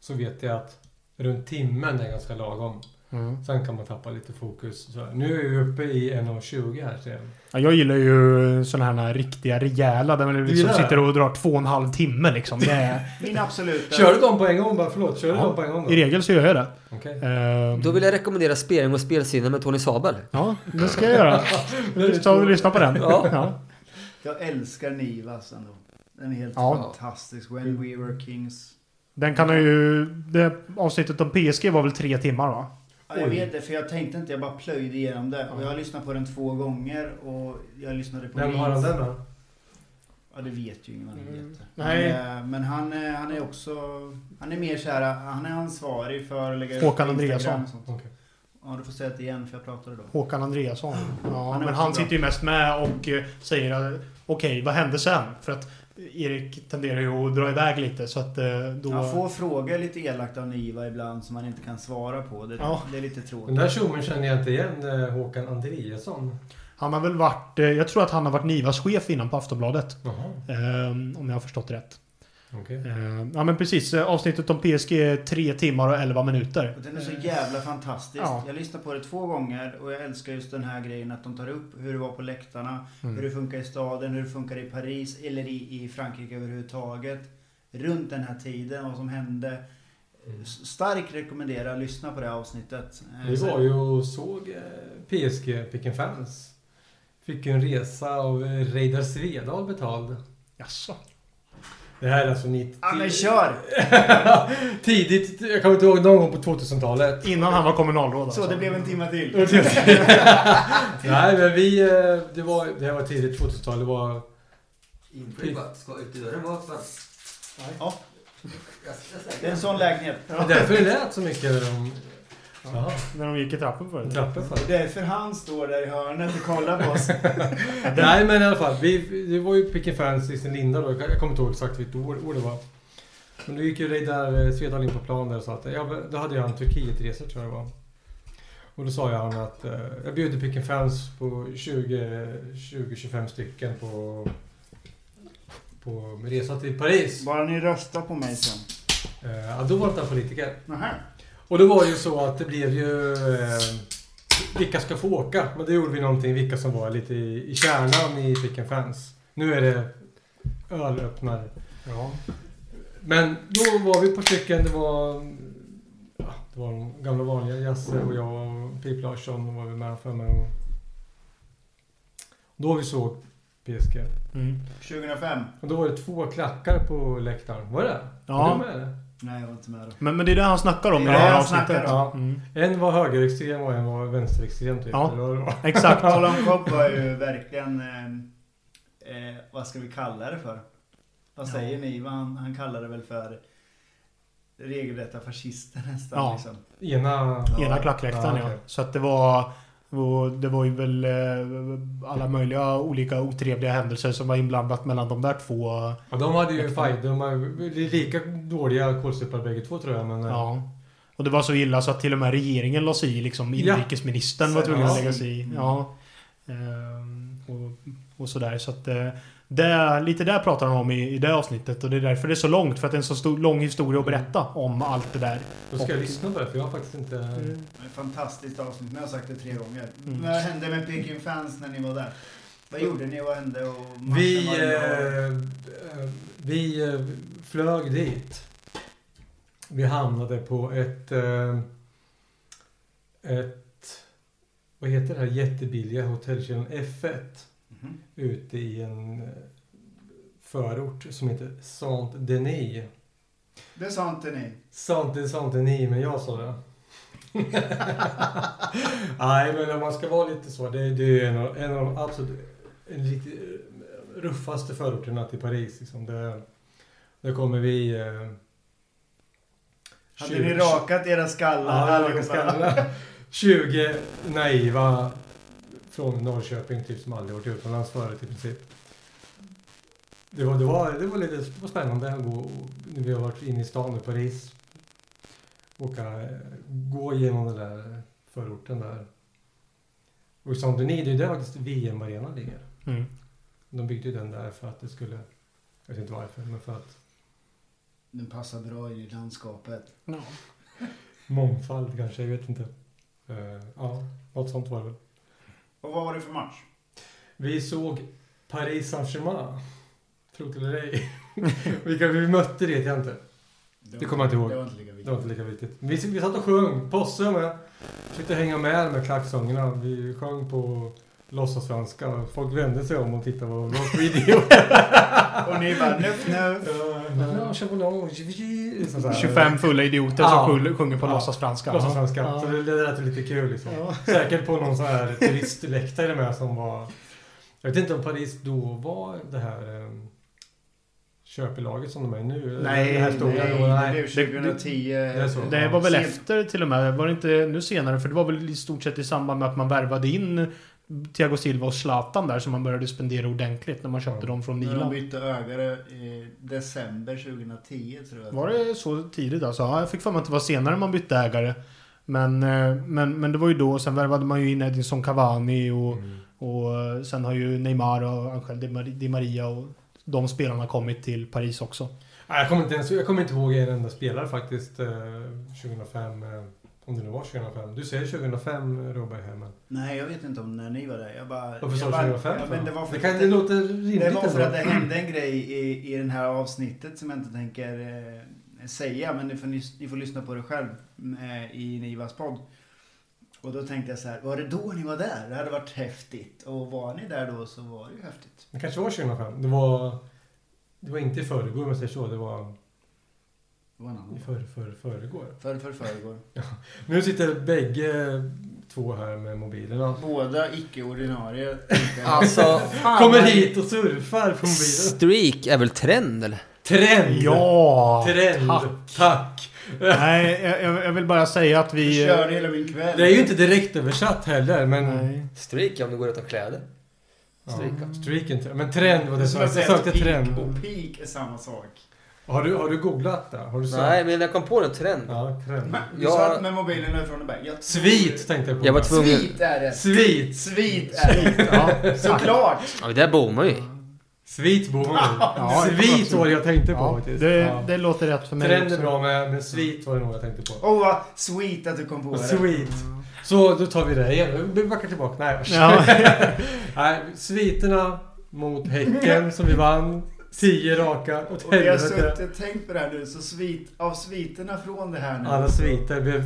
Speaker 2: Så vet jag att runt timmen är ganska lagom.
Speaker 5: Mm.
Speaker 2: Sen kan man tappa lite fokus. Så nu är vi uppe i 1.20 här sen.
Speaker 4: Ja, jag gillar ju sådana här riktiga rejäla där man
Speaker 2: Du
Speaker 4: liksom
Speaker 2: gillar det?
Speaker 4: sitter och drar två och en halv timme liksom. Det är,
Speaker 3: Min absoluta...
Speaker 2: Kör du dem på en gång bara? Förlåt, kör du
Speaker 4: Ja,
Speaker 2: dem på en gång då?
Speaker 4: I regel så gör jag det.
Speaker 2: Okej.
Speaker 4: Eh,
Speaker 5: Då vill jag rekommendera Spelning och spelsinne med Tony Sabel.
Speaker 4: Ja, det ska jag göra. Ta och lyssna på den.
Speaker 5: Ja.
Speaker 4: Ja.
Speaker 3: Jag älskar Nivas ändå. Den är helt
Speaker 4: Ja.
Speaker 3: fantastisk. When we were kings.
Speaker 4: Den kan ju... Det avsnittet om PSG var väl tre timmar va?
Speaker 3: Ja, jag
Speaker 2: Oj.
Speaker 3: vet det, för jag tänkte inte, jag bara plöjde igenom det. Och jag har lyssnat på den två gånger och jag lyssnade på
Speaker 2: Vem
Speaker 3: min-
Speaker 2: har han den då?
Speaker 3: Ja, det vet ju ingen annan vet det.
Speaker 4: Nej.
Speaker 3: Men, eh, Men han, eh, han är också, han är mer så här, han är ansvarig för att lägga
Speaker 4: Håkan
Speaker 3: på Instagram
Speaker 4: Andreasson.
Speaker 3: och sånt.
Speaker 2: Okej.
Speaker 3: Ja, du får säga det igen för jag pratade då.
Speaker 4: Håkan Andreasson. Ja,
Speaker 3: Han är
Speaker 4: men
Speaker 3: också
Speaker 4: han
Speaker 3: bra.
Speaker 4: sitter ju mest med och eh, säger eh, okej, vad hände sen? För att Erik tenderar ju att dra iväg lite så att eh, då...
Speaker 3: Han får frågor lite elakt av Niva ibland som han inte kan svara på. Det,
Speaker 4: Ja.
Speaker 3: det är lite
Speaker 2: Den
Speaker 3: tråkigt.
Speaker 2: där tjommen känner jag inte igen. eh, Håkan Andreasson.
Speaker 4: Han har väl varit... eh, Jag tror att han har varit Nivas chef innan på Aftonbladet.
Speaker 2: Jaha,
Speaker 4: Eh, om jag har förstått rätt.
Speaker 2: okej.
Speaker 4: Eh, ja men precis, eh, avsnittet om PSG är tre timmar och elva minuter.
Speaker 3: Och den är så jävla fantastisk.
Speaker 4: Ja.
Speaker 3: Jag lyssnade på det två gånger och jag älskar just den här grejen att de tar upp hur det var på läktarna, hur det funkar i staden, hur det funkar i Paris eller i, i Frankrike överhuvudtaget. Runt den här tiden, vad som hände.
Speaker 2: Mm.
Speaker 3: S- Starkt rekommendera att lyssna på det här avsnittet. Eh,
Speaker 2: Vi
Speaker 3: så-
Speaker 2: var ju och såg eh, PSG Picken Fans. Fick ju en resa av eh, Reidar Svedal betald.
Speaker 4: Jaså?
Speaker 2: Det här är alltså 90...
Speaker 3: Ja men kör!
Speaker 2: Tidigt, jag kommer inte ihåg, någon gång på 2000-talet.
Speaker 4: Innan han var kommunalråd alltså.
Speaker 3: Så det blev en timme till.
Speaker 2: Nej men vi, eh, det, var, det här var tidigt 2000-tal, det var...
Speaker 1: Inflyttat. Ska ut i dörren bak va?
Speaker 3: Ja, det är en sån lägenhet.
Speaker 2: Det är därför det lät så mycket om... Jaha,
Speaker 4: När de gick i trappen förut.
Speaker 2: trappen för.
Speaker 3: Det är därför han står där i hörnet och kollar på oss.
Speaker 2: Nej men i alla fall, vi, det var ju Picken Fans i sin linda då. Jag jag kommer inte ihåg exakt vilket år, år det var. Men då gick ju Reidar eh, Svedal in på plan där och sa att ja, men då hade jag en Turkietresor tror jag det var. Och då sa jag han att eh, jag bjuder Picken Fans på 20-25 stycken på, på resa till Paris.
Speaker 3: Bara ni röstar på mig sen.
Speaker 2: Eh, ja, då var inte han politiker.
Speaker 3: Nähä.
Speaker 2: Och det var ju så att det blev ju... Eh, vilka ska få åka? Men det gjorde vi någonting, vilka som var lite i, i kärnan i Picken Fans. Nu är det ölöppnare.
Speaker 4: Ja.
Speaker 2: Men då var vi på stycken, det var... Ja, det var de gamla vanliga, Jasse och jag och Pip Larsson var vi med för mig. Och då vi såg PSG.
Speaker 4: Mm.
Speaker 3: 2005.
Speaker 2: Och då var det två klackar på läktaren. Var det?
Speaker 4: Ja.
Speaker 2: Var du med eller?
Speaker 3: Nej, jag var inte med då.
Speaker 4: Men, men det är det han snackar om i
Speaker 3: Det är
Speaker 4: det
Speaker 3: det
Speaker 4: här
Speaker 3: han
Speaker 4: avsnittet.
Speaker 3: snackar om.
Speaker 4: Ja. Mm.
Speaker 2: En var högerextrem och en var vänsterextrem typ.
Speaker 4: Ja.
Speaker 2: Eller vad det var.
Speaker 4: Exakt.
Speaker 3: Colin Cobb var ju verkligen, eh, eh, vad ska vi kalla det för? Vad
Speaker 4: Ja.
Speaker 3: säger ni? Vad Han, han kallar det väl för regelrätta fascister nästan.
Speaker 4: Ja.
Speaker 3: Liksom.
Speaker 2: Ena...
Speaker 4: Ena klackläktaren
Speaker 2: Ja,
Speaker 4: ja.
Speaker 2: okej.
Speaker 4: Så att det var... och Det var ju väl eh, alla möjliga olika otrevliga händelser som var inblandat mellan de där två.
Speaker 2: Ja, de hade ju fight. De var lika dåliga kålsupare bägge två tror jag. Men, eh,
Speaker 4: Ja. Och det var så illa så att till och med regeringen la sig i. Liksom
Speaker 2: Ja.
Speaker 4: inrikesministern var
Speaker 3: Så-
Speaker 4: tvungen att
Speaker 3: ja.
Speaker 4: lägga sig i.
Speaker 3: Mm.
Speaker 4: Ja. Ehm, och, och sådär. Så att, eh, det, lite där pratar han om i, i det avsnittet. Och det är därför det är så långt. För att det är en så stor, lång historia att berätta om allt det där.
Speaker 2: Då ska jag lyssna på det för jag har faktiskt inte...
Speaker 3: Men Fantastiskt avsnitt, nu har jag sagt det tre gånger.
Speaker 4: Mm.
Speaker 3: Vad hände med Peking Fans när ni var där? Vad gjorde ni? Vad hände? Och matchen
Speaker 2: Vi,
Speaker 3: var inne och-
Speaker 2: eh, eh, vi eh, flög dit. Vi hamnade på ett... Eh, ett... Vad heter det här jättebilliga hotellkedjan F1?
Speaker 3: Mhm.
Speaker 2: Ute i en eh, förort som heter Saint-Denis.
Speaker 3: Det sa inte ni.
Speaker 2: Sant är sant är ni, men jag sa det. Nej, men om man ska vara lite så. Det, det är en av, en av de absolut lite eh, ruffaste förorterna till Paris. Liksom. Där, där kommer vi... Eh,
Speaker 3: Hade
Speaker 2: tjugo-
Speaker 3: ni rakat era skallar
Speaker 2: Ja,
Speaker 3: allihopa?
Speaker 2: raka skallar. 20 naiva från Norrköping typ som aldrig varit utomlands förut i princip. Det var, det var, det var lite det var spännande att gå, och- när vi har varit inne i stan i Paris. Åka, eh, gå igenom den där förorten där. Och i Saint-Denis, det är ju där faktiskt VM-arenan ligger.
Speaker 4: Mm.
Speaker 2: De byggde ju den där för att det skulle, jag vet inte varför, men för att
Speaker 3: Den passar bra i landskapet.
Speaker 2: mångfald kanske, jag vet inte. Eh, ja, något sånt var det väl.
Speaker 6: Och vad var det för match?
Speaker 2: Vi såg Paris Saint-Germain. Tro det eller ej. Vilka vi mötte det vet jag inte. Det kommer jag inte ihåg.
Speaker 3: Det var inte lika viktigt.
Speaker 2: Det var inte lika viktigt. Vi, vi satt och sjöng. Posse med. Försökte hänga med med klacksångerna. Vi sjöng på låtsassvenska. Folk vände sig om och tittade vad vad för idioter.
Speaker 3: Och ni bara nuff nuff.
Speaker 2: Ja, kör på någon. Liksom så här.
Speaker 4: 25 fulla idioter
Speaker 2: Ja.
Speaker 4: som sjul- sjunger på
Speaker 2: Ja.
Speaker 4: låtsasfranska.
Speaker 2: Låtsassvenska.
Speaker 4: Ja.
Speaker 2: Så det det lät ju lite kul liksom.
Speaker 4: Ja.
Speaker 2: Säkert på någon sån här turistläktare med som var... Jag vet inte om Paris då var det här eh, köpelaget som de är nu.
Speaker 3: Nej,
Speaker 2: det här stora
Speaker 3: nej,
Speaker 2: då,
Speaker 3: det
Speaker 2: nej.
Speaker 3: är 2010.
Speaker 2: är så.
Speaker 4: Det var väl
Speaker 3: Se-
Speaker 4: efter till och med, var det inte nu senare? För det var väl i stort sett i samband med att man värvade in Thiago Silva och Zlatan där som man började spendera ordentligt när man
Speaker 2: Ja.
Speaker 4: köpte dem från
Speaker 3: När de
Speaker 4: Milan.
Speaker 3: bytte ögare i december 2010 tror jag.
Speaker 4: Var det så tidigt alltså? Ja, jag fick för mig att det var senare man bytte ägare. Men, eh, men, men det var ju då, sen värvade man ju in Edinson Cavani och, och eh, sen har ju Neymar och Angel Di Mar- Di Maria och de spelarna kommit till Paris också.
Speaker 2: Nej, jag, kommer inte ens, jag kommer inte ihåg en enda spelare faktiskt eh, 2005. Eh, om det nu var 2005. Du säger 2005 Robert här men.
Speaker 3: Nej, jag vet inte om när ni var där. Jag bara...
Speaker 2: Varför sa
Speaker 3: jag
Speaker 2: du
Speaker 3: bara-
Speaker 2: 2005?
Speaker 3: Ja, men det var för
Speaker 2: det,
Speaker 3: att
Speaker 2: kan, det låter rimligt
Speaker 3: Det var för
Speaker 2: ändå.
Speaker 3: att det hände en grej i, i det här avsnittet som jag inte tänker eh, säga, men ni får, nys- ni får lyssna på det själv eh, i Nivas podd. Och då tänkte jag så här, var det då ni var där? Det hade varit häftigt. Och var ni där då så var det ju häftigt.
Speaker 2: Det kanske var 2005. Det var, det var inte i förrgår om jag säger så. Det var
Speaker 3: Det var en
Speaker 2: i
Speaker 3: annan.
Speaker 2: för, för, förrgår.
Speaker 3: För, för förrgår.
Speaker 2: Nu sitter bägge två här med Alltså, mobilerna.
Speaker 3: Båda icke-ordinarie.
Speaker 5: Alltså,
Speaker 2: Kommer hit och surfar på mobilen.
Speaker 5: streak är väl trend eller?
Speaker 2: Trend!
Speaker 4: Ja!
Speaker 2: Trend!
Speaker 4: Tack.
Speaker 2: Tack.
Speaker 4: Nej, jag, jag- jag vill bara säga att
Speaker 3: Vi
Speaker 4: vi...
Speaker 3: körde hela min kväll.
Speaker 2: Det är ju inte direkt översatt heller, men...
Speaker 4: Nej.
Speaker 5: Streak om du går utan kläder.
Speaker 2: Ja,
Speaker 5: Streaka.
Speaker 2: streaken. Men trend var det
Speaker 3: som
Speaker 2: som typ jag
Speaker 3: att säga
Speaker 2: sökte.
Speaker 3: att peak
Speaker 2: trend.
Speaker 3: och peak är samma sak.
Speaker 2: Har du, har du googlat det? Har du sökt?
Speaker 5: Nej, men jag kom på den trend.
Speaker 2: Ja, trend.
Speaker 3: Men, vi
Speaker 5: Jag-
Speaker 3: satt med mobilen där från och back. Jag-
Speaker 2: Svit tänkte jag på.
Speaker 5: Jag var tvungen-
Speaker 3: Svit är det.
Speaker 2: Svit!
Speaker 3: Svit är det.
Speaker 4: eh, Ja,
Speaker 3: Såklart!
Speaker 5: Ja, men där bommar vi.
Speaker 2: Svit bor
Speaker 4: Ja,
Speaker 2: Svit var det jag tänkte på
Speaker 4: ja,
Speaker 2: faktiskt.
Speaker 4: det,
Speaker 2: Ja.
Speaker 4: det låter rätt för mig
Speaker 2: Trend
Speaker 4: också.
Speaker 2: är bra, men, men svit var det nog jag tänkte på.
Speaker 3: Åh, vad sweet att du kom på
Speaker 2: Och
Speaker 3: det.
Speaker 2: Sweet. Så då tar vi det igen. Vi backar tillbaka. Nej, vars.
Speaker 4: Ja.
Speaker 2: Nej, sviterna mot Häcken som vi vann. Tio raka åt
Speaker 3: Och vi har
Speaker 2: helvete.
Speaker 3: suttit och tänkt på det här nu, så svit, av sviterna från det här nu.
Speaker 2: Alla sviter blev...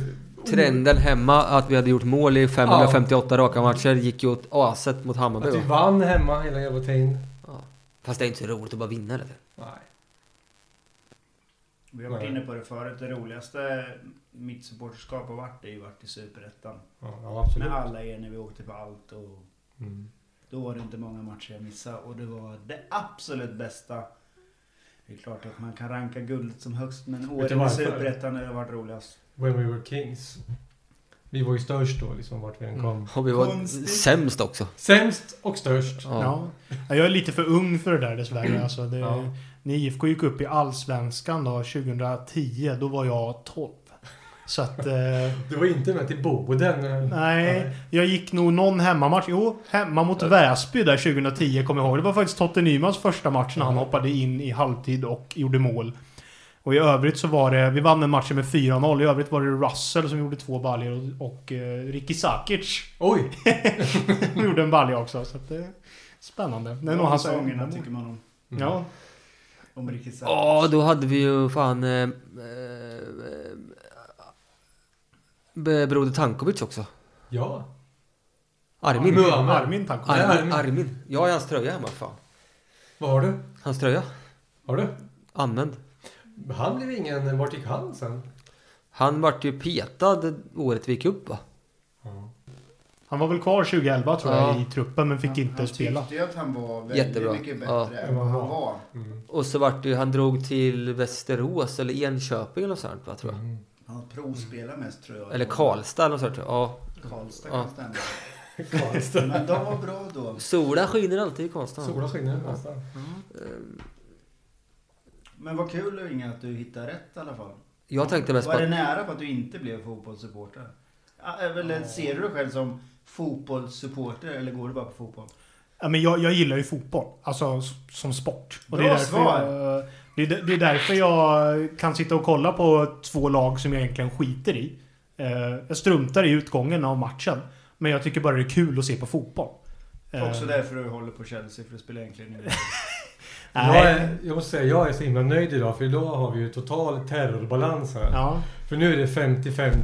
Speaker 5: Trenden hemma, att vi hade gjort mål i 558 raka matcher, gick ju åt aset mot Hammarby.
Speaker 2: Att vi
Speaker 5: va?
Speaker 2: vann hemma hela jävla tiden.
Speaker 5: Fast det är inte så roligt att bara vinna eller?
Speaker 2: Nej.
Speaker 3: Vi har varit inne på det förut, det roligaste mitt supporterskap har varit, det har ju varit i Superettan.
Speaker 2: Ja, ja, absolut.
Speaker 3: Med alla er när vi åkte på allt och
Speaker 2: Mm.
Speaker 3: då var det inte många matcher jag missade och det var det absolut bästa. Det är klart att man kan ranka guldet som högst, men
Speaker 2: Vet du
Speaker 3: åren i
Speaker 2: varför?
Speaker 3: Superettan har det varit roligast.
Speaker 2: When we were kings. Vi var ju störst då, liksom vart vi än kom.
Speaker 5: Och vi var
Speaker 3: Konstigt.
Speaker 5: sämst också.
Speaker 2: Sämst och störst.
Speaker 5: Ja.
Speaker 4: Ja. Ja, Jag är lite för ung för det där dessvärre. Alltså, det,
Speaker 2: Mm. Ja.
Speaker 4: När IFK gick upp i Allsvenskan då, 2010, då var jag 12. Så att... Eh,
Speaker 2: Du var inte med till Boden.
Speaker 4: Nej, jag gick nog någon hemmamatch. Jo, hemma mot Väsby där 2010 kommer jag ihåg. Det var faktiskt Totte Nymans första match när han hoppade in i halvtid och gjorde mål. Och i övrigt så var det, vi vann den matchen med 4-0. I övrigt var det Russell som gjorde två baljor och, och eh, Ricky Sakic
Speaker 2: Oj!
Speaker 4: gjorde en balja också. Så att det är spännande. Det är nog hans
Speaker 3: sångerna tycker man om.
Speaker 4: Ja.
Speaker 3: Om Ricky Sacchi.
Speaker 5: Ja, då hade vi ju fan... Eh, eh, eh, Broder Tankovic också.
Speaker 2: Ja.
Speaker 5: Armin.
Speaker 2: Ja, Muhammed.
Speaker 4: Armin tack.
Speaker 2: Ja.
Speaker 5: Armin.
Speaker 2: Armin.
Speaker 5: Armin. Jag har ju hans tröja hemma, fan.
Speaker 2: Vad har du?
Speaker 5: Hans tröja.
Speaker 2: Har du?
Speaker 5: Använd.
Speaker 2: Han blev ingen... Vart gick han sen?
Speaker 5: Han vart ju petad året vi gick upp va?
Speaker 4: Han var väl kvar 2011 tror jag
Speaker 5: Ja.
Speaker 4: i truppen men fick inte
Speaker 3: han
Speaker 4: spela.
Speaker 3: tyckte ju att han var väldigt
Speaker 5: Jättebra.
Speaker 3: mycket bättre
Speaker 5: Ja.
Speaker 3: än vad han var.
Speaker 2: Mm.
Speaker 5: Och så vart det ju, han drog till Västerås eller Enköping eller något sånt va, tror jag.
Speaker 2: Mm.
Speaker 3: Han provspelade mest tror jag.
Speaker 5: Eller Karlstad eller något sånt. Ja.
Speaker 3: Karlstad
Speaker 5: Ja.
Speaker 3: kan stämma. Men de var bra då.
Speaker 5: Solen skiner alltid i Karlstad.
Speaker 2: Solen skiner nästan.
Speaker 3: Men vad kul Inga att du hittade rätt i alla fall.
Speaker 5: Jag tänkte mest på
Speaker 3: Var det
Speaker 5: att
Speaker 3: nära på att du inte blev fotbollssupporter? Ja, Eller ser du dig själv som fotbollssupporter eller går du bara på fotboll?
Speaker 4: Ja, men jag, jag gillar ju fotboll, alltså s- som sport.
Speaker 3: Bra svar.
Speaker 4: Jag, det, är, det är därför jag kan sitta och kolla på två lag som jag egentligen skiter i. Eh, Jag struntar i utgången av matchen. Men jag tycker bara det är kul att se på fotboll. Eh,
Speaker 3: Också därför du håller på Chelsea för det spelar egentligen ingen roll.
Speaker 4: nej.
Speaker 2: Jag, är, jag måste säga, jag är så himla nöjd idag för idag har vi ju total terrorbalans här.
Speaker 4: Ja.
Speaker 2: För nu är det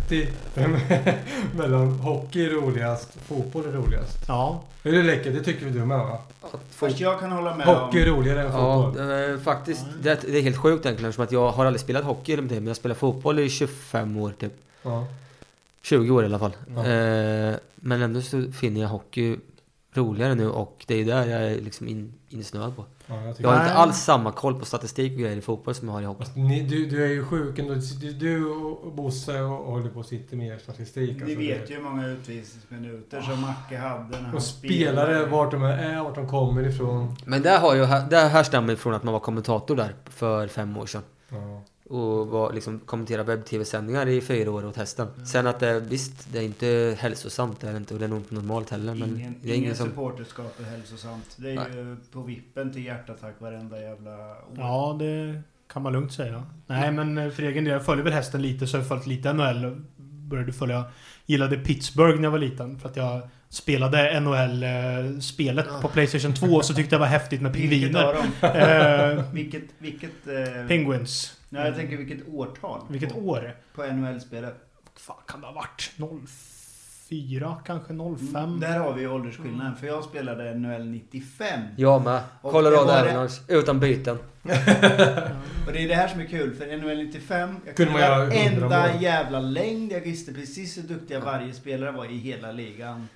Speaker 2: 50-50 mellan hockey är roligast, fotboll är roligast.
Speaker 4: ja.
Speaker 2: Är det läckert? Det tycker vi du med va?
Speaker 3: Fast jag kan hålla med
Speaker 2: Hockey är
Speaker 3: om...
Speaker 2: roligare än
Speaker 5: Ja,
Speaker 2: fotboll.
Speaker 5: eh, faktiskt. Det, det är helt sjukt egentligen eftersom att jag har aldrig spelat hockey eller någonting, men jag spelar fotboll i 25 år typ.
Speaker 2: Ja.
Speaker 5: 20 år i alla fall.
Speaker 2: Ja.
Speaker 5: Eh, men ändå så finner jag hockey roligare nu och det är där jag är liksom in, insnöad på.
Speaker 2: Ja, jag
Speaker 5: Jag
Speaker 2: tycker
Speaker 5: har
Speaker 4: Nej.
Speaker 5: inte alls samma koll på statistik och grejer i fotboll som jag har i hockey.
Speaker 2: Fast Ni, du, du är ju sjuk ändå. Du- Du och Bosse och, och håller på och sitter med er statistik.
Speaker 3: Ni
Speaker 2: alltså.
Speaker 3: vet ju hur många utvisningsminuter som Macke hade när han
Speaker 2: Och spelare, vart de är, vart de kommer ifrån.
Speaker 5: Men där, har jag, där härstammar ifrån att man var kommentator där för fem år sedan.
Speaker 2: Ja.
Speaker 5: Och var, liksom, kommentera webb-tv-sändningar i fyra år åt hästen. Sen att det, visst, det är inte hälsosamt det är det inte, och det är nog inte normalt heller. Men
Speaker 3: Ingen,
Speaker 5: det är ingen som...
Speaker 3: supporterskap är hälsosamt. Det är
Speaker 5: Nej.
Speaker 3: ju på vippen till hjärtattack varenda jävla år.
Speaker 4: ja, det kan man lugnt säga. Nej, men eh, för egen del, jag följer väl hästen lite så jag har följt lite NHL. Började följa, gillade Pittsburgh när jag var liten. För att jag spelade NHL-spelet eh, på Playstation 2 och så tyckte jag det var häftigt med
Speaker 3: Vilket
Speaker 4: pingviner.
Speaker 3: av dem?
Speaker 4: Eh,
Speaker 3: Vilket, vilket... Eh,
Speaker 4: Penguins.
Speaker 3: nej, jag tänker vilket årtal?
Speaker 4: Vilket
Speaker 3: på,
Speaker 4: år?
Speaker 3: På NHL-spelet.
Speaker 4: Fan, kan det ha varit? 04 kanske? 05?
Speaker 3: Mm, Där har vi ju åldersskillnaden. För jag spelade NHL 95.
Speaker 5: Jag med.
Speaker 3: Och
Speaker 5: Colorado
Speaker 3: det var det-
Speaker 5: Avalanche, utan byten.
Speaker 3: Och det är det här som är kul. För NHL 95,
Speaker 2: Kunde
Speaker 3: jag kunde
Speaker 2: man göra
Speaker 3: varenda
Speaker 2: 100 mål.
Speaker 3: jävla längd. Jag visste precis hur duktiga varje spelare var i hela ligan.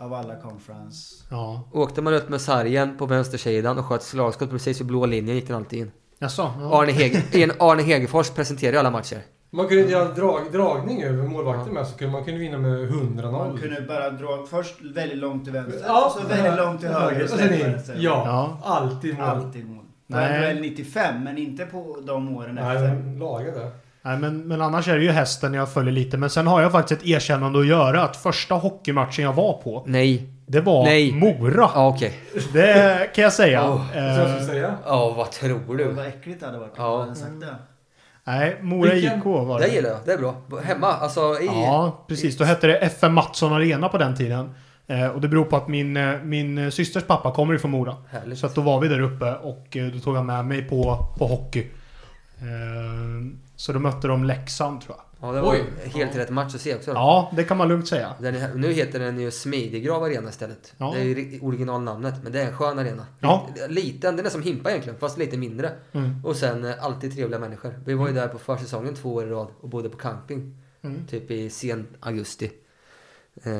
Speaker 3: Av alla conference.
Speaker 4: Ja.
Speaker 5: Åkte man ut med sargen på vänstersidan och sköt slagskott precis vid blå linjen gick den alltid in.
Speaker 4: Jaså? Ja.
Speaker 5: Arne, Heg- en Arne Hegerfors presenterar ju alla matcher.
Speaker 2: Man kunde inte göra drag, dragning över målvakten med så kunde man kunde vinna med 100-0.
Speaker 3: Man kunde bara dra först väldigt långt till vänster,
Speaker 2: Ja,
Speaker 3: så väldigt långt till höger.
Speaker 2: Och
Speaker 3: och
Speaker 2: sen
Speaker 3: sen
Speaker 2: in.
Speaker 3: vänster.
Speaker 2: Ja,
Speaker 4: Ja.
Speaker 2: alltid mål.
Speaker 3: Alltid mål.
Speaker 4: Nej.
Speaker 3: Nej. NHL 95, men inte på de åren
Speaker 2: Nej,
Speaker 3: efter.
Speaker 2: de lagade.
Speaker 4: Nej, men, men annars är det ju hästen jag följer lite. Men sen har jag faktiskt ett erkännande att göra. Att första hockeymatchen jag var på,
Speaker 5: Nej.
Speaker 4: det var
Speaker 5: Nej.
Speaker 4: Mora.
Speaker 5: Ja, okej.
Speaker 4: Det kan jag säga.
Speaker 5: Oh.
Speaker 2: Så jag skulle
Speaker 4: Eh,
Speaker 2: säga.
Speaker 5: Ja, vad tror
Speaker 3: Gud,
Speaker 5: du?
Speaker 3: Vad äckligt det hade varit om
Speaker 5: Ja.
Speaker 3: jag hade sagt det.
Speaker 4: nej, Mora
Speaker 2: Vilken-
Speaker 4: IK var
Speaker 5: Det
Speaker 4: det.
Speaker 5: gillar jag. Det är bra. Hemma, alltså i...
Speaker 4: Ja, precis. Då hette det FM Mattsson Arena på den tiden. Eh, och det beror på att min, eh, min eh, systers pappa kommer ifrån Mora.
Speaker 5: Härligt.
Speaker 4: Så att då var vi där uppe och eh, då tog jag med mig på, på hockey. Eh, Så då mötte de Leksand tror jag.
Speaker 5: Ja, det var ju
Speaker 2: Oj.
Speaker 5: helt rätt match att se också.
Speaker 4: Ja, det kan man lugnt säga.
Speaker 5: Den är, nu heter den ju Smidegrav Arena istället.
Speaker 4: Ja.
Speaker 5: Det är ju ri- originalnamnet, men det är en skön arena.
Speaker 4: Ja.
Speaker 5: Liten, den är som Himpa egentligen, fast lite mindre.
Speaker 4: Mm.
Speaker 5: Och sen eh, alltid trevliga människor. Vi var ju där på försäsongen två år i rad och bodde på camping.
Speaker 4: Mm.
Speaker 5: Typ i sen augusti. Eh,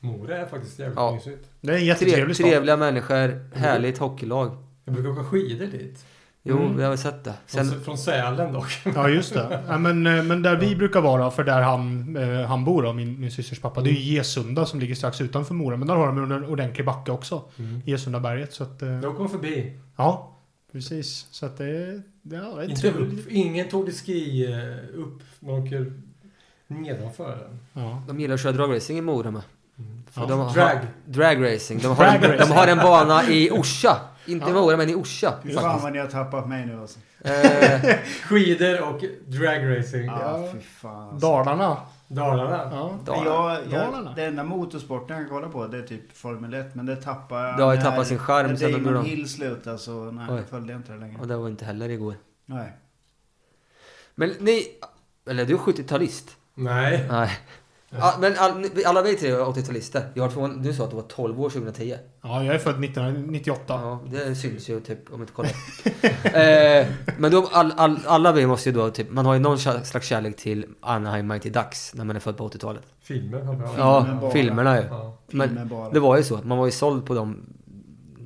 Speaker 2: Mora är faktiskt jävligt
Speaker 5: Ja.
Speaker 2: mysigt.
Speaker 4: Det är en
Speaker 5: tre,
Speaker 4: jättetrevlig stad. Mm.
Speaker 5: trevliga människor, härligt hockeylag.
Speaker 2: Jag brukar åka skidor dit.
Speaker 5: Jo,
Speaker 4: Mm.
Speaker 5: vi har väl sett det.
Speaker 2: Från,
Speaker 5: Sen,
Speaker 2: från Sälen dock.
Speaker 4: Ja, just det. Ja, men, eh, men där vi brukar vara, för där han, eh, han bor, då, min, min systers pappa, det är ju Gesunda som ligger strax utanför Mora. Men där har de en ordentlig backe också.
Speaker 5: Mm.
Speaker 4: Gesundaberget. Så att, eh,
Speaker 2: Jag kom förbi.
Speaker 4: ja, precis. Så att det, det, ja, det är
Speaker 2: Inte
Speaker 4: trevligt.
Speaker 2: upp. Ingen tog det ski eh, upp. Man åker nedanför den.
Speaker 4: Ja.
Speaker 5: de gillar att köra dragracing i Mora med. För
Speaker 4: Ja.
Speaker 5: de har-
Speaker 2: Drag.
Speaker 5: Dragracing. De har,
Speaker 4: Drag
Speaker 5: en,
Speaker 4: racing.
Speaker 5: de har en bana i Orsa. Inte i
Speaker 4: Ja.
Speaker 5: Mora, men i Orsa.
Speaker 2: Mm.
Speaker 3: Fy
Speaker 5: Faktiskt.
Speaker 3: fan vad ni har tappat mig nu alltså.
Speaker 5: Eh,
Speaker 2: Skidor och dragracing.
Speaker 3: Ja, ah, fy fan. Alltså.
Speaker 4: Dalarna.
Speaker 2: Dalarna.
Speaker 4: Ja.
Speaker 3: Men Jag,
Speaker 4: Dalarna.
Speaker 3: jag, det enda motorsporten jag kan kolla på det är typ Formel 1, men det tappar jag.
Speaker 5: Det har ju
Speaker 3: när-
Speaker 5: tappat sin charm
Speaker 3: när
Speaker 5: sen de
Speaker 3: Damon
Speaker 5: gjorde-
Speaker 3: Hill slutade så nej,
Speaker 5: Oj.
Speaker 3: jag följde inte det längre.
Speaker 5: och det var inte heller igår.
Speaker 3: Nej.
Speaker 5: Men ni... Eller du är 70-talist.
Speaker 2: Nej.
Speaker 5: Nej. Ah, men all, ni- alla vi tre är 80-talister. Jag har förvånad- du sa att du var 12 år 2010.
Speaker 4: ja, jag är född 1998.
Speaker 5: Ja, det syns ju typ om inte kollar. eh, Men då, all, all, alla vi måste ju då, typ, man har ju någon slags kärlek till Anaheim Mighty Ducks när man är född på 80-talet.
Speaker 2: Filmer framförallt.
Speaker 5: Ja,
Speaker 3: bara.
Speaker 5: filmerna ju.
Speaker 2: Ja.
Speaker 3: Filmer
Speaker 5: Men
Speaker 3: bara.
Speaker 5: det var ju så, man var ju såld på dem.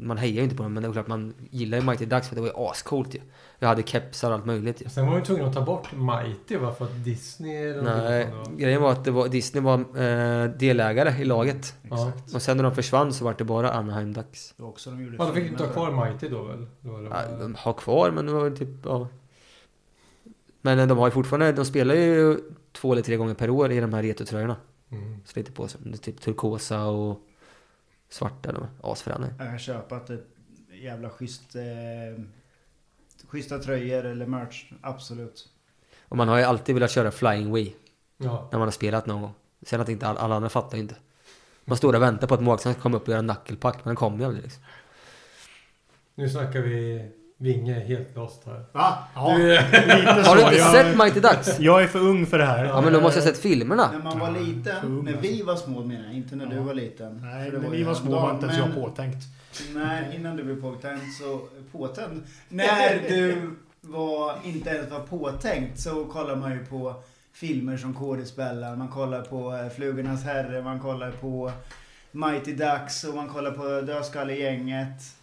Speaker 5: Man hejar ju inte på dem, men det är klart man gillar ju Mighty Ducks för det var ju ascoolt ju. Jag hade kepsar och allt möjligt ju.
Speaker 2: Sen var vi tvungna att ta bort Mighty va? För att Disney eller
Speaker 5: Nej,
Speaker 2: någonting sånt, va?
Speaker 5: grejen var att det var, Disney var eh, delägare i laget.
Speaker 2: Ja.
Speaker 5: Och sen när de försvann så var det bara Anaheim Ducks.
Speaker 3: Det var också de gjorde
Speaker 2: Ja, då fick vi inte ha
Speaker 3: filmer
Speaker 2: kvar Mighty då väl? Då var det
Speaker 5: Ja,
Speaker 2: bara-
Speaker 5: de har kvar, men det var väl typ, ja. Men eh, de har ju fortfarande, de spelar ju två eller tre gånger per år i de här retrotröjorna.
Speaker 2: Mm.
Speaker 5: Sliter på sig. Det är Typ turkosa och svarta. De är asfräna.
Speaker 3: Jag kan köpa att ett jävla schysst... Eh, schyssta tröjor eller merch, absolut.
Speaker 5: Och man har ju alltid velat köra Flying Wii
Speaker 2: Ja.
Speaker 5: när man har spelat någon gång. Sen att inte alla, alla andra fattar ju inte. Man står där och väntar på att målvakten ska komma upp och göra en nackelpack, men den kommer ju aldrig liksom.
Speaker 2: Nu snackar vi Vinge helt lost här.
Speaker 4: Va? Ja,
Speaker 2: Du-
Speaker 4: lite så.
Speaker 5: Har du inte
Speaker 4: jag,
Speaker 5: sett Mighty Ducks?
Speaker 4: jag är för ung för det här.
Speaker 5: Ja men då måste jag ha sett
Speaker 3: När
Speaker 5: filmerna.
Speaker 3: man var liten,
Speaker 4: ung,
Speaker 3: när vi var små menar jag, inte när du
Speaker 4: alltså. Ja.
Speaker 3: var liten.
Speaker 4: Nej,
Speaker 3: För det
Speaker 4: när
Speaker 3: ju
Speaker 4: vi var små
Speaker 3: häromdagen,
Speaker 4: var inte ens jag
Speaker 3: men-
Speaker 4: påtänkt.
Speaker 3: Nej, innan du blev påtänd så... Påtänd? När du var, inte ens var påtänkt så kollar man ju på filmer som Kådespelaren, man kollar på eh, Flugornas Herre, man kollar på Mighty Ducks och man kollar på Dödskallegänget.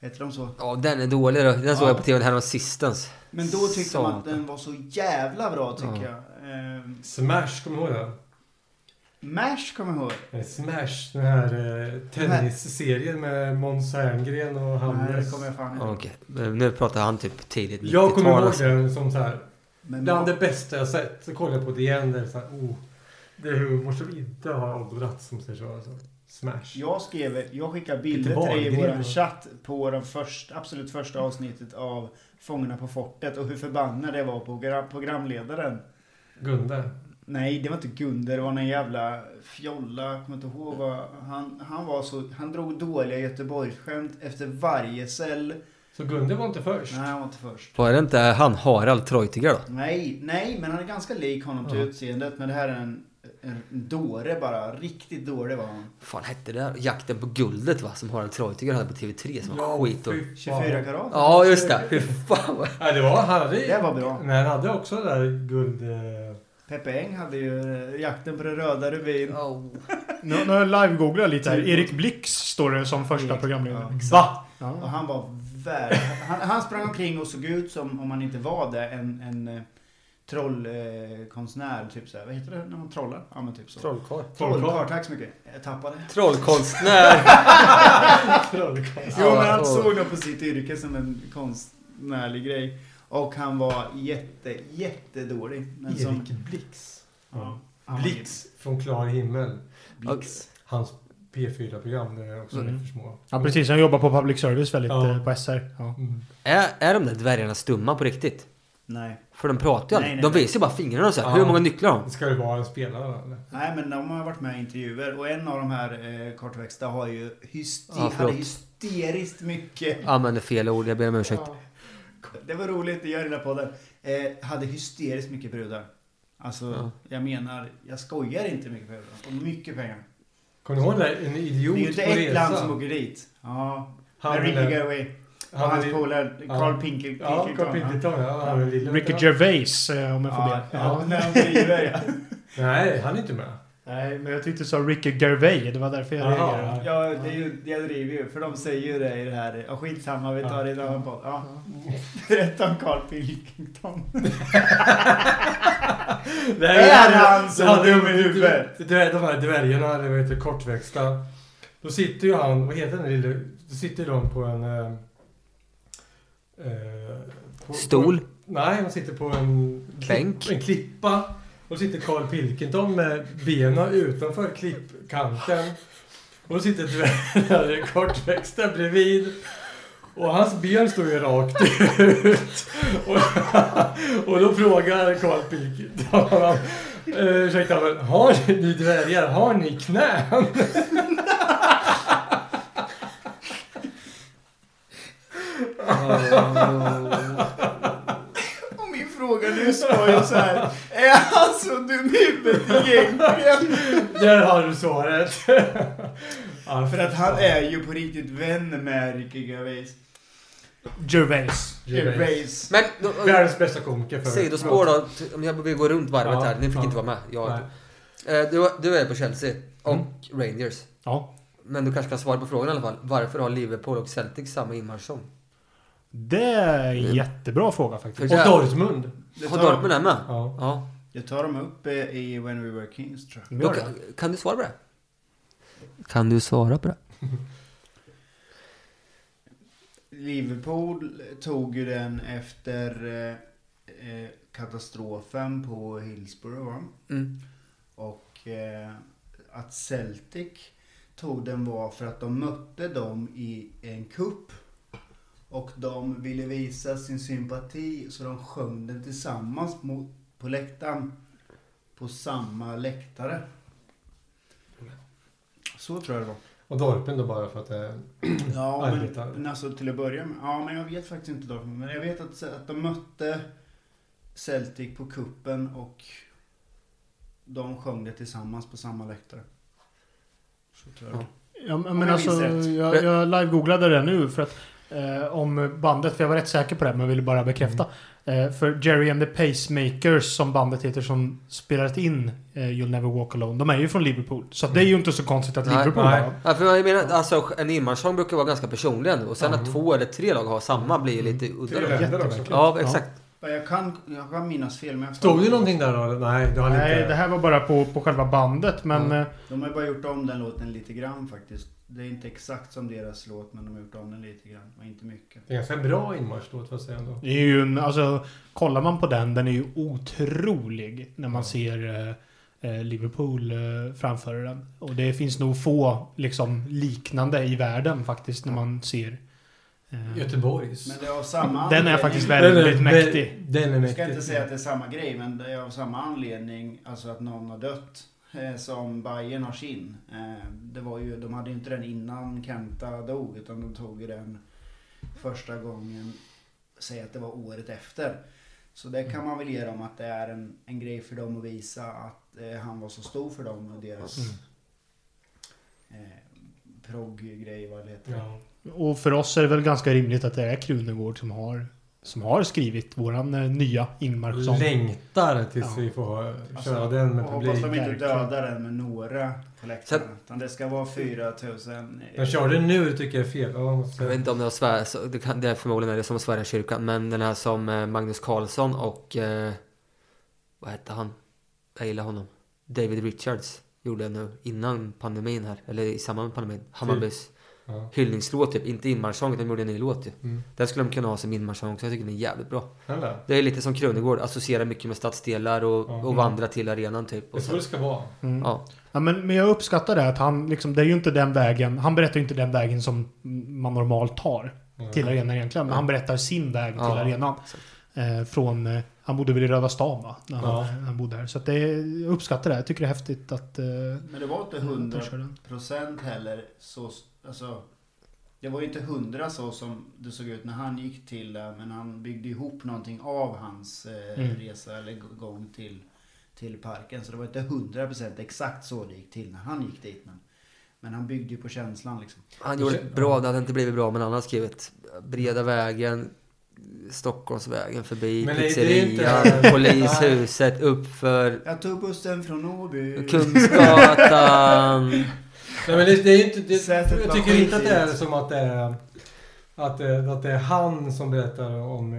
Speaker 3: Heter de så?
Speaker 5: Ja den är dålig då. Den såg
Speaker 3: Ja.
Speaker 5: jag på tvn häromsistens.
Speaker 3: Men då tyckte man att
Speaker 5: Satan.
Speaker 3: den var så jävla bra tycker
Speaker 5: Ja.
Speaker 3: jag. Ehm,
Speaker 2: Smash, kommer du ihåg den?
Speaker 3: Mash kommer jag ihåg.
Speaker 2: Eh, Smash, den här eh, tennisserien med Måns Herngren och
Speaker 3: Nej, det
Speaker 2: Hannes.
Speaker 3: kommer jag fan
Speaker 5: Ja,
Speaker 3: ihåg.
Speaker 5: Okej, Men eh, nu pratar han typ tidigt
Speaker 2: Jag kommer
Speaker 5: 90-tal,
Speaker 2: ihåg
Speaker 5: alltså.
Speaker 2: den som så här,
Speaker 3: Men
Speaker 2: bland det bästa jag sett. Så kollar jag på det igen där så här, oh, det är humor som inte har åldrats som säger så. Alltså. Smash.
Speaker 3: Jag skrev, jag skickade bilder
Speaker 2: Lite
Speaker 3: till dig i
Speaker 2: valgren,
Speaker 3: våran
Speaker 2: va?
Speaker 3: chatt på den först, absolut första avsnittet av Fångarna på fortet och hur förbannad det var på gra- programledaren.
Speaker 2: Gunde.
Speaker 3: Nej, det var inte Gunder, det var någon jävla fjolla, jag kommer inte ihåg vad. Han, han var så, han drog dåliga göteborgsskämt efter varje cell.
Speaker 2: Så Gunde var inte först.
Speaker 3: Nej, han var inte först.
Speaker 5: Var det inte han Harald Treutiger då?
Speaker 3: Nej, nej, men han är ganska lik honom till
Speaker 5: Ja.
Speaker 3: utseendet, men det här är en, en dåre bara. Riktigt dåre var han.
Speaker 5: fan hette det där? Jakten på guldet va? Som Harald Treutiger hade på TV3 som var
Speaker 2: Ja,
Speaker 5: skit och...
Speaker 2: fy fan.
Speaker 3: 24 karat.
Speaker 5: Ja just det, fy fan vad...
Speaker 2: Nej, det var han hade,
Speaker 3: Det var bra.
Speaker 2: Nej, han hade också det där guld... Eh,
Speaker 3: Peppe Eng hade ju eh, jakten på den röda rubin.
Speaker 5: Oh.
Speaker 4: Nu, nu live-googlar jag lite här. Erik Blix står det som första programledare.
Speaker 2: va?
Speaker 3: Och
Speaker 4: Ja.
Speaker 3: han var värd. Han, han sprang omkring och såg ut som, om han inte var det, en, en eh, trollkonstnär. Eh, konstnär, typ så här. Vad heter det när man trollar? Ja men typ så.
Speaker 5: Trollkarl.
Speaker 3: Trollkarl, tack så mycket. Jag tappade.
Speaker 5: Trollkonstnär!
Speaker 2: Trollkarl.
Speaker 3: Jo men han
Speaker 5: och-
Speaker 3: såg nog på sitt yrke som en konstnärlig grej. Och han var jätte, jättedålig. Men som,
Speaker 2: Erik Blix.
Speaker 3: ja, han var
Speaker 2: Blix från Klar himmel.
Speaker 3: Blix.
Speaker 2: Hans P4-program där är också
Speaker 4: Mm.
Speaker 2: rätt för små.
Speaker 4: ja, precis. Han jobbar på public service väldigt,
Speaker 2: Ja.
Speaker 4: eh, på SR. Ja.
Speaker 2: Mm.
Speaker 5: är, är de där dvärgarna stumma på riktigt?
Speaker 3: Nej.
Speaker 5: För de pratar ju
Speaker 3: Nej,
Speaker 5: aldrig.
Speaker 3: nej,
Speaker 5: De
Speaker 3: nej.
Speaker 5: visar ju bara fingrarna och så här.
Speaker 2: Ja.
Speaker 5: Hur många nycklar har de?
Speaker 2: Ska det vara en spelare eller?
Speaker 3: Nej men de har varit med i intervjuer och en av de här eh, kortväxta har ju hyster-
Speaker 5: Ja, förlåt.
Speaker 3: hade hysteriskt mycket
Speaker 5: Använder fel ord, jag ber om ursäkt.
Speaker 3: Det var roligt, det gör den här podden. Eh, hade hysteriskt mycket brudar. Alltså,
Speaker 5: Ja.
Speaker 3: jag menar, jag skojar inte mycket brudar. Och mycket pengar.
Speaker 2: Kommer ni ihåg det där? En
Speaker 3: Det
Speaker 2: idiot
Speaker 3: är ju inte
Speaker 2: på
Speaker 3: ett
Speaker 2: resa.
Speaker 3: land som åker dit. Ja.
Speaker 2: Han,
Speaker 3: Men
Speaker 2: den-
Speaker 3: Ricky Gerway. Och
Speaker 2: han,
Speaker 3: hans
Speaker 2: den-
Speaker 3: polare
Speaker 2: ja.
Speaker 3: Carl Pinker.
Speaker 2: Ja, Carl Pilkington. Ja, han den lilla.
Speaker 4: Ricky Gervais, eh, om jag får
Speaker 3: Ja,
Speaker 4: be.
Speaker 3: ja,
Speaker 4: Ja.
Speaker 3: när han driver. ja.
Speaker 2: Nej, han är inte med.
Speaker 4: Nej, men jag tyckte du sa Ricky Gervais. Det var därför jag
Speaker 2: Jaha.
Speaker 4: reagerade.
Speaker 3: Ja, det är ju, jag driver ju. För de säger ju det i det här. Ja, skitsamma, vi tar det i en annan podd. Ja. Berätta om Carl Pilkington.
Speaker 2: Det
Speaker 3: Är han så dum i huvudet?
Speaker 2: Du, du, vet, de här dvärgarna, eller vad heter det, typ kortväxta. Då sitter ju han, vad heter den lille? Då sitter ju de på en... Eh, eh, på-
Speaker 5: Stol?
Speaker 2: På, nej, de sitter på en...
Speaker 5: Bänk?
Speaker 2: En klippa. Och sitter Carl Pilkington med benen utanför klippkanten. Och då sitter dvärgarna kortväxta bredvid. Och hans ben står ju rakt ut. Och, och då frågar Carl Pilkington honom. eh, Ursäkta, men har ni, ni dvärgar, har ni knän?
Speaker 3: Och min fråga nyss var ju så här. Är han så dum i huvudet egentligen?
Speaker 2: Där har du svaret. Ja,
Speaker 3: För att han är ju på riktigt vän med Ricky Gervais.
Speaker 4: Gervais.
Speaker 3: Race.
Speaker 5: Men, då,
Speaker 2: Världens bästa komiker för...
Speaker 5: sidospår då. t- Om jag vill gå runt varvet
Speaker 2: Ja,
Speaker 5: här. Ni fick
Speaker 2: ja.
Speaker 5: inte vara med. Jag,
Speaker 2: Nej.
Speaker 5: Eh, du, du är på Chelsea och Rangers.
Speaker 4: Ja.
Speaker 5: Men du kanske kan svara på frågan i alla fall. Varför har Liverpool och Celtic samma inmarschsång?
Speaker 4: Det är en jättebra fråga faktiskt.
Speaker 5: För
Speaker 2: Och
Speaker 5: jag-
Speaker 2: Dortmund.
Speaker 3: Det
Speaker 5: Har
Speaker 3: tar-
Speaker 5: Dortmund den med?
Speaker 2: Ja.
Speaker 5: Ja.
Speaker 3: Det tar de upp eh, i When We Were Kings tror jag.
Speaker 4: De
Speaker 5: Då,
Speaker 4: gör det.
Speaker 5: kan- kan du svara på det? Kan du svara på det?
Speaker 3: Liverpool tog ju den efter eh, eh, katastrofen på Hillsborough va?
Speaker 5: Mm.
Speaker 3: Och eh, att Celtic tog den var för att de mötte dem i en kupp. Och de ville visa sin sympati så de sjöng den tillsammans mot, på läktaren. På samma läktare. Så tror jag det var.
Speaker 2: Och Dortmund då bara för att eh, det...
Speaker 3: Ja, men,
Speaker 2: Arbetare.
Speaker 3: men alltså till att börja med. Ja, men jag vet faktiskt inte Dortmund. Men jag vet att, att de mötte Celtic på kuppen och de sjöng det tillsammans på samma läktare. Så tror jag.
Speaker 5: Ja.
Speaker 4: Ja,
Speaker 3: Om
Speaker 4: men
Speaker 3: jag
Speaker 4: men alltså,
Speaker 3: minns rätt.
Speaker 4: jag, jag live-googlade det nu för att eh, om bandet, för jag var rätt säker på det men ville bara bekräfta. Eh, för Jerry and the Pacemakers som bandet heter som spelat in eh, You'll Never Walk Alone, de är ju från Liverpool. Så att det är ju inte så konstigt att
Speaker 5: Nej,
Speaker 4: Liverpool
Speaker 2: nej.
Speaker 4: har dem.
Speaker 5: Ja, för jag menar, alltså, en inmarschsång brukar vara ganska personlig ändå. Och sen att två eller tre lag har samma blir ju lite udda.
Speaker 2: Tre
Speaker 5: då.
Speaker 2: länder också.
Speaker 5: Ja, exakt.
Speaker 3: Men Jag kan, jag kan minnas fel, men jag
Speaker 2: Stod det någonting där då? Nej, det har han
Speaker 4: Nej,
Speaker 2: inte.
Speaker 4: det här var bara på, på själva bandet men...
Speaker 5: Mm.
Speaker 4: eh,
Speaker 3: De har ju bara gjort om den låten lite grann faktiskt. Det är inte exakt som deras låt, men de har gjort om den lite grann. Men inte mycket.
Speaker 2: Det är ganska bra inmarschlåt får jag säga ändå.
Speaker 4: Det är ju en, alltså, kollar man på den, den är ju otrolig när man ser eh, eh, Liverpool eh, framföra den. Och det finns nog få liksom, liknande i världen faktiskt när man ser. Eh,
Speaker 2: Göteborgs.
Speaker 3: Mm. Men det är av samma
Speaker 4: Den är
Speaker 3: anledning-
Speaker 4: faktiskt väldigt
Speaker 2: Den är-
Speaker 4: mäktig.
Speaker 2: Den är
Speaker 3: Jag
Speaker 2: mäktig.
Speaker 3: ska inte säga att det är samma grej, men det är av samma anledning, alltså att någon har dött, eh, som Bayern har sin. Eh, Det var ju, de hade ju inte den innan Kenta dog, utan de tog ju den första gången, säg att det var året efter. Så det kan man väl ge dem att det är en, en grej för dem att visa att eh, han var så stor för dem och deras eh, progg-grej, vad det heter.
Speaker 2: Mm. Ja.
Speaker 4: Och för oss är det väl ganska rimligt att det är Krunegård som har, som har skrivit våran eh, nya inmarschsång.
Speaker 2: Längtar tills
Speaker 4: Ja.
Speaker 2: vi får köra
Speaker 3: Alltså,
Speaker 2: den med
Speaker 3: och hoppas
Speaker 2: publik.
Speaker 3: de inte
Speaker 4: verkligen.
Speaker 3: dödar den med några på läktaren. Utan det ska vara 4000. eh,
Speaker 2: Mm. Men kör den nu tycker jag är fel. Ja, jag måste
Speaker 5: Jag
Speaker 2: säga.
Speaker 5: vet inte om det var Sverige, så det, kan, det är förmodligen är det som Sverige kyrkan men den här som eh, Magnus Carlsson och... Eh, vad hette han? Jag gillar honom. David Richards gjorde nu innan pandemin här, eller i samband med pandemin. Hammarbys
Speaker 2: Ja.
Speaker 5: hyllningslåt typ, inte inmarschsång, de gjorde en ny låt ju.
Speaker 2: Mm.
Speaker 5: Den skulle de kunna ha som inmarschsång också, jag tycker den är jävligt bra.
Speaker 2: Eller?
Speaker 5: Det är lite som Krönegård, associera mycket med stadsdelar och,
Speaker 2: Ja.
Speaker 5: och vandra till arenan typ.
Speaker 2: Det är
Speaker 5: Och
Speaker 2: så det
Speaker 5: så,
Speaker 2: ska vara.
Speaker 4: Mm.
Speaker 5: ja.
Speaker 4: Ja, men, men jag uppskattar det att han, liksom, det är ju inte den vägen, han berättar ju inte den vägen som man normalt tar till arenan egentligen. Men han berättar sin väg till
Speaker 5: Ja,
Speaker 4: arenan.
Speaker 5: exakt.
Speaker 4: Eh, från, eh, han bodde väl i Röda stan va? När han,
Speaker 2: Ja.
Speaker 4: när han bodde här. Så att det, jag uppskattar det. Jag tycker det är häftigt att eh,
Speaker 3: Men det var inte
Speaker 4: att de
Speaker 3: 100
Speaker 4: kör den.
Speaker 3: procent heller så, alltså, det var ju inte hundra så som det såg ut när han gick till det, men han byggde ihop någonting av hans eh,
Speaker 4: Mm.
Speaker 3: resa eller g- gång till, till parken. Så det var inte hundra procent exakt så det gick till när han gick dit. Men, men han byggde ju på känslan liksom.
Speaker 5: Han gjorde ett bra, det hade inte blivit bra men han har skrivit Breda vägen, Stockholmsvägen förbi,
Speaker 2: Men det- det är
Speaker 5: pizzerian,
Speaker 2: inte-
Speaker 5: polishuset, uppför
Speaker 3: Jag tog bussen från Åby.
Speaker 5: Kungsgatan.
Speaker 2: Nej, men det, det är ju inte, det,
Speaker 3: Sätet
Speaker 2: jag
Speaker 3: var
Speaker 2: tycker inte att det är
Speaker 3: skitigt.
Speaker 2: som att det är, att, det- att det är han som berättar om... eh,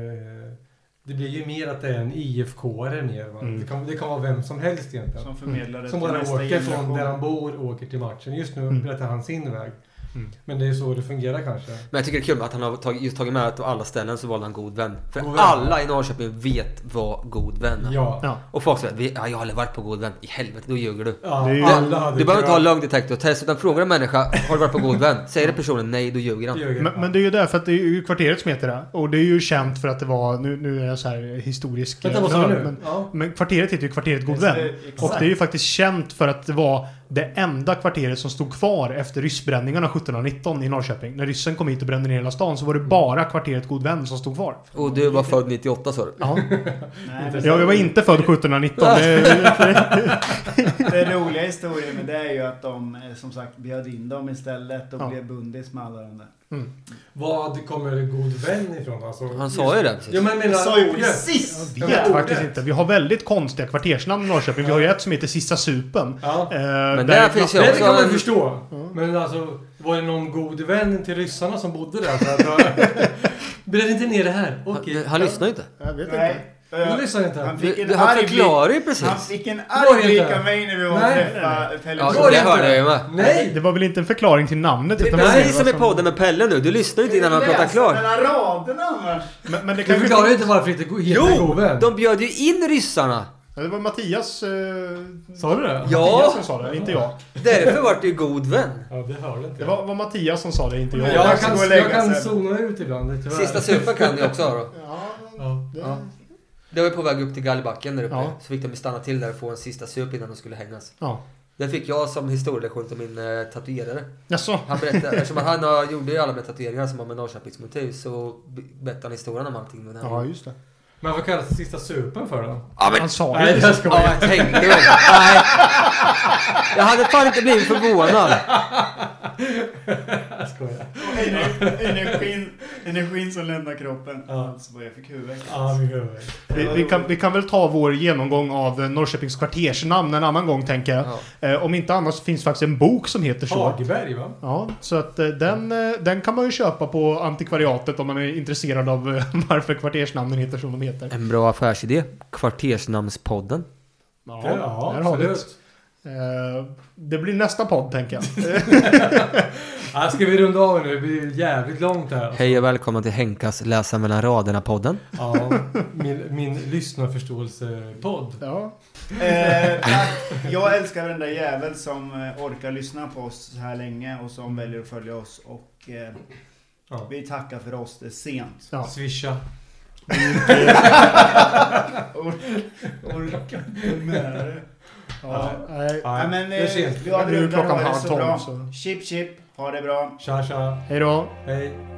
Speaker 2: Det blir ju mer att det är en IFK-are mer. Va?
Speaker 4: Mm.
Speaker 2: Det, kan, det kan vara vem som helst egentligen.
Speaker 3: Som förmedlade
Speaker 2: Som
Speaker 3: till
Speaker 2: bara
Speaker 3: nästa
Speaker 2: åker från
Speaker 3: generation.
Speaker 2: där han bor och åker till matchen. Just nu
Speaker 4: Mm.
Speaker 2: berättar han sin väg.
Speaker 4: Mm.
Speaker 2: Men det är så det fungerar kanske.
Speaker 5: Men jag tycker det är kul att han har tagit, just tagit med att på alla ställen så valde han god vän. För
Speaker 2: God vän.
Speaker 5: alla i Norrköping vet vad god vän är.
Speaker 2: Ja.
Speaker 4: Ja.
Speaker 5: Och folk säger "Vi- ja, jag har aldrig varit på god vän. I helvete, då ljuger du.
Speaker 2: Ja,
Speaker 4: Det är ju-
Speaker 2: alla hade
Speaker 5: Du behöver inte ha
Speaker 2: kunnat-
Speaker 5: lögndetektortest utan frågar en människa har du varit på god vän? Säger personen nej, då ljuger han.
Speaker 2: Jörgen.
Speaker 4: Men, men det är ju därför att det är ju kvarteret som heter det. Och det är ju känt för att det var, nu, nu är jag så här historisk. eh,
Speaker 2: Vänta, vad sa
Speaker 4: nörd,
Speaker 2: du nu?
Speaker 4: men,
Speaker 2: Ja.
Speaker 4: men kvarteret heter ju kvarteret God
Speaker 3: Så det-
Speaker 4: vän.
Speaker 3: exakt.
Speaker 4: Och det är ju faktiskt känt för att det var det enda kvarteret som stod kvar efter ryssbränningarna 1719 i Norrköping. När ryssen kom hit och brände ner hela stan så var det bara kvarteret God vän som stod kvar.
Speaker 5: Och du var född 98 sa du?
Speaker 4: Ja.
Speaker 3: Nej, men-
Speaker 4: Jag var inte född 1719. Det,
Speaker 3: Den roliga historien med det är ju att de eh, som sagt bjöd in dem istället och
Speaker 4: Ja.
Speaker 3: blev bundis med alla de där.
Speaker 2: Vad kommer god vän ifrån? Alltså,
Speaker 5: Han sa ju det precis.
Speaker 2: Ja, men jag menar
Speaker 3: Jag sa ju
Speaker 2: ordet.
Speaker 3: precis!
Speaker 4: Jag
Speaker 2: Ja,
Speaker 4: vet faktiskt
Speaker 2: ordet.
Speaker 4: inte. Vi har väldigt konstiga kvartersnamn i Norrköping. Vi har ju ett som heter Sista Supen. Eh,
Speaker 2: Ja.
Speaker 4: Men
Speaker 5: där finns ju-
Speaker 2: Det kan man
Speaker 5: men-
Speaker 2: förstå.
Speaker 5: Mm.
Speaker 2: Men alltså, var det någon god vän till ryssarna som bodde där? Så att, Bränn inte ner det här. Okej.
Speaker 5: Han, han lyssnar ju inte.
Speaker 4: Jag vet inte.
Speaker 3: Nej. Eh,
Speaker 2: Du lyssnar inte.
Speaker 3: Han
Speaker 5: Du,
Speaker 3: fick en
Speaker 5: du, han
Speaker 3: arg blick.
Speaker 5: förklarar ju
Speaker 3: Han
Speaker 5: precis.
Speaker 3: fick en
Speaker 2: Var
Speaker 3: arg
Speaker 2: det
Speaker 3: blick
Speaker 2: inte?
Speaker 3: av mig när vi var och
Speaker 2: Nej.
Speaker 3: träffade Pelle
Speaker 5: Ja,
Speaker 2: Var
Speaker 5: det
Speaker 2: det
Speaker 5: hörde
Speaker 2: inte?
Speaker 5: jag ju med.
Speaker 2: Nej!
Speaker 4: Det var väl inte en förklaring till namnet?
Speaker 5: Det är
Speaker 4: utan det var
Speaker 5: precis som i
Speaker 4: som-
Speaker 5: podden med Pelle nu. Du lyssnar ju inte innan han
Speaker 3: Läs
Speaker 5: pratar klart.
Speaker 3: mellan raderna annars.
Speaker 4: Men, men det
Speaker 2: Du
Speaker 4: kan ju...
Speaker 2: förklarar ju inte varför inte go- heter
Speaker 5: Jo!
Speaker 2: god vän.
Speaker 5: De bjöd ju in ryssarna.
Speaker 4: Ja, Det var Mattias... Eh,
Speaker 2: Sa du det?
Speaker 5: Ja.
Speaker 4: Mattias som sa det, inte jag.
Speaker 5: Därför vart det ju god vän.
Speaker 2: Ja, det hörde inte
Speaker 4: Det
Speaker 2: jag.
Speaker 4: var, var Mattias som sa det, inte jag.
Speaker 2: Ja,
Speaker 4: Jag
Speaker 2: jag
Speaker 4: ska gå
Speaker 2: kan,
Speaker 4: och lägga
Speaker 2: jag kan
Speaker 4: mig.
Speaker 2: zona ut ibland, tyvärr.
Speaker 5: Sista supen kan ni också ha då.
Speaker 4: Ja,
Speaker 2: Ja.
Speaker 4: det...
Speaker 5: Ja. Det var ju på väg upp till galgbacken där uppe.
Speaker 4: Ja.
Speaker 5: Så fick de stanna till där och få en sista sup innan de skulle hängas.
Speaker 4: Ja.
Speaker 5: Den fick jag som historielektion till min eh, tatuerare.
Speaker 4: Jaså?
Speaker 5: Han berättade, eftersom han har, gjorde ju alla mina tatueringar som har med Norrköpingsmotiv så be- berättade han historien om allting. Men han,
Speaker 4: Ja, just det.
Speaker 2: Men vad kallas sista supen för då?
Speaker 4: Han sa
Speaker 2: Nej,
Speaker 4: ju
Speaker 2: jag
Speaker 4: det.
Speaker 2: skojar.
Speaker 5: ja, jag tänkte väl. Nej. Jag hade fan inte blivit förvånad.
Speaker 2: Jag skojar.
Speaker 3: Och ener- Energin, energin som lämnar kroppen.
Speaker 2: Ja.
Speaker 3: Alltså vad jag fick huvudvärk.
Speaker 2: Ja, min huvud.
Speaker 4: Vi, vi, kan, vi kan väl ta vår genomgång av eh, Norrköpings kvartersnamn en annan gång, tänker jag.
Speaker 5: Ja.
Speaker 4: Eh, om inte annars finns faktiskt en bok som heter så.
Speaker 2: Hagberg, va?
Speaker 4: Ja, så att eh, den, eh, den kan man ju köpa på antikvariatet om man är intresserad av eh, varför kvartersnamnen heter som de heter.
Speaker 5: En bra affärsidé. Kvartersnamnspodden.
Speaker 4: Ja,
Speaker 2: Det- ja
Speaker 4: där har vi det.
Speaker 2: absolut.
Speaker 4: Eh, det blir nästa podd, tänker jag.
Speaker 2: Ja, ska vi runda av nu? Det blir jävligt långt här.
Speaker 5: Hej och välkomna till Henkas Läsa mellan raderna-podden.
Speaker 2: Ja, min, min lyssnarförståelsepodd.
Speaker 4: Ja.
Speaker 3: Eh, tack. jag älskar den där jäveln som eh, orkar lyssna på oss så här länge och som väljer att följa oss. Och eh,
Speaker 2: Ja.
Speaker 3: vi tackar för oss. Det är sent.
Speaker 4: Ja.
Speaker 2: Swisha.
Speaker 3: Orkar inte med det.
Speaker 4: Ja, nej.
Speaker 3: Ja, men
Speaker 2: det är
Speaker 3: eh,
Speaker 2: sent.
Speaker 3: vi avrundar.
Speaker 4: klockan
Speaker 3: Ha det
Speaker 4: halv
Speaker 3: så
Speaker 4: tolv,
Speaker 3: bra.
Speaker 4: så-
Speaker 3: Chip chip. Ha det bra.
Speaker 2: Tja, tja.
Speaker 4: Hej då.
Speaker 2: Hej.